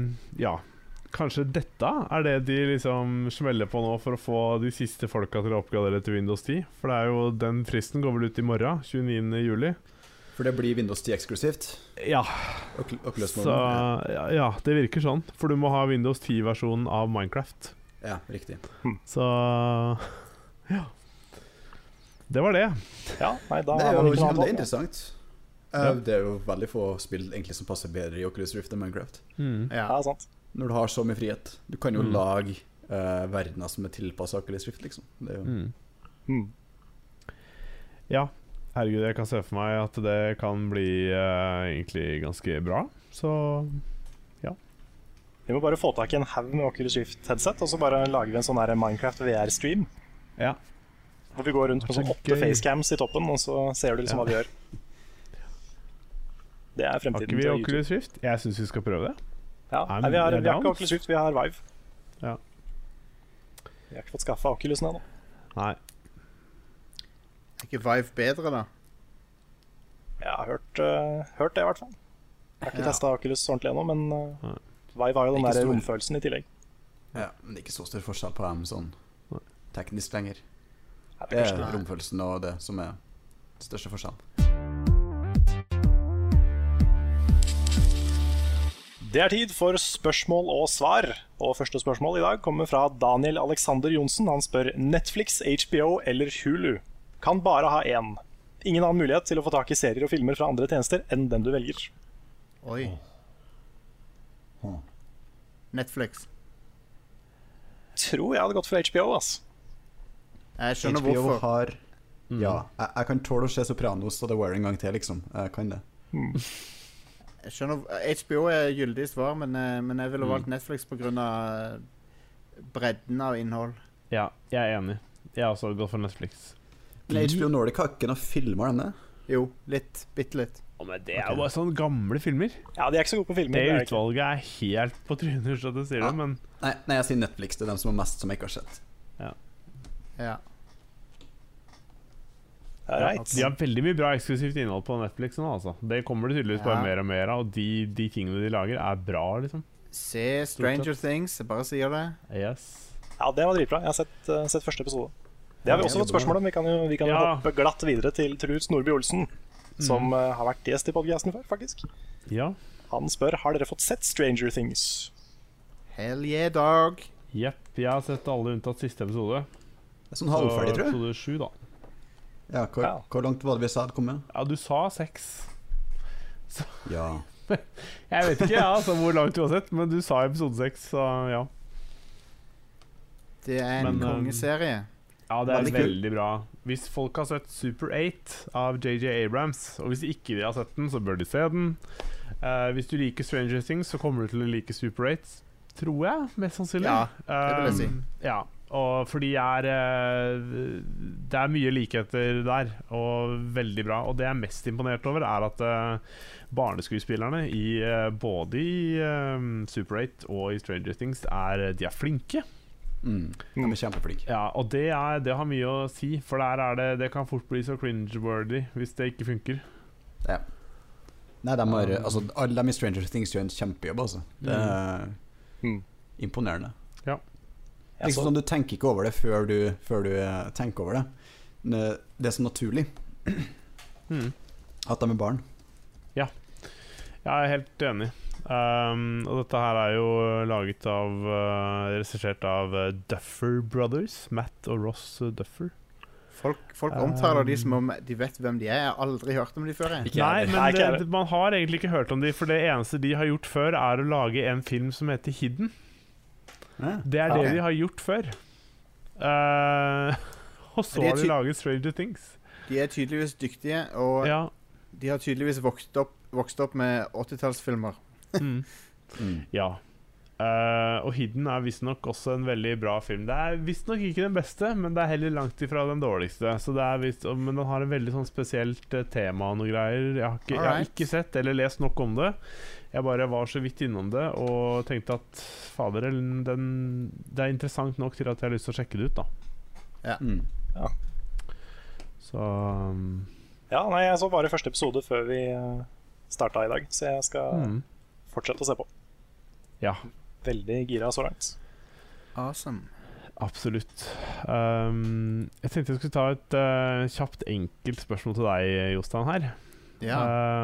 ja. Kanskje dette er det de liksom smeller på nå for å få de siste folka til å oppgradere til Windows 10. For det er jo den fristen går vel ut i morgen, 29. juli.
For det blir Windows 10 eksklusivt.
Ja,
Og, og
så ja, ja, det virker sånn. For du må ha Windows 10-versjonen av Minecraft.
Ja, riktig.
Så ja. Det var det.
Ja, nei, da
Det
har
er
man
jo
ikke noe
det er
annet valg.
interessant. Eh, Det er jo veldig få spill egentlig som passer bedre i Oculus Rift enn Minecraft.
Mm.
Ja.
Ja, sant.
Når du har så mye frihet. Du kan jo
Mm.
lage eh, verdener som er tilpassa Oculus Rift, liksom. Det er jo
Mm.
Mm.
Ja. Herregud, jeg kan se for meg at det kan bli eh, egentlig ganske bra. Så
Vi må bare få tak i en haug med Oculus Rift-headset, og så bare lager vi en sånn her Minecraft VR-stream.
Ja.
Hvor vi går rundt med
Det er
sånn
så
åtte
gøy.
facecams i toppen, og så ser du liksom hva vi gjør. Det er
har
fremtiden
ikke vi
til YouTube.
Oculus Rift? Jeg syns vi skal prøve det.
Ja.
I'm
Nei, vi, har, vi har
down.
ikke Oculus Rift, vi har Vive.
Ja.
Vi har ikke fått skaffa Oculus ennå.
Nei.
Er ikke Vive bedre, da?
Jeg har hørt, eh, hørt det, i hvert fall. Jeg har ikke
Ja.
testet testa Oculus ordentlig ennå, men eh,
Nei.
Vive har jo den
Ikke
der
stor.
romfølelsen i tillegg.
ja, men det er ikke så stor forskjell på dem sånn
Nei.
teknisk lenger.
Nei,
Det
det er
er
kanskje-
Nei.
romfølelsen og det som er den største forskjellen.
Det er tid for spørsmål og svar. Og første spørsmål i dag kommer fra Daniel Alexander Johnsen. Han spør Netflix, HBO eller Hulu. Kan bare ha én. Ingen annen mulighet til å få tak i serier og filmer fra andre tjenester enn den du velger.
Oi.
Åh.
Netflix.
Tror jeg hadde gått for HBO, ass.
Jeg skjønner
HBO
hvorfor.
har
Mm.
Ja, jeg, jeg kan tåle å se Sopranos og The Wire en gang til, liksom. Jeg kan det.
Jeg skjønner, HBO er gyldig svar, men, eh, men jeg ville valgt Netflix pga. eh, bredden av innhold.
Ja, jeg er enig. Jeg har også gått for Netflix.
Men HBO Nordic har ikke noen filmer, denne.
Jo, litt. Bitte litt.
Det er jo bare sånne gamle filmer.
Ja, de er ikke så gode på filmer.
Det
er de ikke.
utvalget er helt på trynet, hvis du sier
Ja.
det, men
Nei, nei, jeg sier Netflix. Det er dem som er mest som jeg ikke har sett.
Ja.
Alright.
de har veldig mye bra eksklusivt innhold på Netflix nå, altså. Det kommer det tydeligvis bare
Ja.
mer og mer av, og de, de tingene de lager, er bra, liksom.
Se Stranger Things, jeg bare sier det.
Yes.
Ja, det var dritbra. Jeg har sett, eh, sett første episode. Det har vi også fått spørsmål om. Vi kan jo, vi kan jo
Ja. Mm.
hoppe glatt videre til Truls Nordby Olsen, som eh, har vært gjest i podcasten før, faktisk.
Ja.
Han spør har dere fått sett Stranger Things.
Hell yeah, dog.
Jepp. Jeg har sett alle unntatt siste episode.
Det er sånn halvferdig, tror jeg.
episode sju, da.
Ja, hvor,
Ja.
hvor langt var det vi sa det kom med?
Ja, du sa seks.
Ja.
Jeg vet ikke ja, altså, hvor langt du har sett, men du sa episode seks, så ja.
Det er en
Men, um,
kongeserie.
Ja, det er
Veldig kul.
veldig bra. Hvis folk har sett Super 8 av JJ Abrams, og hvis ikke de har sett den, så bør de se den. Eh, hvis du liker Stranger Things, så kommer du til å like Super 8, tror jeg, mest sannsynlig.
Ja, det vil jeg si.
Um, Ja, og fordi jeg er eh, Det er mye likheter der, og veldig bra. Og det jeg er mest imponert over, er at eh, barneskuespillerne i eh, både i eh, Super 8 og i Stranger Things er eh, De er flinke.
Mm. De er kjempeflinke.
Ja, og det, er, det har mye å si, for der er det Det kan fort bli så cringe-worthy hvis det ikke funker.
Ja. Nei, de har Altså, alle dem i Stranger Things gjør en kjempejobb, altså. Det er
Mm.
imponerende.
Jeg
Liksom
så-
sånn, Du tenker ikke over det før du, før du eh, tenker over det. Men Det det er så naturlig
Mm.
Hmm. at de er barn.
Jeg er helt enig. Um, og dette her er jo laget av uh, Regissert av uh, Duffer Brothers. Matt og Ross uh, Duffer.
Folk, folk
um,
omtaler de som om de vet hvem de er. Jeg har aldri hørt om de før. jeg.
Nei, men
Nei, ikke
det,
heller.
det, man har egentlig ikke hørt om de, for det eneste de har gjort før, er å lage en film som heter Hidden.
Ja.
Det er
Ok.
det de har gjort før. Uh, og så
De er
har
ty-
de laget Stranger Things.
De er tydeligvis dyktige, og
Ja.
de har tydeligvis vokst opp, vokst opp med 80-tallsfilmer.
Mm.
Mm.
Ja. Eh, og Hidden er visstnok også en veldig bra film. Det er visstnok ikke den beste, men det er heller langt ifra den dårligste. Så det er visst, og- men den har en veldig sånn spesielt eh, tema og noe greier. Jeg har, ikke, jeg har
Alright.
ikke sett eller lest nok om det. Jeg bare var så vidt innom det og tenkte at fader, den, den, det er interessant nok til at jeg har lyst til å sjekke det ut, da.
Mm.
Så um,
Ja, nei, jeg så bare første episode før vi eh, starta i dag, så jeg skal
mm.
fortsette å se på.
Ja.
Veldig gira så langt.
Awesome.
Absolutt. Um, jeg tenkte jeg skulle ta et eh, kjapt, enkelt spørsmål til deg, Jostein, her.
Ja.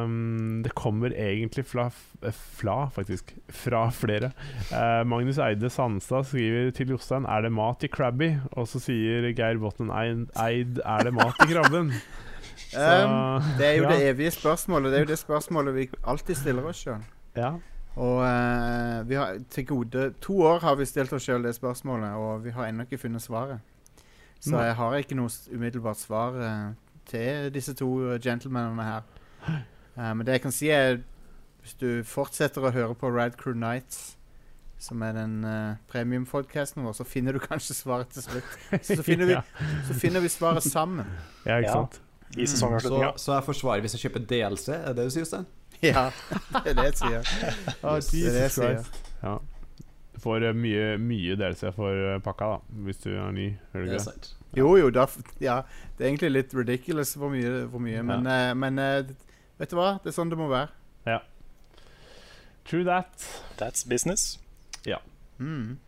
Ehm, det kommer egentlig fra, f- eh, fra faktisk, fra flere. Eh, Magnus Eide Sandstad skriver til Jostein Er det mat i Krabby? Og så sier Geir Botten Eid Er det mat i krabben?
Um,
Eh, Så,
det er jo
ja.
det evige spørsmålet. Det er jo det spørsmålet vi alltid stiller oss sjøl.
Ja.
Og eh, vi har til gode to år har vi stilt oss sjøl det spørsmålet, og vi har ennå ikke funnet svaret. Så
Nei.
jeg har ikke noe s- umiddelbart svar eh, til disse to eh, gentlemanene her. Eh, men det jeg kan si, er hvis du fortsetter å høre på Rad Crew Nights, som er den uh, premium-podcasten vår, så finner du kanskje svaret til slutt. Så, så, finner, vi,
Ja.
så finner vi svaret sammen.
ja, ikke
Ja.
sant?
I
Så,
sesongavslutninga.
så jeg forsvarer hvis jeg kjøper DLC, er det du sier, Stein?
Ja, det er det jeg sier. Det er det jeg sier.
Ja. Du får eh, mye, mye delelse for eh, pakka, da, hvis du er ny. Hører du
Det er
ikke?
sant.
Jo, jo, da, f- ja. Det er egentlig litt ridiculous hvor mye, hvor mye men, eh, men eh, d- vet du hva? Det er sånn det må være.
True that.
That's business.
Mm.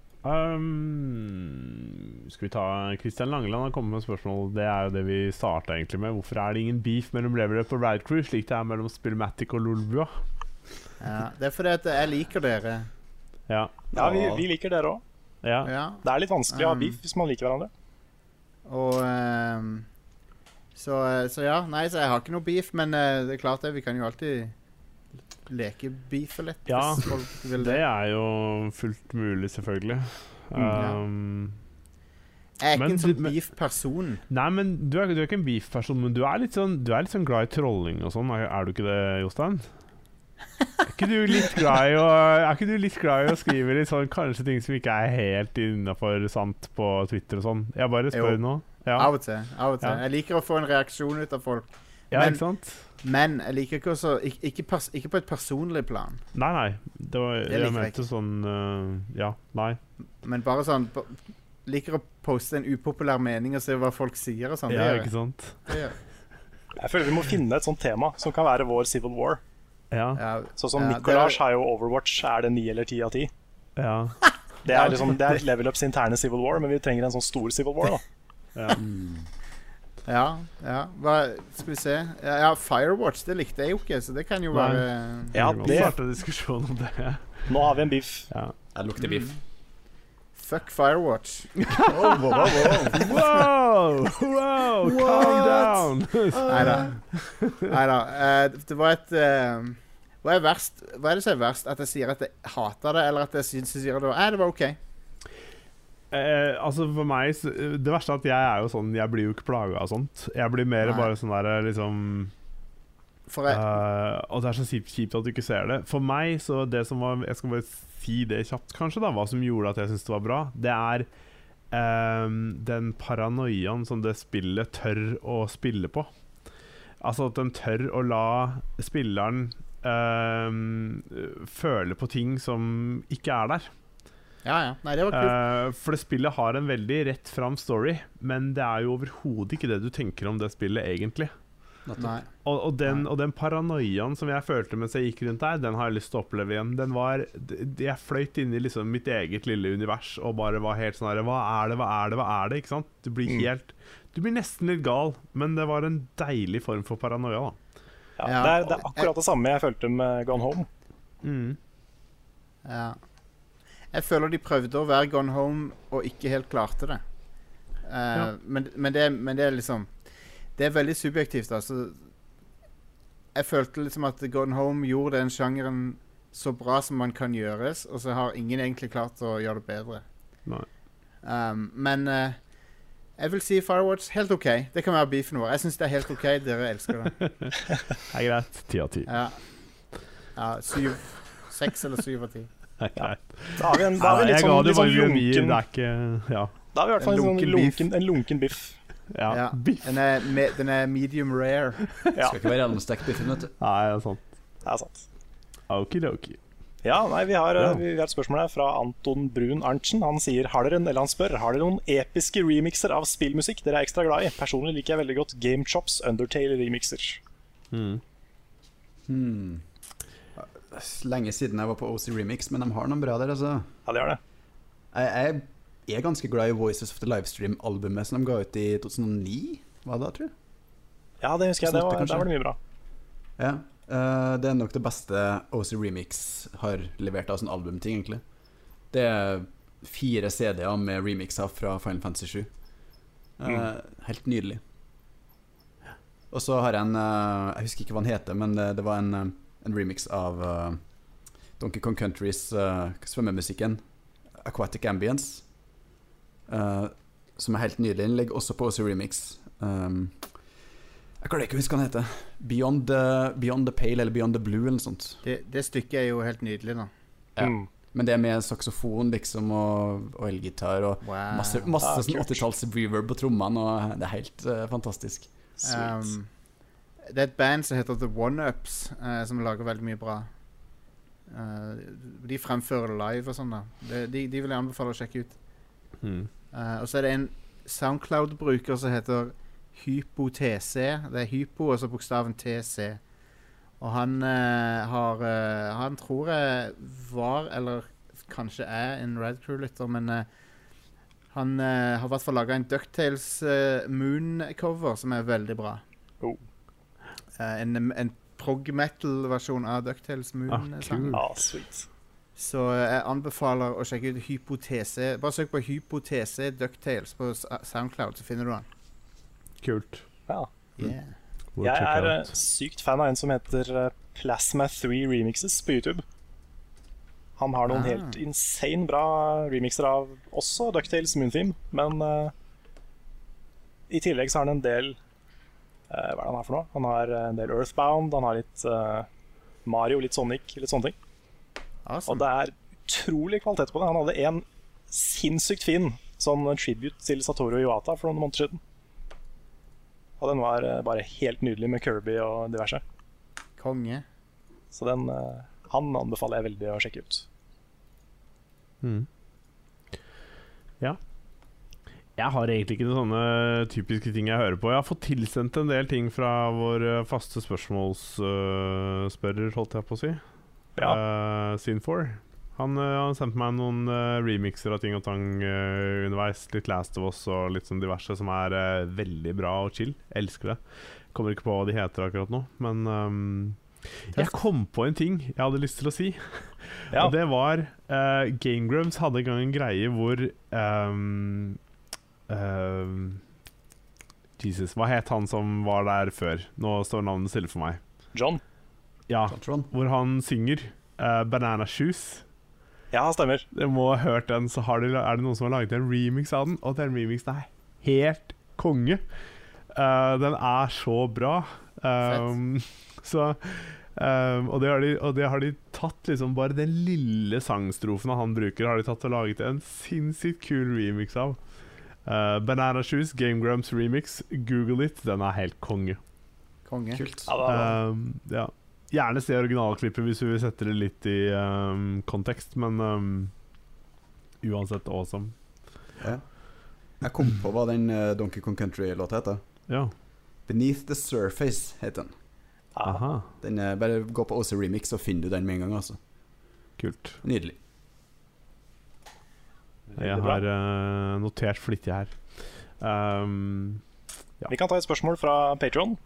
Um, skal vi ta Kristian Langeland har kommet med et spørsmål. Det er jo det vi starta egentlig med. Hvorfor er det ingen beef mellom Leverup og Ride Crew, slik det er mellom Spillmatic og Lolbua?
Ja, det er fordi at jeg liker dere.
Ja.
Ja, vi, vi liker dere òg.
ja.
Ja,
Det er litt vanskelig å ha
Um.
beef hvis man liker hverandre.
og ehm, så, eh, så ja, nei, så jeg har ikke noe beef, men eh, det er klart det, vi kan jo alltid leke beefe litt
Ja,
hvis folk vil
Det Mm,
det.
er jo fullt mulig, selvfølgelig.
ja.
Um,
Jeg er
Men
ikke en
du-
sånn
men-
beef-person.
Nei, men du er, du er ikke en beef-person, men du er litt sånn, du er litt sånn glad i trolling og sånn. Er, er du ikke det, Jostein? Er ikke du litt glad i å, er ikke du litt glad i å skrive litt sånn kanskje ting som ikke er helt innafor sant på Twitter og sånn? Jeg bare spør
Jo.
nå. Ja,
Av og til. av og til.
Ja.
Jeg liker å få en reaksjon ut av folk,
ja
men-
ikke sant?
men jeg liker ikke også Ikke, ikke, pers ikke på et personlig plan.
Nei, nei. Det var,
Det
jeg
liker jeg
mente sånn øh, Ja, nei.
Men bare sånn på- Liker å poste en upopulær mening og se hva folk sier og sånn.
Ja,
det gjør jeg.
ikke sant?
Det gjør jeg.
Jeg føler vi må finne et sånt tema som kan være vår Civil War.
Ja.
Ja,
Sånn som
Ja, det er-
Nicolaj har jo Overwatch. Er det ni eller ti av ti?
ja.
Det er, liksom, det er Level Ups interne Civil War, men vi trenger en sånn stor Civil War. da
ja. ja. Hva, skal vi se Ja, ja, Firewatch, det likte jeg jo ikke, så det kan jo
Nei.
være
Ja,
Vi må
det-
starte diskusjon om det.
Nå har vi en beef.
Ja.
Jeg lukter biff.
Fuck Firewatch.
Wow! Wow! Calm down!
Nei da. Nei da. Eh, det var et eh, hva er, verst? hva er det som er verst? At jeg sier at jeg hater det, eller at jeg syns jeg sier det var Nei, det var OK.
Eh, altså for meg så- Det verste er at jeg er jo sånn Jeg blir jo ikke plaga av sånt. Jeg blir mer
Nei.
bare sånn der liksom
For jeg,
eh, Og det er så kjipt, kjipt at du ikke ser det. For meg, så det som var Jeg skal bare si det kjapt, kanskje, da hva som gjorde at jeg syntes det var bra, det er ehm, den paranoiaen som det spillet tør å spille på. Altså at den tør å la spilleren ehm, føle på ting som ikke er der.
ja, ja. Nei, det var kult.
Eh, for det spillet har en veldig rett fram story, men det er jo overhodet ikke det du tenker om det spillet, egentlig. Eh.
Nei.
Og, og, den, og den paranoiaen som jeg følte mens jeg gikk rundt der, den har jeg lyst til å oppleve igjen. Den var d- d- Jeg fløyt inn i liksom mitt eget lille univers og bare var helt sånn her Hva er det, hva er det, hva er det? Ikke sant? Du blir
Mm.
helt Du blir nesten litt gal, men det var en deilig form for paranoia, da.
Ja,
Ja.
det, er, det er akkurat det samme jeg følte med Gone Home. Mm.
Ja. Jeg føler de prøvde å være gone home og ikke helt klarte det. Eh, men, men, det men det er liksom Det er veldig subjektivt, altså. Jeg følte liksom at Gone Home gjorde den sjangeren så bra som man kan gjøres, og så har ingen egentlig klart å gjøre det bedre.
Nei.
Um, men eh, jeg vil si Firewatch helt OK. Det kan være beefen vår. Jeg syns det er helt OK. Dere elsker det.
Det er greit. Ti av ti.
Ja. ja syv, seks eller syv av ti.
Det er greit.
Da har vi en, da har vi
Jeg
litt
ga
sånn,
det
litt sånn
bare en nier,
lunken
det er ikke Ja.
Da har vi i hvert fall en,
En
sånn
lunken beef.
lunken, en lunken biff.
ja.
Ja.
Biff.
Den er, me, den er medium rare.
Ja,
Skal ikke være gjennomstekt biffen, vet du.
Nei, det er sant.
det er sant.
Okidoki.
Ja, nei, vi har,
Ja.
vi har et spørsmål her fra Anton Brun Arntzen. Han sier har dere, en- eller han spør har dere noen episke remixer av spillmusikk dere er ekstra glad i. Personlig liker jeg veldig godt Game Chops Undertale-remixer.
Lenge siden jeg var på OC Remix, men de har noen bra der, altså.
Ja, det er det.
Jeg, jeg er ganske glad i Voices of the Livestream-albumet som de ga ut i 2009. Hva da, tror du?
Ja, det husker jeg. Det
Snutte,
var,
kanskje?
der var det mye bra.
Ja. eh, det er nok det beste OC Remix har levert av sånn albumting, egentlig. Det er fire CD-er med remixer fra Final Fantasy 7. Eh, Helt nydelig. Og så har jeg en eh, Jeg husker ikke hva den heter, men det, det var en, eh, en remix av eh, Donkey Kong Countrys eh, svømmemusikken, Aquatic Ambience, eh, som er helt nydelig. Den ligger også på OC Remix. Um, jeg klarer ikke å huske hva den heter. Beyond the, Beyond the Pale eller Beyond the Blue eller noe sånt.
Det, det stykket er jo helt nydelig, da.
Ja.
Mm.
Men det med saksofon liksom og, og elgitar og
Wow.
masse, masse
Ah,
sånn
kult.
80-talls reverb på trommene, og det er helt eh, fantastisk.
Sweet.
Um, det er et band som heter The One-Ups, eh, som lager veldig mye bra. Eh, de fremfører det live og sånn. da de, de, de vil jeg anbefale å sjekke ut.
Mm.
Eh, og så er det en Soundcloud-bruker som heter HypoTC. Det er hypo, og så bokstaven TC. Og han eh, har eh, Han tror jeg var, eller kanskje er, en Red Crew-lytter, men eh, han eh, har i hvert fall laga en Ducktales Moon-cover som er veldig bra.
Oh.
Eh, en en prog metal-versjon av Ducktales
Ah,
Moon-sangen.
kult.
Ja, sweet.
Så jeg anbefaler å sjekke ut Hypotese. Bare søk på Hypotese Ducktales på S- Soundcloud, så finner du den.
Kult.
Ja.
Mm.
Yeah.
We'll
Jeg
check
er eh,
it out.
sykt fan av en som heter eh, Plasma 3 Remixes på YouTube. Han har noen
Ah.
helt insane bra remixer av også Ducktales Moontheme, men eh, i tillegg så har han en del eh, Hva er det han har for noe? Han har eh, en del Earthbound, han har litt eh, Mario, litt Sonic, litt sånne ting. Og
Awesome.
det er utrolig kvalitet på det. Han hadde en sinnssykt fin sånn tribute til Satoru Iwata for noen måneder siden. Og den var eh, bare helt nydelig med Kirby og diverse.
Konge.
Så den eh, han anbefaler jeg veldig å sjekke ut.
Mm. Ja. Jeg har egentlig ikke noen sånne typiske ting jeg hører på. Jeg har fått tilsendt en del ting fra vår eh, faste spørsmålsspørrer, holdt jeg på å si. Eh, Scene 4. Han, eh, han sendte meg noen eh, remixer av ting og tang eh, underveis. Litt Last of Us og litt sånn diverse, som er eh, veldig bra og chill. Elsker det. Kommer ikke på hva de heter akkurat nå, men ehm, Jeg kom på en ting jeg hadde lyst til å si.
Ja.
Og det var uh, Game Grumps hadde en gang en greie hvor ehm, ehm, Jesus, hva het han som var der før? Nå står navnet stille for meg.
John?
Ja,
Tantron.
hvor han synger eh, 'Banana Shoes'.
Ja, stemmer.
Dere må ha hørt den, så har de, er det noen som har laget en remix av den. Og den remixen er helt konge. Eh, den er så bra. Um, så um, og, det har de, og det har de tatt liksom Bare den lille sangstrofen han bruker, har de tatt og laget en sinnssykt kul remix av. Eh, Banana Shoes, Game Grumps remix. Google it, den er helt konge.
Konge.
Kult.
Ja, det var,
Um, ja. Gjerne se originalklippet hvis du vil sette det litt i um, kontekst, men um, uansett awesome.
Ja. Jeg kom på hva den eh, Donkey Kong Country-låta heter.
Ja.
Beneath The Surface heter den.
ja.
Aha.
den er, bare gå på OC Remix, så finner du den med en gang. altså
Kult.
Nydelig.
Jeg
bra.
har eh, notert flittig her. Um,
Vi kan ta et spørsmål fra Patron.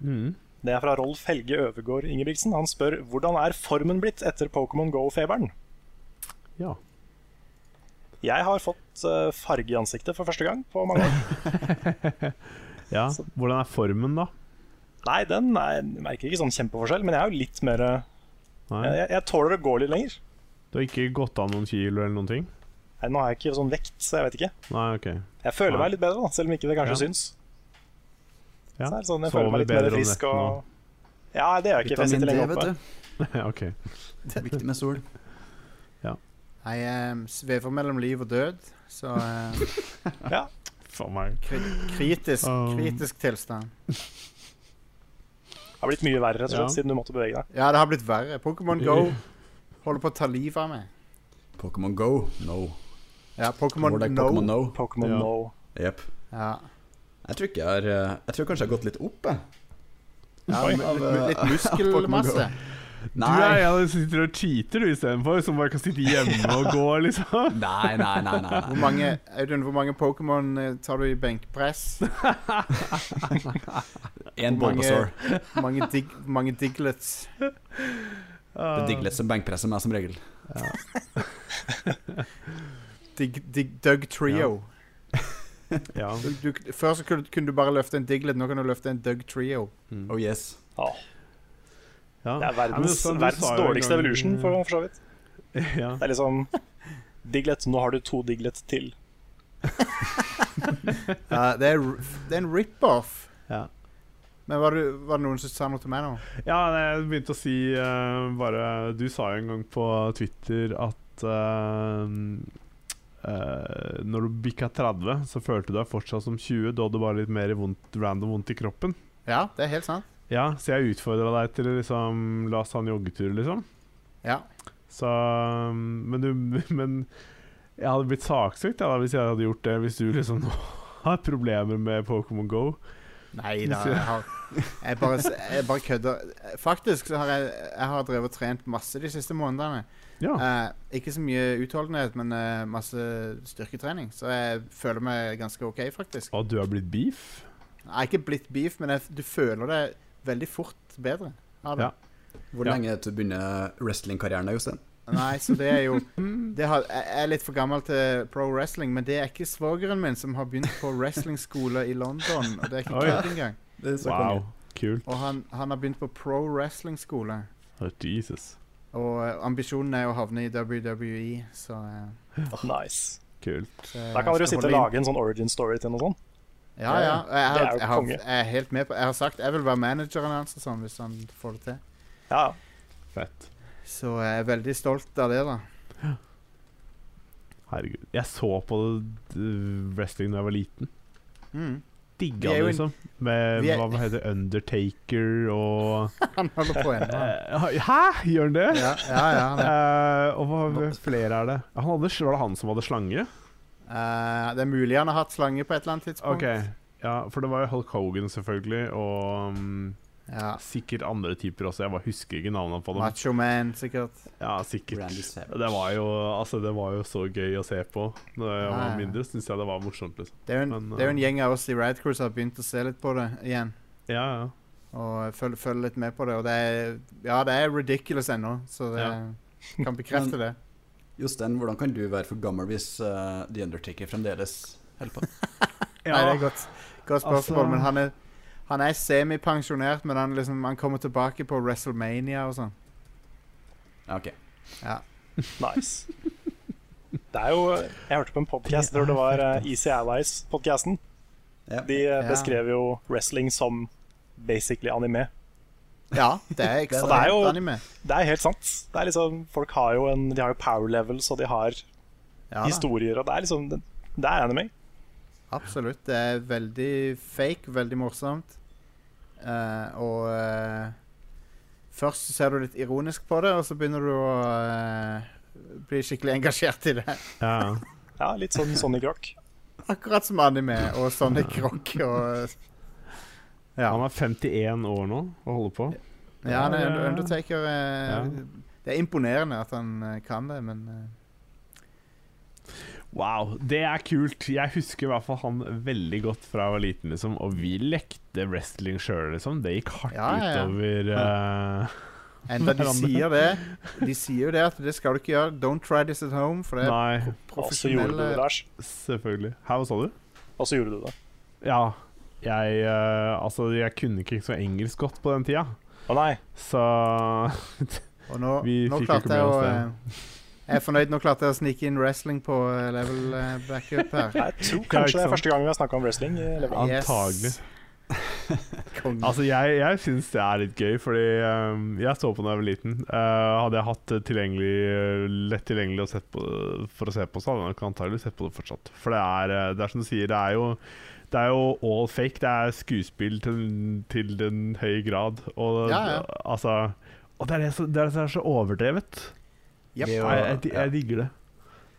mm.
Det er fra Rolf Helge Øvergård Ingebrigtsen. Han spør hvordan er formen blitt etter Pokémon GO-feberen?
Ja.
Jeg har fått eh, farge i ansiktet for første gang på mange år.
ja. Hvordan er formen, da?
Nei, den er, jeg merker ikke sånn kjempeforskjell, men jeg er jo litt mer eh,
Nei.
jeg, jeg tåler å gå litt lenger.
Du har ikke gått av noen kilo eller noen ting?
Nei, nå har jeg ikke sånn vekt, så jeg vet ikke.
Nei, OK.
Jeg føler
Nei.
meg litt bedre, da, selv om ikke det kanskje
Ja.
syns.
Ja.
Så er det sånn, jeg
Sover
føler meg litt
bedre
mer
om
frisk
nettene
og Ja, det gjør jeg ikke. for Jeg
Vitamin
sitter
D,
lenge
vet
oppe.
du.
OK.
Viktig med sol.
Jeg eh, svever mellom liv og død, så eh,
Faen meg.
kri kritisk,
Um.
kritisk tilstand.
Det har blitt mye verre rett og slett,
Ja.
siden du måtte bevege deg.
Ja, det har blitt verre. Pokémon Go holder på å ta livet av meg.
Pokémon Go? No.
Ja, Pokémon
More like
No.
Pokémon No.
Pokémon
Ja.
No.
Jep.
Ja.
Jeg tror ikke jeg har eh, Jeg tror kanskje jeg har gått litt opp, jeg.
Ja,
Oi.
litt, litt, litt muskelmasse.
Du er en av de som sitter og cheater du, istedenfor, som bare kan sitte hjemme og gå, liksom.
Nei, nei, nei. nei,
Hvor
nei.
mange, Audun, hvor mange Pokémon eh, tar du i benkpress?
En
Hvor mange-
Bulbasaur.
Hvor mange, dig, hvor mange diglets?
Det er Diglett som benkpresser meg som regel.
Dig, dig, Doug Trio.
Ja.
Du, du, før så kunne, kunne du bare løfte en Diglet, nå kan du løfte en Doug Trio.
Mm.
Oh yes.
Åh, det
ja.
er
Ja, men
verdens,
så- du
verdens
sa jo en
dårligste
gang-
evolution, for, for så vidt.
ja.
Det er liksom Diglet, nå har du to Diglet til.
Ja, det, er, r- det er en rip-off.
Ja.
Men var det, var det noen som sa noe til meg nå?
Ja, nei, jeg begynte å si eh, bare Du sa jo en gang på Twitter at eh, eh, Når du bikka 30, så følte du deg fortsatt som 20. Da hadde du bare litt mer vondt, random vondt i kroppen.
Ja, det er helt sant.
Ja, Så jeg utfordra deg til liksom La oss ta en joggetur, liksom.
Ja.
Så um, Men du Men jeg hadde blitt saksøkt ja, da, hvis jeg hadde gjort det, hvis du liksom nå har problemer med Pokémon Go.
Nei da, jeg, har, jeg, bare, s- jeg bare kødder. Faktisk så har jeg, jeg har drevet og trent masse de siste månedene.
Ja.
Eh, ikke så mye utholdenhet, men eh, masse styrketrening. Så jeg føler meg ganske OK, faktisk.
Og du har blitt beef?
Jeg er ikke blitt beef, men jeg, f- du føler deg veldig fort bedre av det.
Ja.
Hvor
Ja.
lenge er det til du begynner wrestlingkarrieren, da, Jostein?
Nei, så det er jo det har, Jeg jeg er litt for gammel til pro wrestling, men det er ikke svogeren min som har begynt på wrestlingskole i London. Og det er ikke
Oi.
kødd engang.
Wow. Kult.
Og han, han har begynt på pro wrestlingskole.
Oh, Jesus.
Og eh, ambisjonen er å havne i WWE, så, eh,
Nice.
Kult.
så jeg
Da kan dere
skal
sitte og
holde inn.
lage en sånn origin story til noe sånt.
Ja, ja. og Jeg,
Det
har,
er jo
jeg, har,
konge.
jeg er helt med på Jeg har sagt jeg vil være manageren hans og sånn, hvis han får det til.
Ja,
Fett.
Så jeg er veldig stolt av det, da.
Herregud. Jeg så på uh, wrestling da jeg var liten.
Mm. Vi
Digga
er
det,
jo en-
liksom. Med
vi er-
hva heter det, Undertaker og
Han holder på ennå. han.
Eh, Hæ, gjør han det?
Ja, ja, ja. han er-
Eh, og hva hva flere er det? Han hadde, var det han som hadde slange?
Eh, det er mulig han har hatt slange på et eller annet tidspunkt.
Ok, ja, For det var jo Hulk Hogan, selvfølgelig, og mm,
Ja.
sikkert andre typer også. Jeg bare husker ikke navnene på dem.
Macho Man, sikkert.
Ja, sikkert
Randy Savage.
det var, jo, altså, det var jo så gøy å se på. Da jeg
Ja,
var
ja.
mindre, syntes jeg det var morsomt. liksom
Det er jo en,
Men,
det er jo en
eh,
gjeng av oss i Ride Crew som har begynt å se litt på det igjen.
Ja, ja
Og følge, følge litt med på det. Og det er, ja, det er ridiculous ennå, så det kan bekrefte det.
Jostein, hvordan kan du være for gammel hvis eh, The Undertaker fremdeles holder på?
Nei, det er godt, godt spørsmål,
altså-
men han er han er semipensjonert, men han, liksom, han kommer tilbake på WrestleMania og sånn.
Ja, ok.
nice. Det er jo Jeg hørte på en podcast, jeg tror det var eh, Easy Allies-podcasten.
Ja.
De eh,
Ja.
beskrev jo wrestling som basically anime.
Ja, det er
er
ekstremt
jo-
anime.
Det er helt sant. Det er liksom, folk har jo en, de har jo power levels, og de har
Ja, da,
historier, og det er liksom Det, det er anime.
absolutt. Det er veldig fake, veldig morsomt. Eh, og eh, først så ser du litt ironisk på det, og så begynner du å eh, bli skikkelig engasjert i det.
ja, ja.
Ja, litt sånn Sonic Rock.
Akkurat som anime og sånne krokk og Ja.
Han er 51 år nå og holder på.
Ja, han er
Ja.
Undertaker eh,
Ja.
Det er imponerende at han eh, kan det, men eh,
Wow, det er kult. Jeg husker i hvert fall han veldig godt fra jeg var liten, liksom. Og vi lekte wrestling sjøl, liksom. Det gikk hardt
Ja, ja, ja.
utover eh,
Enda de
Hverandre.
sier det. De sier jo det at det skal du ikke gjøre. Don't try this at home. For det er
Nei,
Og så altså, gjorde du det,
profesjonelle
Lars.
selvfølgelig. Hæ, hva sa du?
Og så gjorde du det.
Ja, jeg eh, Altså, jeg kunne ikke så engelsk godt på den tida,
Å nei.
så
Og nå,
Vi
nå
fikk jo ikke
klarte
med
jeg å
oss
eh, Jeg er fornøyd. Nå klarte jeg å snike inn wrestling på eh, level eh, backup her.
Jeg tror
Ja, ikke
kanskje det
sant.
er første gang vi har snakka om wrestling. i Level Up.
Yes.
antagelig.
Konge.
Altså, jeg, jeg syns det er litt gøy, fordi eh, jeg så på da jeg var liten. Eh, hadde jeg hatt det tilgjengelig, eh, lett tilgjengelig å sett på, for å se på, så hadde jeg nok antagelig sett på det fortsatt. For det er, eh, det er som du sier, det er jo det er jo all fake. Det er skuespill til, til den høye grad. Og,
Ja, ja.
Altså, og det er det som det er, det som er så overdrevet.
Japp.
Det, å,
jeg, jeg,
ja.
jeg digger det.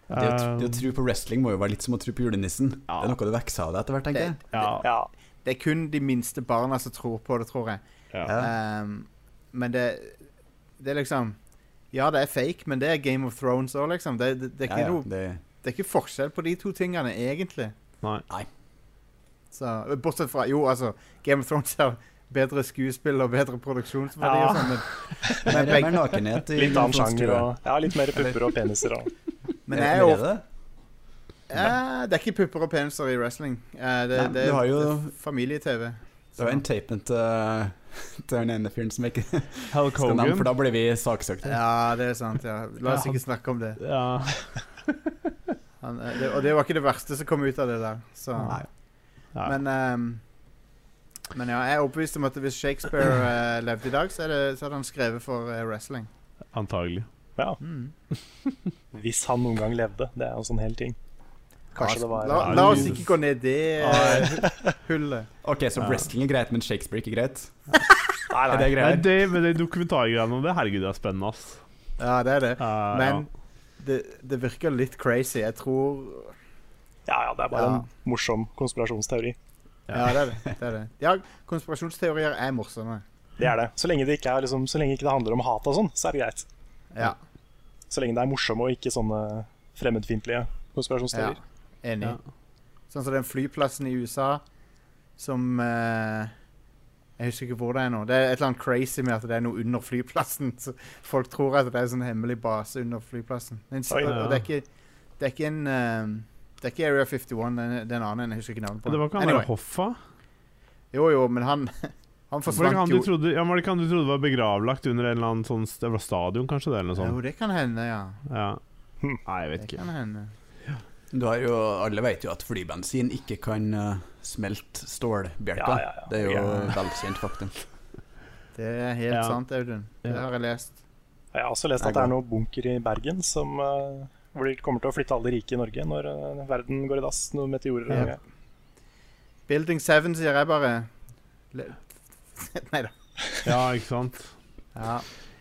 det, å, tro- det å
Eh,
tro på wrestling må jo være litt som å tro på julenissen.
Ja.
Det er noe du vokser av deg etter hvert, tenker jeg.
Eh, ja,
Ja.
Det er kun de minste barna som tror på det, tror jeg.
ja.
Ja.
Ehm, men det Det er liksom Ja, det er fake, men det er Game of Thrones òg, liksom. Det, det, det, er
Ja,
ikke
ja,
noe,
det,
det er ikke forskjell på de to tingene, egentlig.
Nei.
Nei.
Så, bortsett fra Jo, altså, Game of Thrones har bedre skuespill og bedre produksjonsverdi
Ja.
og sånn, men,
det
men,
er mer
begge,
nakenhet i
Litt annen
Jonas, tror
sjanger
jeg.
og ja, litt mer pupper og peniser og
men
Er-
jeg
er
er
det
ofte
det?
Eh, det er ikke pupper og peniser i wrestling. Eh, det,
Nei,
det,
du har
det
jo-
er familie-TV.
Det var en tapen til, til den ene fyren som jeg ikke
Hulk
skal nevne,
Hogan.
for da ble vi saksøkt.
Ja, det er sant. ja La
Ja,
oss
han-
ikke snakke om det.
Ja.
Han, eh, det. Og det var ikke det verste som kom ut av det der. Så.
Nei. Nei.
Men, ehm, men ja, jeg er overbevist om at hvis Shakespeare eh, levde i dag, så, er det, så hadde han skrevet for eh, wrestling.
Antagelig.
Ja,
Mm.
Hvis han noen gang levde. Det er jo en sånn hel ting. Kanskje det var
la,
Nei,
la oss
Jesus.
ikke gå ned det eh, hullet.
Ok, så
Ja.
wrestling er greit, men Shakespeare er ikke greit?
Nei,
Er det
Nei,
greit?
det, men de dokumentargreiene om det, herregud, det er spennende, ass.
Ja, det er det.
Eh,
Men det, det virker litt crazy. Jeg tror
Ja, ja, det er bare
Ja.
en morsom konspirasjonsteori.
Ja, det er det. det, er det. Ja, konspirasjonsteorier er morsomme.
Det er det. Så lenge det ikke, er, liksom, så lenge ikke det handler om hat og sånn, så er det greit.
Ja.
Så lenge det er morsomme og ikke sånne fremmedfiendtlige
ja.
konspirasjonsteorier.
Enig.
Ja.
Sånn som den flyplassen i USA som eh, Jeg husker ikke hvor det er nå. Det er et eller annet crazy med at det er noe under flyplassen. Så folk tror at det er en sånn hemmelig base under flyplassen. Men, s-
Oi.
og, og det, er ikke, det er ikke en eh, Det er ikke Area 51, det er en- det er en annen en. Jeg husker ikke navnet på
det var ikke han
Anyway.
der Hoffa?
Jo, jo, men han, han
Var det ikke
forsvant
han du
jo.
trodde, ja, var det ikke han du trodde var begravlagt under en eller annen sånn st- det var stadion, kanskje? det, eller noe
Jo,
sånt?
det kan hende, ja.
Ja.
Hm.
Nei, jeg vet
Det
ikke.
kan hende.
Du har jo, alle vet jo at flybensin ikke kan eh, smelte stålbjelker.
Ja, ja, ja.
Det er jo
Ja.
velkjent faktum.
Det er helt
Ja.
sant, Audun. Det
Ja.
har jeg lest.
Jeg har også lest at
Det er
det er noe bunker i Bergen som eh, hvor de kommer til å flytte alle de rike i Norge når eh, verden går i dass. Noen meteorer og
Ja.
greier.
Building 7, sier jeg bare. Nei da.
Ja, ikke sant?
Ja.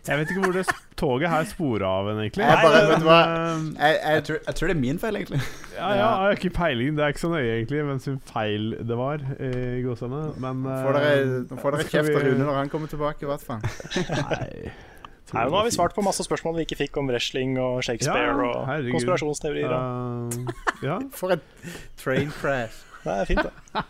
Jeg vet ikke hvor det s- toget her sporer av en, egentlig.
Jeg bare- vet du
men, eh,
Jeg, jeg,
Jeg tror, jeg tror det er min feil, egentlig.
ja, ja, jeg har ikke peiling. Det er ikke så nøye, egentlig, hvem sin feil det var. eh, i gåsene, men
nå får dere, nå får dere
Skal
kjeft av
vi-
Rune når han kommer tilbake, i hvert fall.
Nei.
Nei, nå har vi svart på masse spørsmål vi ikke fikk om wrestling og Shakespeare
Ja,
og
herregud.
konspirasjonsteorier. og-
Eh, ja,
For et train crash.
Det er fint, det.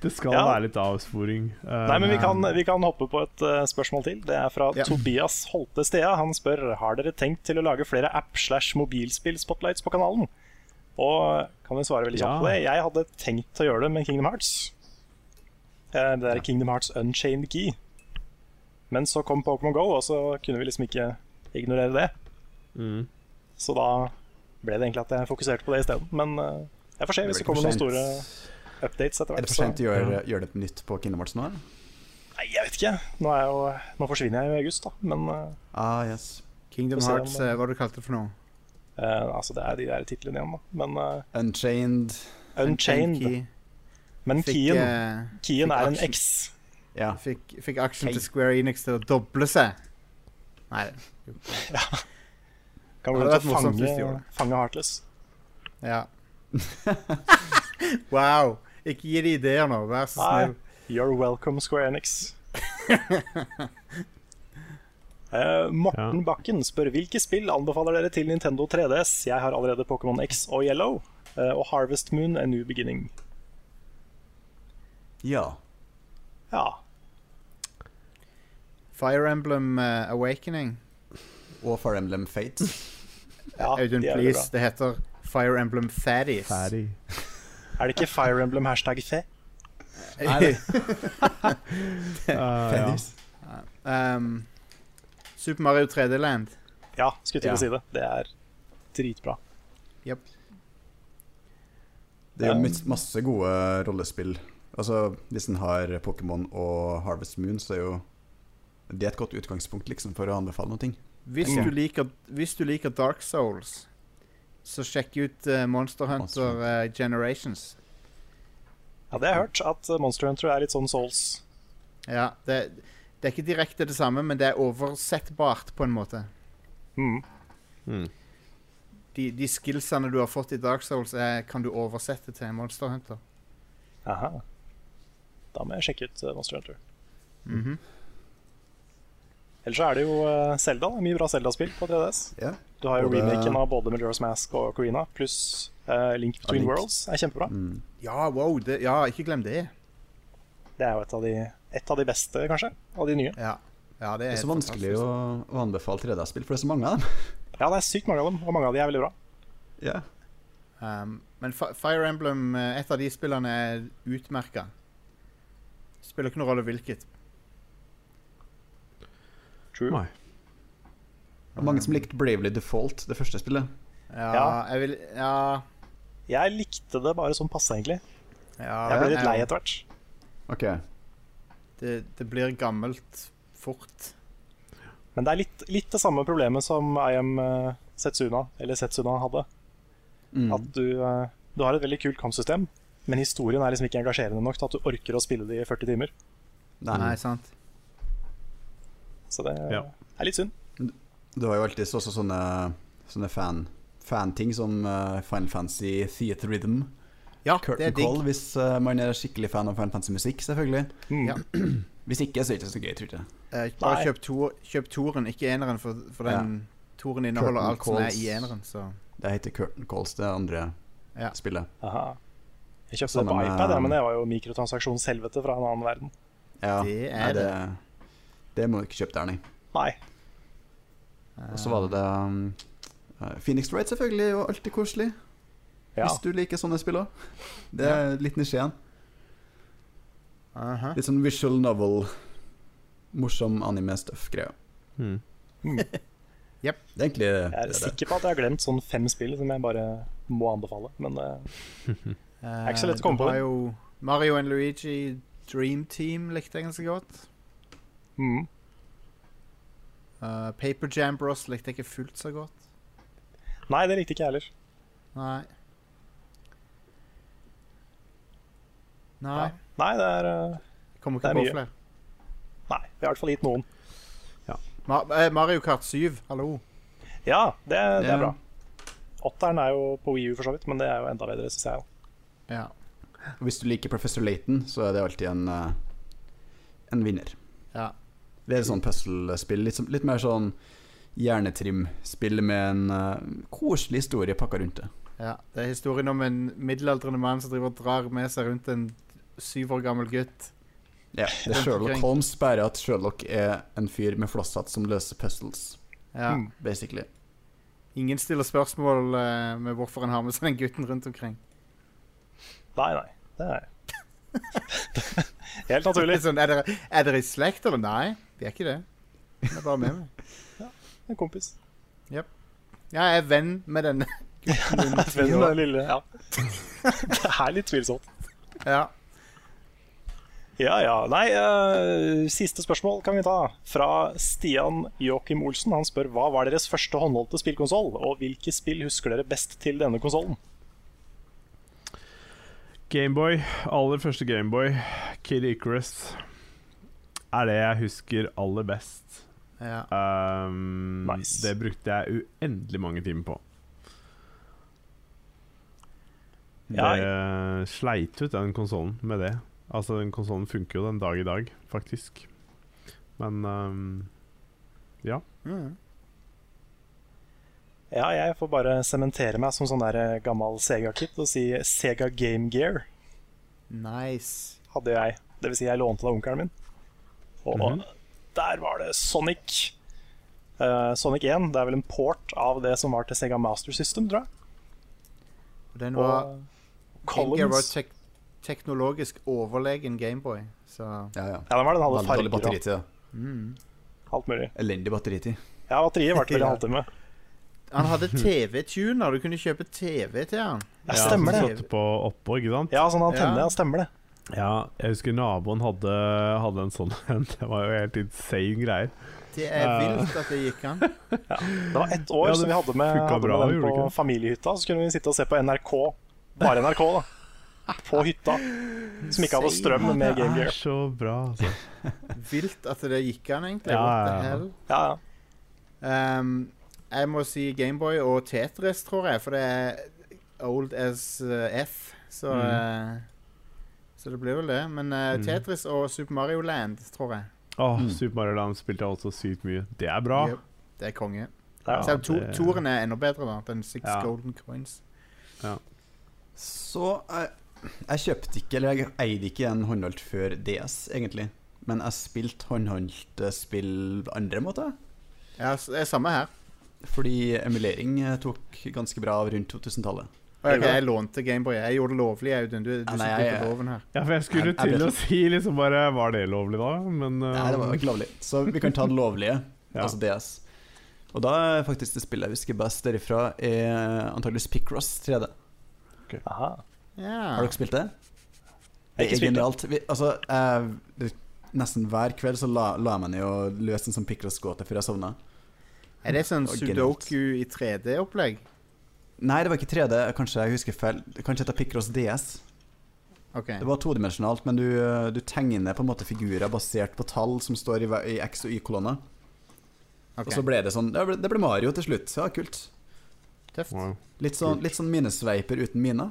det skal
Ja.
være litt avsporing. eh,
Nei, men vi kan, vi kan hoppe på et eh, spørsmål til. Det er fra
Ja.
Tobias Holte Stea. Han spør har dere tenkt til å lage flere app-slash-mobilspill-spotlights på kanalen. Og kan vi svare veldig kjapt på det? Jeg hadde tenkt til å gjøre det med Kingdom Hearts. Eh, Det er Kingdom Hearts Unchained Key. Men så kom Pokémon Go, og så kunne vi liksom ikke ignorere det.
Mm.
Så da ble det egentlig at jeg fokuserte på det isteden. Men eh, jeg får se hvis det kommer noen store updates etter
Er det
hvert.
for sent
så-
å gjøre, gjøre det på nytt på Kingdom Hearts nå? eller?
Nei, jeg vet ikke. Nå, er jeg jo, nå forsvinner jeg jo i august, da. Men eh,
Ah, yes.
Kingdom
Få se om
Hearts,
det-
eh, hva du kalte det for noe?
Eh, altså, det er de der titlene igjen, da. Men eh,
Unchained
Unchained.
Key.
Men
Fikk,
keyen,
eh,
keyen
fikk
er en
action.
X.
Ja.
fikk, fikk aksjen til Square Enix til å doble seg. Nei,
Kan gå
Ja,
rundt
det hadde
og
vært morsomt hvis de
fange,
gjorde
fange Heartless.
ja. wow. Ikke gi de ideer nå, vær så
Nei.
snill.
You're welcome, Square Enix. Eh, Morten Bakken spør hvilke spill anbefaler dere til Nintendo 3DS. Jeg har allerede Pokémon X og Yellow. eh, og Harvest Moon, A New Beginning.
ja.
Ja.
Fire Emblem eh, Awakening.
Og Fire Emblem Fate.
Ah, ja
Audun,
de er veldig
please. Det heter Fire Emblem Fatties.
Ferdig.
bra. Er det ikke Fire Emblem hashtag fe?
Eh, ja.
um, Super Mario 3D Land.
Ja, skulle til
Ja.
å si det. Det er dritbra.
Det er jo mis- masse gode rollespill. Altså, Hvis en har Pokémon og Harvest Moon, så er jo det er et godt utgangspunkt liksom, for å anbefale noe.
Hvis,
Ja.
du liker, hvis du liker Dark Souls, så sjekk ut eh, Monster
Monster
Hunter
Hunter.
eh, Generations.
Ja, det har jeg hørt, at eh, Monster Hunter er litt sånn Souls.
Ja, det, det er ikke direkte det samme, men det er oversettbart på en måte.
Mm.
De, de skillsene du har fått i Dark Souls, er, kan du oversette til Monster Hunter.
Aha. Da må jeg sjekke ut eh, Monster Hunter.
Mhm.
Ellers så er det jo eh, Zelda. da. Mye bra Zelda-spill på 3DS.
Ja.
Du har jo
Både-
remaken av både Majora's Mask og Corina, pluss eh, Link Between
Link.
Worlds er kjempebra.
Mm.
Ja, wow, det, ja, ikke glem det.
Det er jo et av, de, et av de beste, kanskje, av de nye.
Ja, ja det,
Det
er
er så
helt
vanskelig å,
fantastisk.
å anbefale 3D-spill, for det er så mange av dem.
Ja, det er sykt mange av dem, og mange av de er veldig bra.
Ja.
Um, men Fi- Fire Emblem, eh, et av de spillene er utmerka. Spiller ikke noen rolle hvilket.
True.
Nei.
Det var mange som likte Bravely Default, det første spillet.
Ja,
Ja.
jeg vil Ja.
Jeg likte det bare sånn passe, egentlig.
ja
Jeg ble litt lei
jeg-
etter hvert.
Ok,
Det, det blir gammelt fort.
Men det er litt, litt det samme problemet som I am eh, Setsuna, eller Setsuna hadde.
Mm.
At du, eh, du har et veldig kult kampsystem, men historien er liksom ikke engasjerende nok til at du orker å spille det i 40 timer.
Nei.
Nei, sant?
Så det
Ja.
er litt synd.
Du har jo alltid også sånne, sånne fan, fanting som eh, Final Fantasy Theater Rhythm.
Ja, det
Curtain
er digg.
Call, hvis eh, man er skikkelig fan av Final Fantasy-musikk, selvfølgelig.
Mm.
Ja.
Hvis ikke, så er det ikke så gøy, tror jeg.
Eh, bare
Nei.
kjøp, to, kjøp toren, ikke eneren, for, for den toren inneholder
Curtain
alt som er
calls.
i eneren. Så.
Det heter Curtain Calls, det andre
Ja.
spillet.
Aha. Jeg kjøpte
Sammen
det på
med-
iPad, ja, men det var jo mikrotransaksjonshelvete fra en annen verden.
Ja,
Det er
nei, det. Det må du ikke kjøpe der, nei.
Nei.
Og så var det det um, eh, Phoenix Wright, selvfølgelig, og alltid koselig.
Ja.
Hvis du liker sånne spill òg. Det er litt nisjeen.
Aha.
Litt sånn visual novel, morsom anime-stuff-greia.
Mm.
Det er egentlig det.
Jeg Hmm. er
det er det.
sikker på at jeg har glemt sånn fem spill som jeg bare må anbefale. Men eh,
Eh,
ikke så lett å
det
komme på
var
det.
Jo Mario and Luigi Dream Team likte jeg ganske godt.
mm.
Eh, Paper Jam Bros likte jeg ikke fullt så godt.
Nei, det likte ikke jeg heller.
Nei. Nei.
Nei, det er eh,
Kommer
Det
ikke
er
på
mye.
flere.
Nei, vi har i hvert fall gitt noen.
Ma eh, Mario Kart 7, hallo.
Ja, det, det
Ja.
er bra. Åtteren er jo på Wii U for så vidt, men det er jo enda bedre, syns jeg.
Ja.
Og Hvis du liker Professor Layton, så er det alltid en, eh, en vinner.
Ja.
Det er et sånt puslespill. Litt, som- litt mer sånn hjernetrimspill med en eh, koselig historie pakka rundt det.
ja. Det er historien om en middelaldrende mann som driver og drar med seg rundt en syv år gammel gutt.
Ja, det er Sherlock Holmes, bare at Sherlock er en fyr med flosshatt som løser puzzles,
Ja.
Mm.
basically.
Ingen stiller spørsmål eh, med hvorfor han har med seg den gutten rundt omkring.
Nei, nei. Det er Helt naturlig.
Litt sånn, er, dere, er dere i slekt, eller? Nei, vi er ikke det. Vi er bare med meg.
En kompis.
Ja, jeg er venn med denne gutten under ti
Vennen
år.
er lille. Ja. Det er litt tvilsomt.
Ja.
Ja, ja. Nei, eh, siste spørsmål kan vi ta. Fra Stian Joakim Olsen. Han spør hva var deres første håndholdte spillkonsoll, og hvilke spill husker dere best til denne konsollen?
Gameboy. Aller første Gameboy. Kid Icarus. Er det jeg husker aller best.
ja.
Um,
Nice.
Det brukte jeg uendelig mange timer på.
Ja,
Jeg eh, sleit ut den konsollen med det. Altså, den konsollen funker jo den dag i dag, faktisk. Men um,
Mm.
ja jeg får bare sementere meg som sånn der eh, gammel Sega-kid og si Sega Game Gear
Nice.
hadde jeg. Det vil si, jeg lånte det av onkelen min. Og
Mhm.
der var det Sonic. Eh, Sonic 1 det er vel en port av det som var til Sega Master System, tror jeg.
Og den var,
Og
Game Gear var
Collins.
tek teknologisk overlegen Gameboy, så hmm.
Ja, ja.
Ja, den var den hadde
Veldig dårlig
farger og
batteritid. da.
alt mulig.
Elendig batteritid.
Ja, batteriet varte vel en
Ja.
halvtime.
Han hadde TV-tuner. Du kunne kjøpe TV til han.
Ja, stemmer det.
sånn
satt på oppå, ikke sant?
Ja, sånn antenne,
Ja.
ja. stemmer det.
Ja, jeg husker naboen hadde, hadde en sånn en. Det var jo helt insane greier.
Det er vilt at det gikk an.
Det var ett år
Ja,
så
det
vi hadde med,
funka
hadde
bra,
med den
gjorde
på
det ikke?
familiehytta. Så kunne vi sitte og se på NRK, bare NRK, da. På hytta. Som ikke hadde strøm med Game
Det er
Gear.
så bra, altså.
Vilt at det gikk an, egentlig.
Ja,
What
ja,
the
ja.
hell?
Ja, ja.
Ehm, jeg må si Gameboy og Tetris, tror jeg, for det er old as eh, F. Så,
Mm.
eh, så det blir vel det. Men eh, Tetris og Super Mario Land, tror jeg.
Åh, Super Mario Land spilte jeg også sykt mye. Det er bra.
Yep. Det er konge.
Ja,
Selv om to,
det-
toren er enda bedre, da. Den Six
Ja.
Golden Coins.
Så jeg, jeg kjøpte ikke, eller jeg eide ikke en håndholdt før DS, egentlig. Men jeg spilte håndholdt eh, spill på andre måter.
Ja, s- det er samme her.
Fordi emulering eh, tok ganske bra av rundt 2000-tallet.
Å, ok, jeg lånte Gameboy. Jeg gjorde det lovlig, Audun. Du, du
Ja, nei,
som bryter
jeg-
loven her.
Ja, for jeg skulle
Jeg- jeg
til
vet
å
ikke.
si liksom bare Var det lovlig da? Men eh,
Nei, det var jo ikke lovlig. Så vi kan ta det lovlige,
Ja.
altså DS. Og da er faktisk det spillet jeg husker best derifra, er antakeligvis Picross 3D.
Aha.
Ja.
Har dere spilt det?
Jeg har
Det
ikke spilt
er
det.
genialt. Vi, altså, eh, det, nesten hver kveld så la, la jeg meg ned og løste en sånn Picross-gåte før jeg sovna.
Er det sånn
Å, genialt.
Sudoku i 3D-opplegg?
Nei, det var ikke 3D. Kanskje jeg husker feil. Kanskje det heter Picross DS.
OK.
Det var todimensjonalt, men du, eh, du tegner på en måte figurer basert på tall som står i, hver- i X- og Y-kolonner.
ok.
Og så ble det sånn Det ble, det ble Mario til slutt. Ja, kult.
Tøft.
wow.
Litt sånn, litt sånn minesveiper uten miner.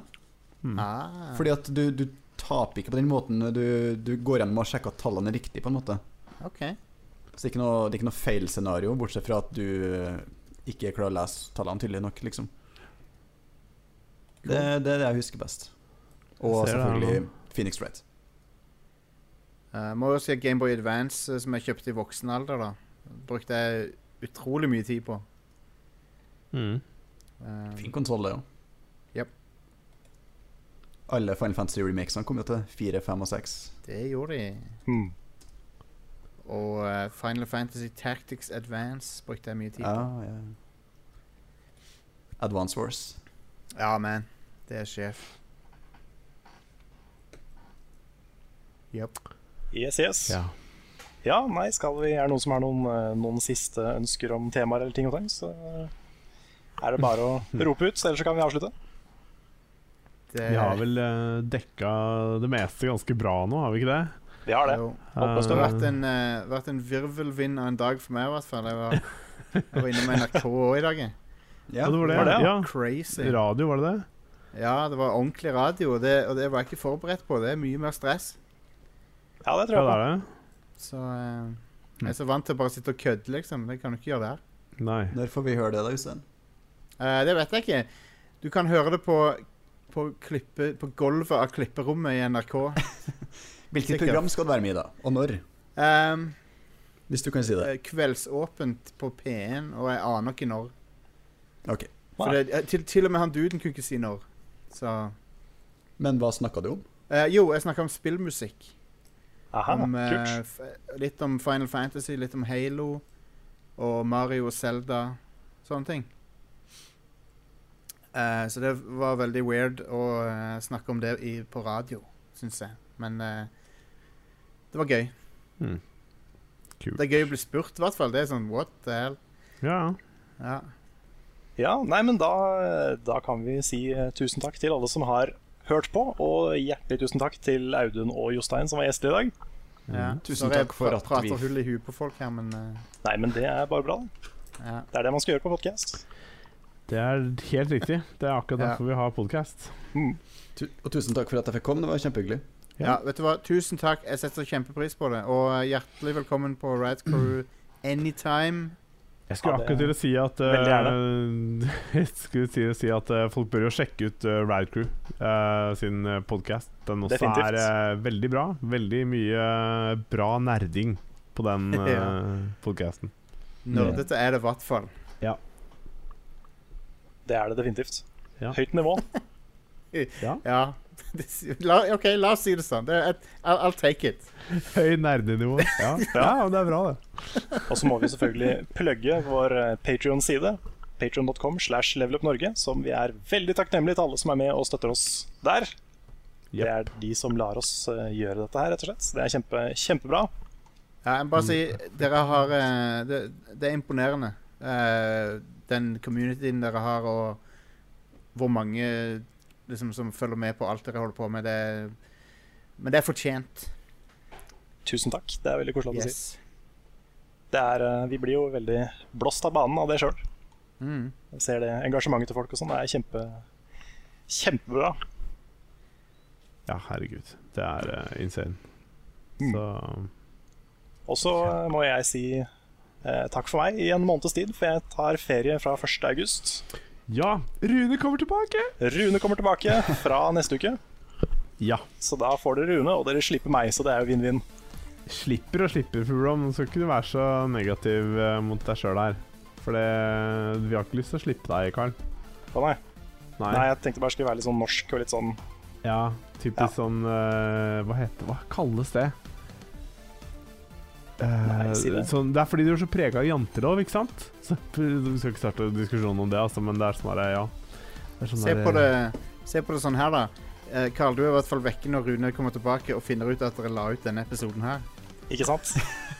Ah.
Fordi at du, du taper ikke på den måten. Du, du går gjennom og sjekker at tallene er riktige, på en måte.
OK.
Så det er ikke noe, det er ikke noe feil-scenario, bortsett fra at du eh, ikke klarer å lese tallene tydelig nok, liksom. Det, det er det jeg husker best. Og
Jeg ser det her
selvfølgelig Phoenix Wright.
Eh, må jo si at Gameboy Advance, eh, som jeg kjøpte i voksen alder, da, brukte jeg utrolig mye tid på.
Mm.
Eh,
Fin konsoll, det òg.
Japp.
Alle Final Fantasy remakesene kom jo til 4, 5 og 6.
det gjorde de.
Hmm.
Og eh, Final Fantasy Tactics Advance brukte jeg mye tid
Ja,
på.
ja. Advance Wars.
Ja, man. Det er sjef. Yep.
Yes, yes. Ja.
Ja.
nei, skal vi Er det noen som har noen, eh, noen siste ønsker om temaer eller ting og tang, så eh, er det bare å rope ut, så ellers så kan vi avslutte.
Det
Vi har vel eh, dekka det meste ganske bra nå, har vi ikke det?
Vi har det.
jo-
Håper
Det har
Eh,
vært en, eh, vært en virvelvind av en dag for meg, i hvert fall. Jeg var, jeg var inne med NRK òg i dag. jeg.
ja, det var det.
var det,
ja.
Crazy.
Radio, var det det?
Ja, det var ordentlig radio, og det, og det var jeg ikke forberedt på. Det er mye mer stress.
Ja, det tror
Ja,
jeg
det
på.
er det.
Så eh, jeg er så vant til å bare sitte og kødde, liksom. Det kan du ikke gjøre der.
Nei.
Når får vi høre det, da, Jostein?
Eh, det vet jeg ikke. Du kan høre det på, på, klippe, på gulvet av klipperommet i NRK.
Hvilket
Sikkert.
program skal det være med i, da? Og når?
Ehm,
Hvis du kan si det.
eh, kveldsåpent på P1, og jeg aner ikke når.
Ok.
For det, eh, til, til og med han duden kunne ikke si når. Så
Men hva snakka du om?
eh, Jo, jeg snakka om spillmusikk.
Ah,
Aha,
om, eh,
kult.
f- litt om Final Fantasy, litt om Halo og Mario og Zelda. Sånne ting. Eh, så det var veldig weird å eh, snakke om det i, på radio, syns jeg. Men eh, det var gøy.
Mm. Kult.
Det er gøy å bli spurt, i hvert fall. Det er sånn what the hell.
Ja, ja.
Ja.
Ja, nei, men da, da kan vi si eh, tusen takk til alle som har hørt på, og hjertelig tusen takk til Audun og Jostein som var gjester i dag.
ja.
Tusen
Sorry, jeg
takk for
pra-
at vi-
prater hull i huet på folk her, men eh,
Nei, men det er bare bra.
ja.
Det er det man skal gjøre på podkast.
Det er helt riktig. Det er akkurat
Ja.
derfor vi har podkast.
Mm,
Tu og tusen takk for at jeg fikk komme, det var kjempehyggelig.
Ja.
Ja, vet du hva? Tusen takk. Jeg setter kjempepris på det. Og eh, hjertelig velkommen på Rad Crew anytime.
Jeg skulle
Ja, det-
akkurat til å si at eh,
Veldig
Jeg skulle til å si at eh, folk bør jo sjekke ut uh, Ride Crew eh, sin podkast. Den også
Definitivt.
er eh, veldig bra. Veldig mye eh, bra nerding på den uh, podkasten.
Nerdete er det i hvert fall.
Det er det definitivt.
Ja.
Høyt nivå.
Ja. Det sier- La, OK, la oss si det sånn. Det er et, I'll, I'll take it.
Høy nerdenivå. Ja. ja, men det er bra, det.
Og så må vi selvfølgelig plugge vår eh, Patrion-side. Patreon.com slash levelupnorge, som vi er veldig takknemlige til alle som er med og støtter oss der. Det er de som lar oss eh, gjøre dette her, rett og slett. Det er kjempe, kjempebra.
Ja, jeg må bare si dere har eh, det, det er imponerende. eh, den communityen dere har, og hvor mange liksom, som følger med på alt dere holder på med. Det, men det er fortjent.
Tusen takk. Det er veldig koselig at du sier.
Yes.
Det er, eh, vi blir jo veldig blåst av banen av det sjøl.
Mm.
Jeg ser det engasjementet til folk og sånn. Det er kjempe, kjempebra.
Ja, herregud. Det er eh, insane.
Mm.
Så
Og så eh, må jeg si eh, takk for meg i en måneds tid, for jeg tar ferie fra 1. august.
Ja, Rune kommer tilbake!
Rune kommer tilbake fra neste uke.
Ja.
Så da får dere Rune, og dere slipper meg, så det er jo vinn-vinn.
slipper og slipper, Fuglam. Nå skal ikke du være så negativ eh, mot deg sjøl her. For det, vi har ikke lyst til å slippe deg, Karl.
Å nei.
Nei.
Nei, jeg tenkte bare skulle være litt sånn norsk og litt sånn
Ja, typisk
Ja.
sånn eh, Hva heter Hva kalles det? Eh,
Nei, si det.
sånn, det er fordi du er så prega av jantelov, ikke sant? Så, du skal ikke starte diskusjonen om det, altså, men det er sånn her, ja. Det er sånn
Se
der,
på det, se på det sånn her, da. Eh, Karl, du er i hvert fall vekke når Rune kommer tilbake og finner ut at dere la ut denne episoden her.
Ikke sant?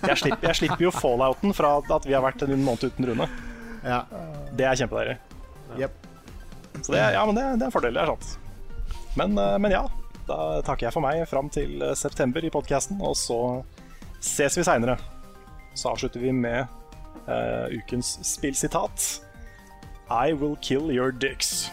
Jeg slipper, jeg slipper jo fallouten fra at vi har vært en måned uten Rune.
Ja.
Det er kjempedeilig.
Jep.
Så det, er- ja, men det, det er en fordel, det er sant. Men, eh, men ja, da takker jeg for meg fram til eh, september i podkasten, og så ses vi seinere. Så avslutter vi med eh, ukens spillsitat. I will kill your dicks.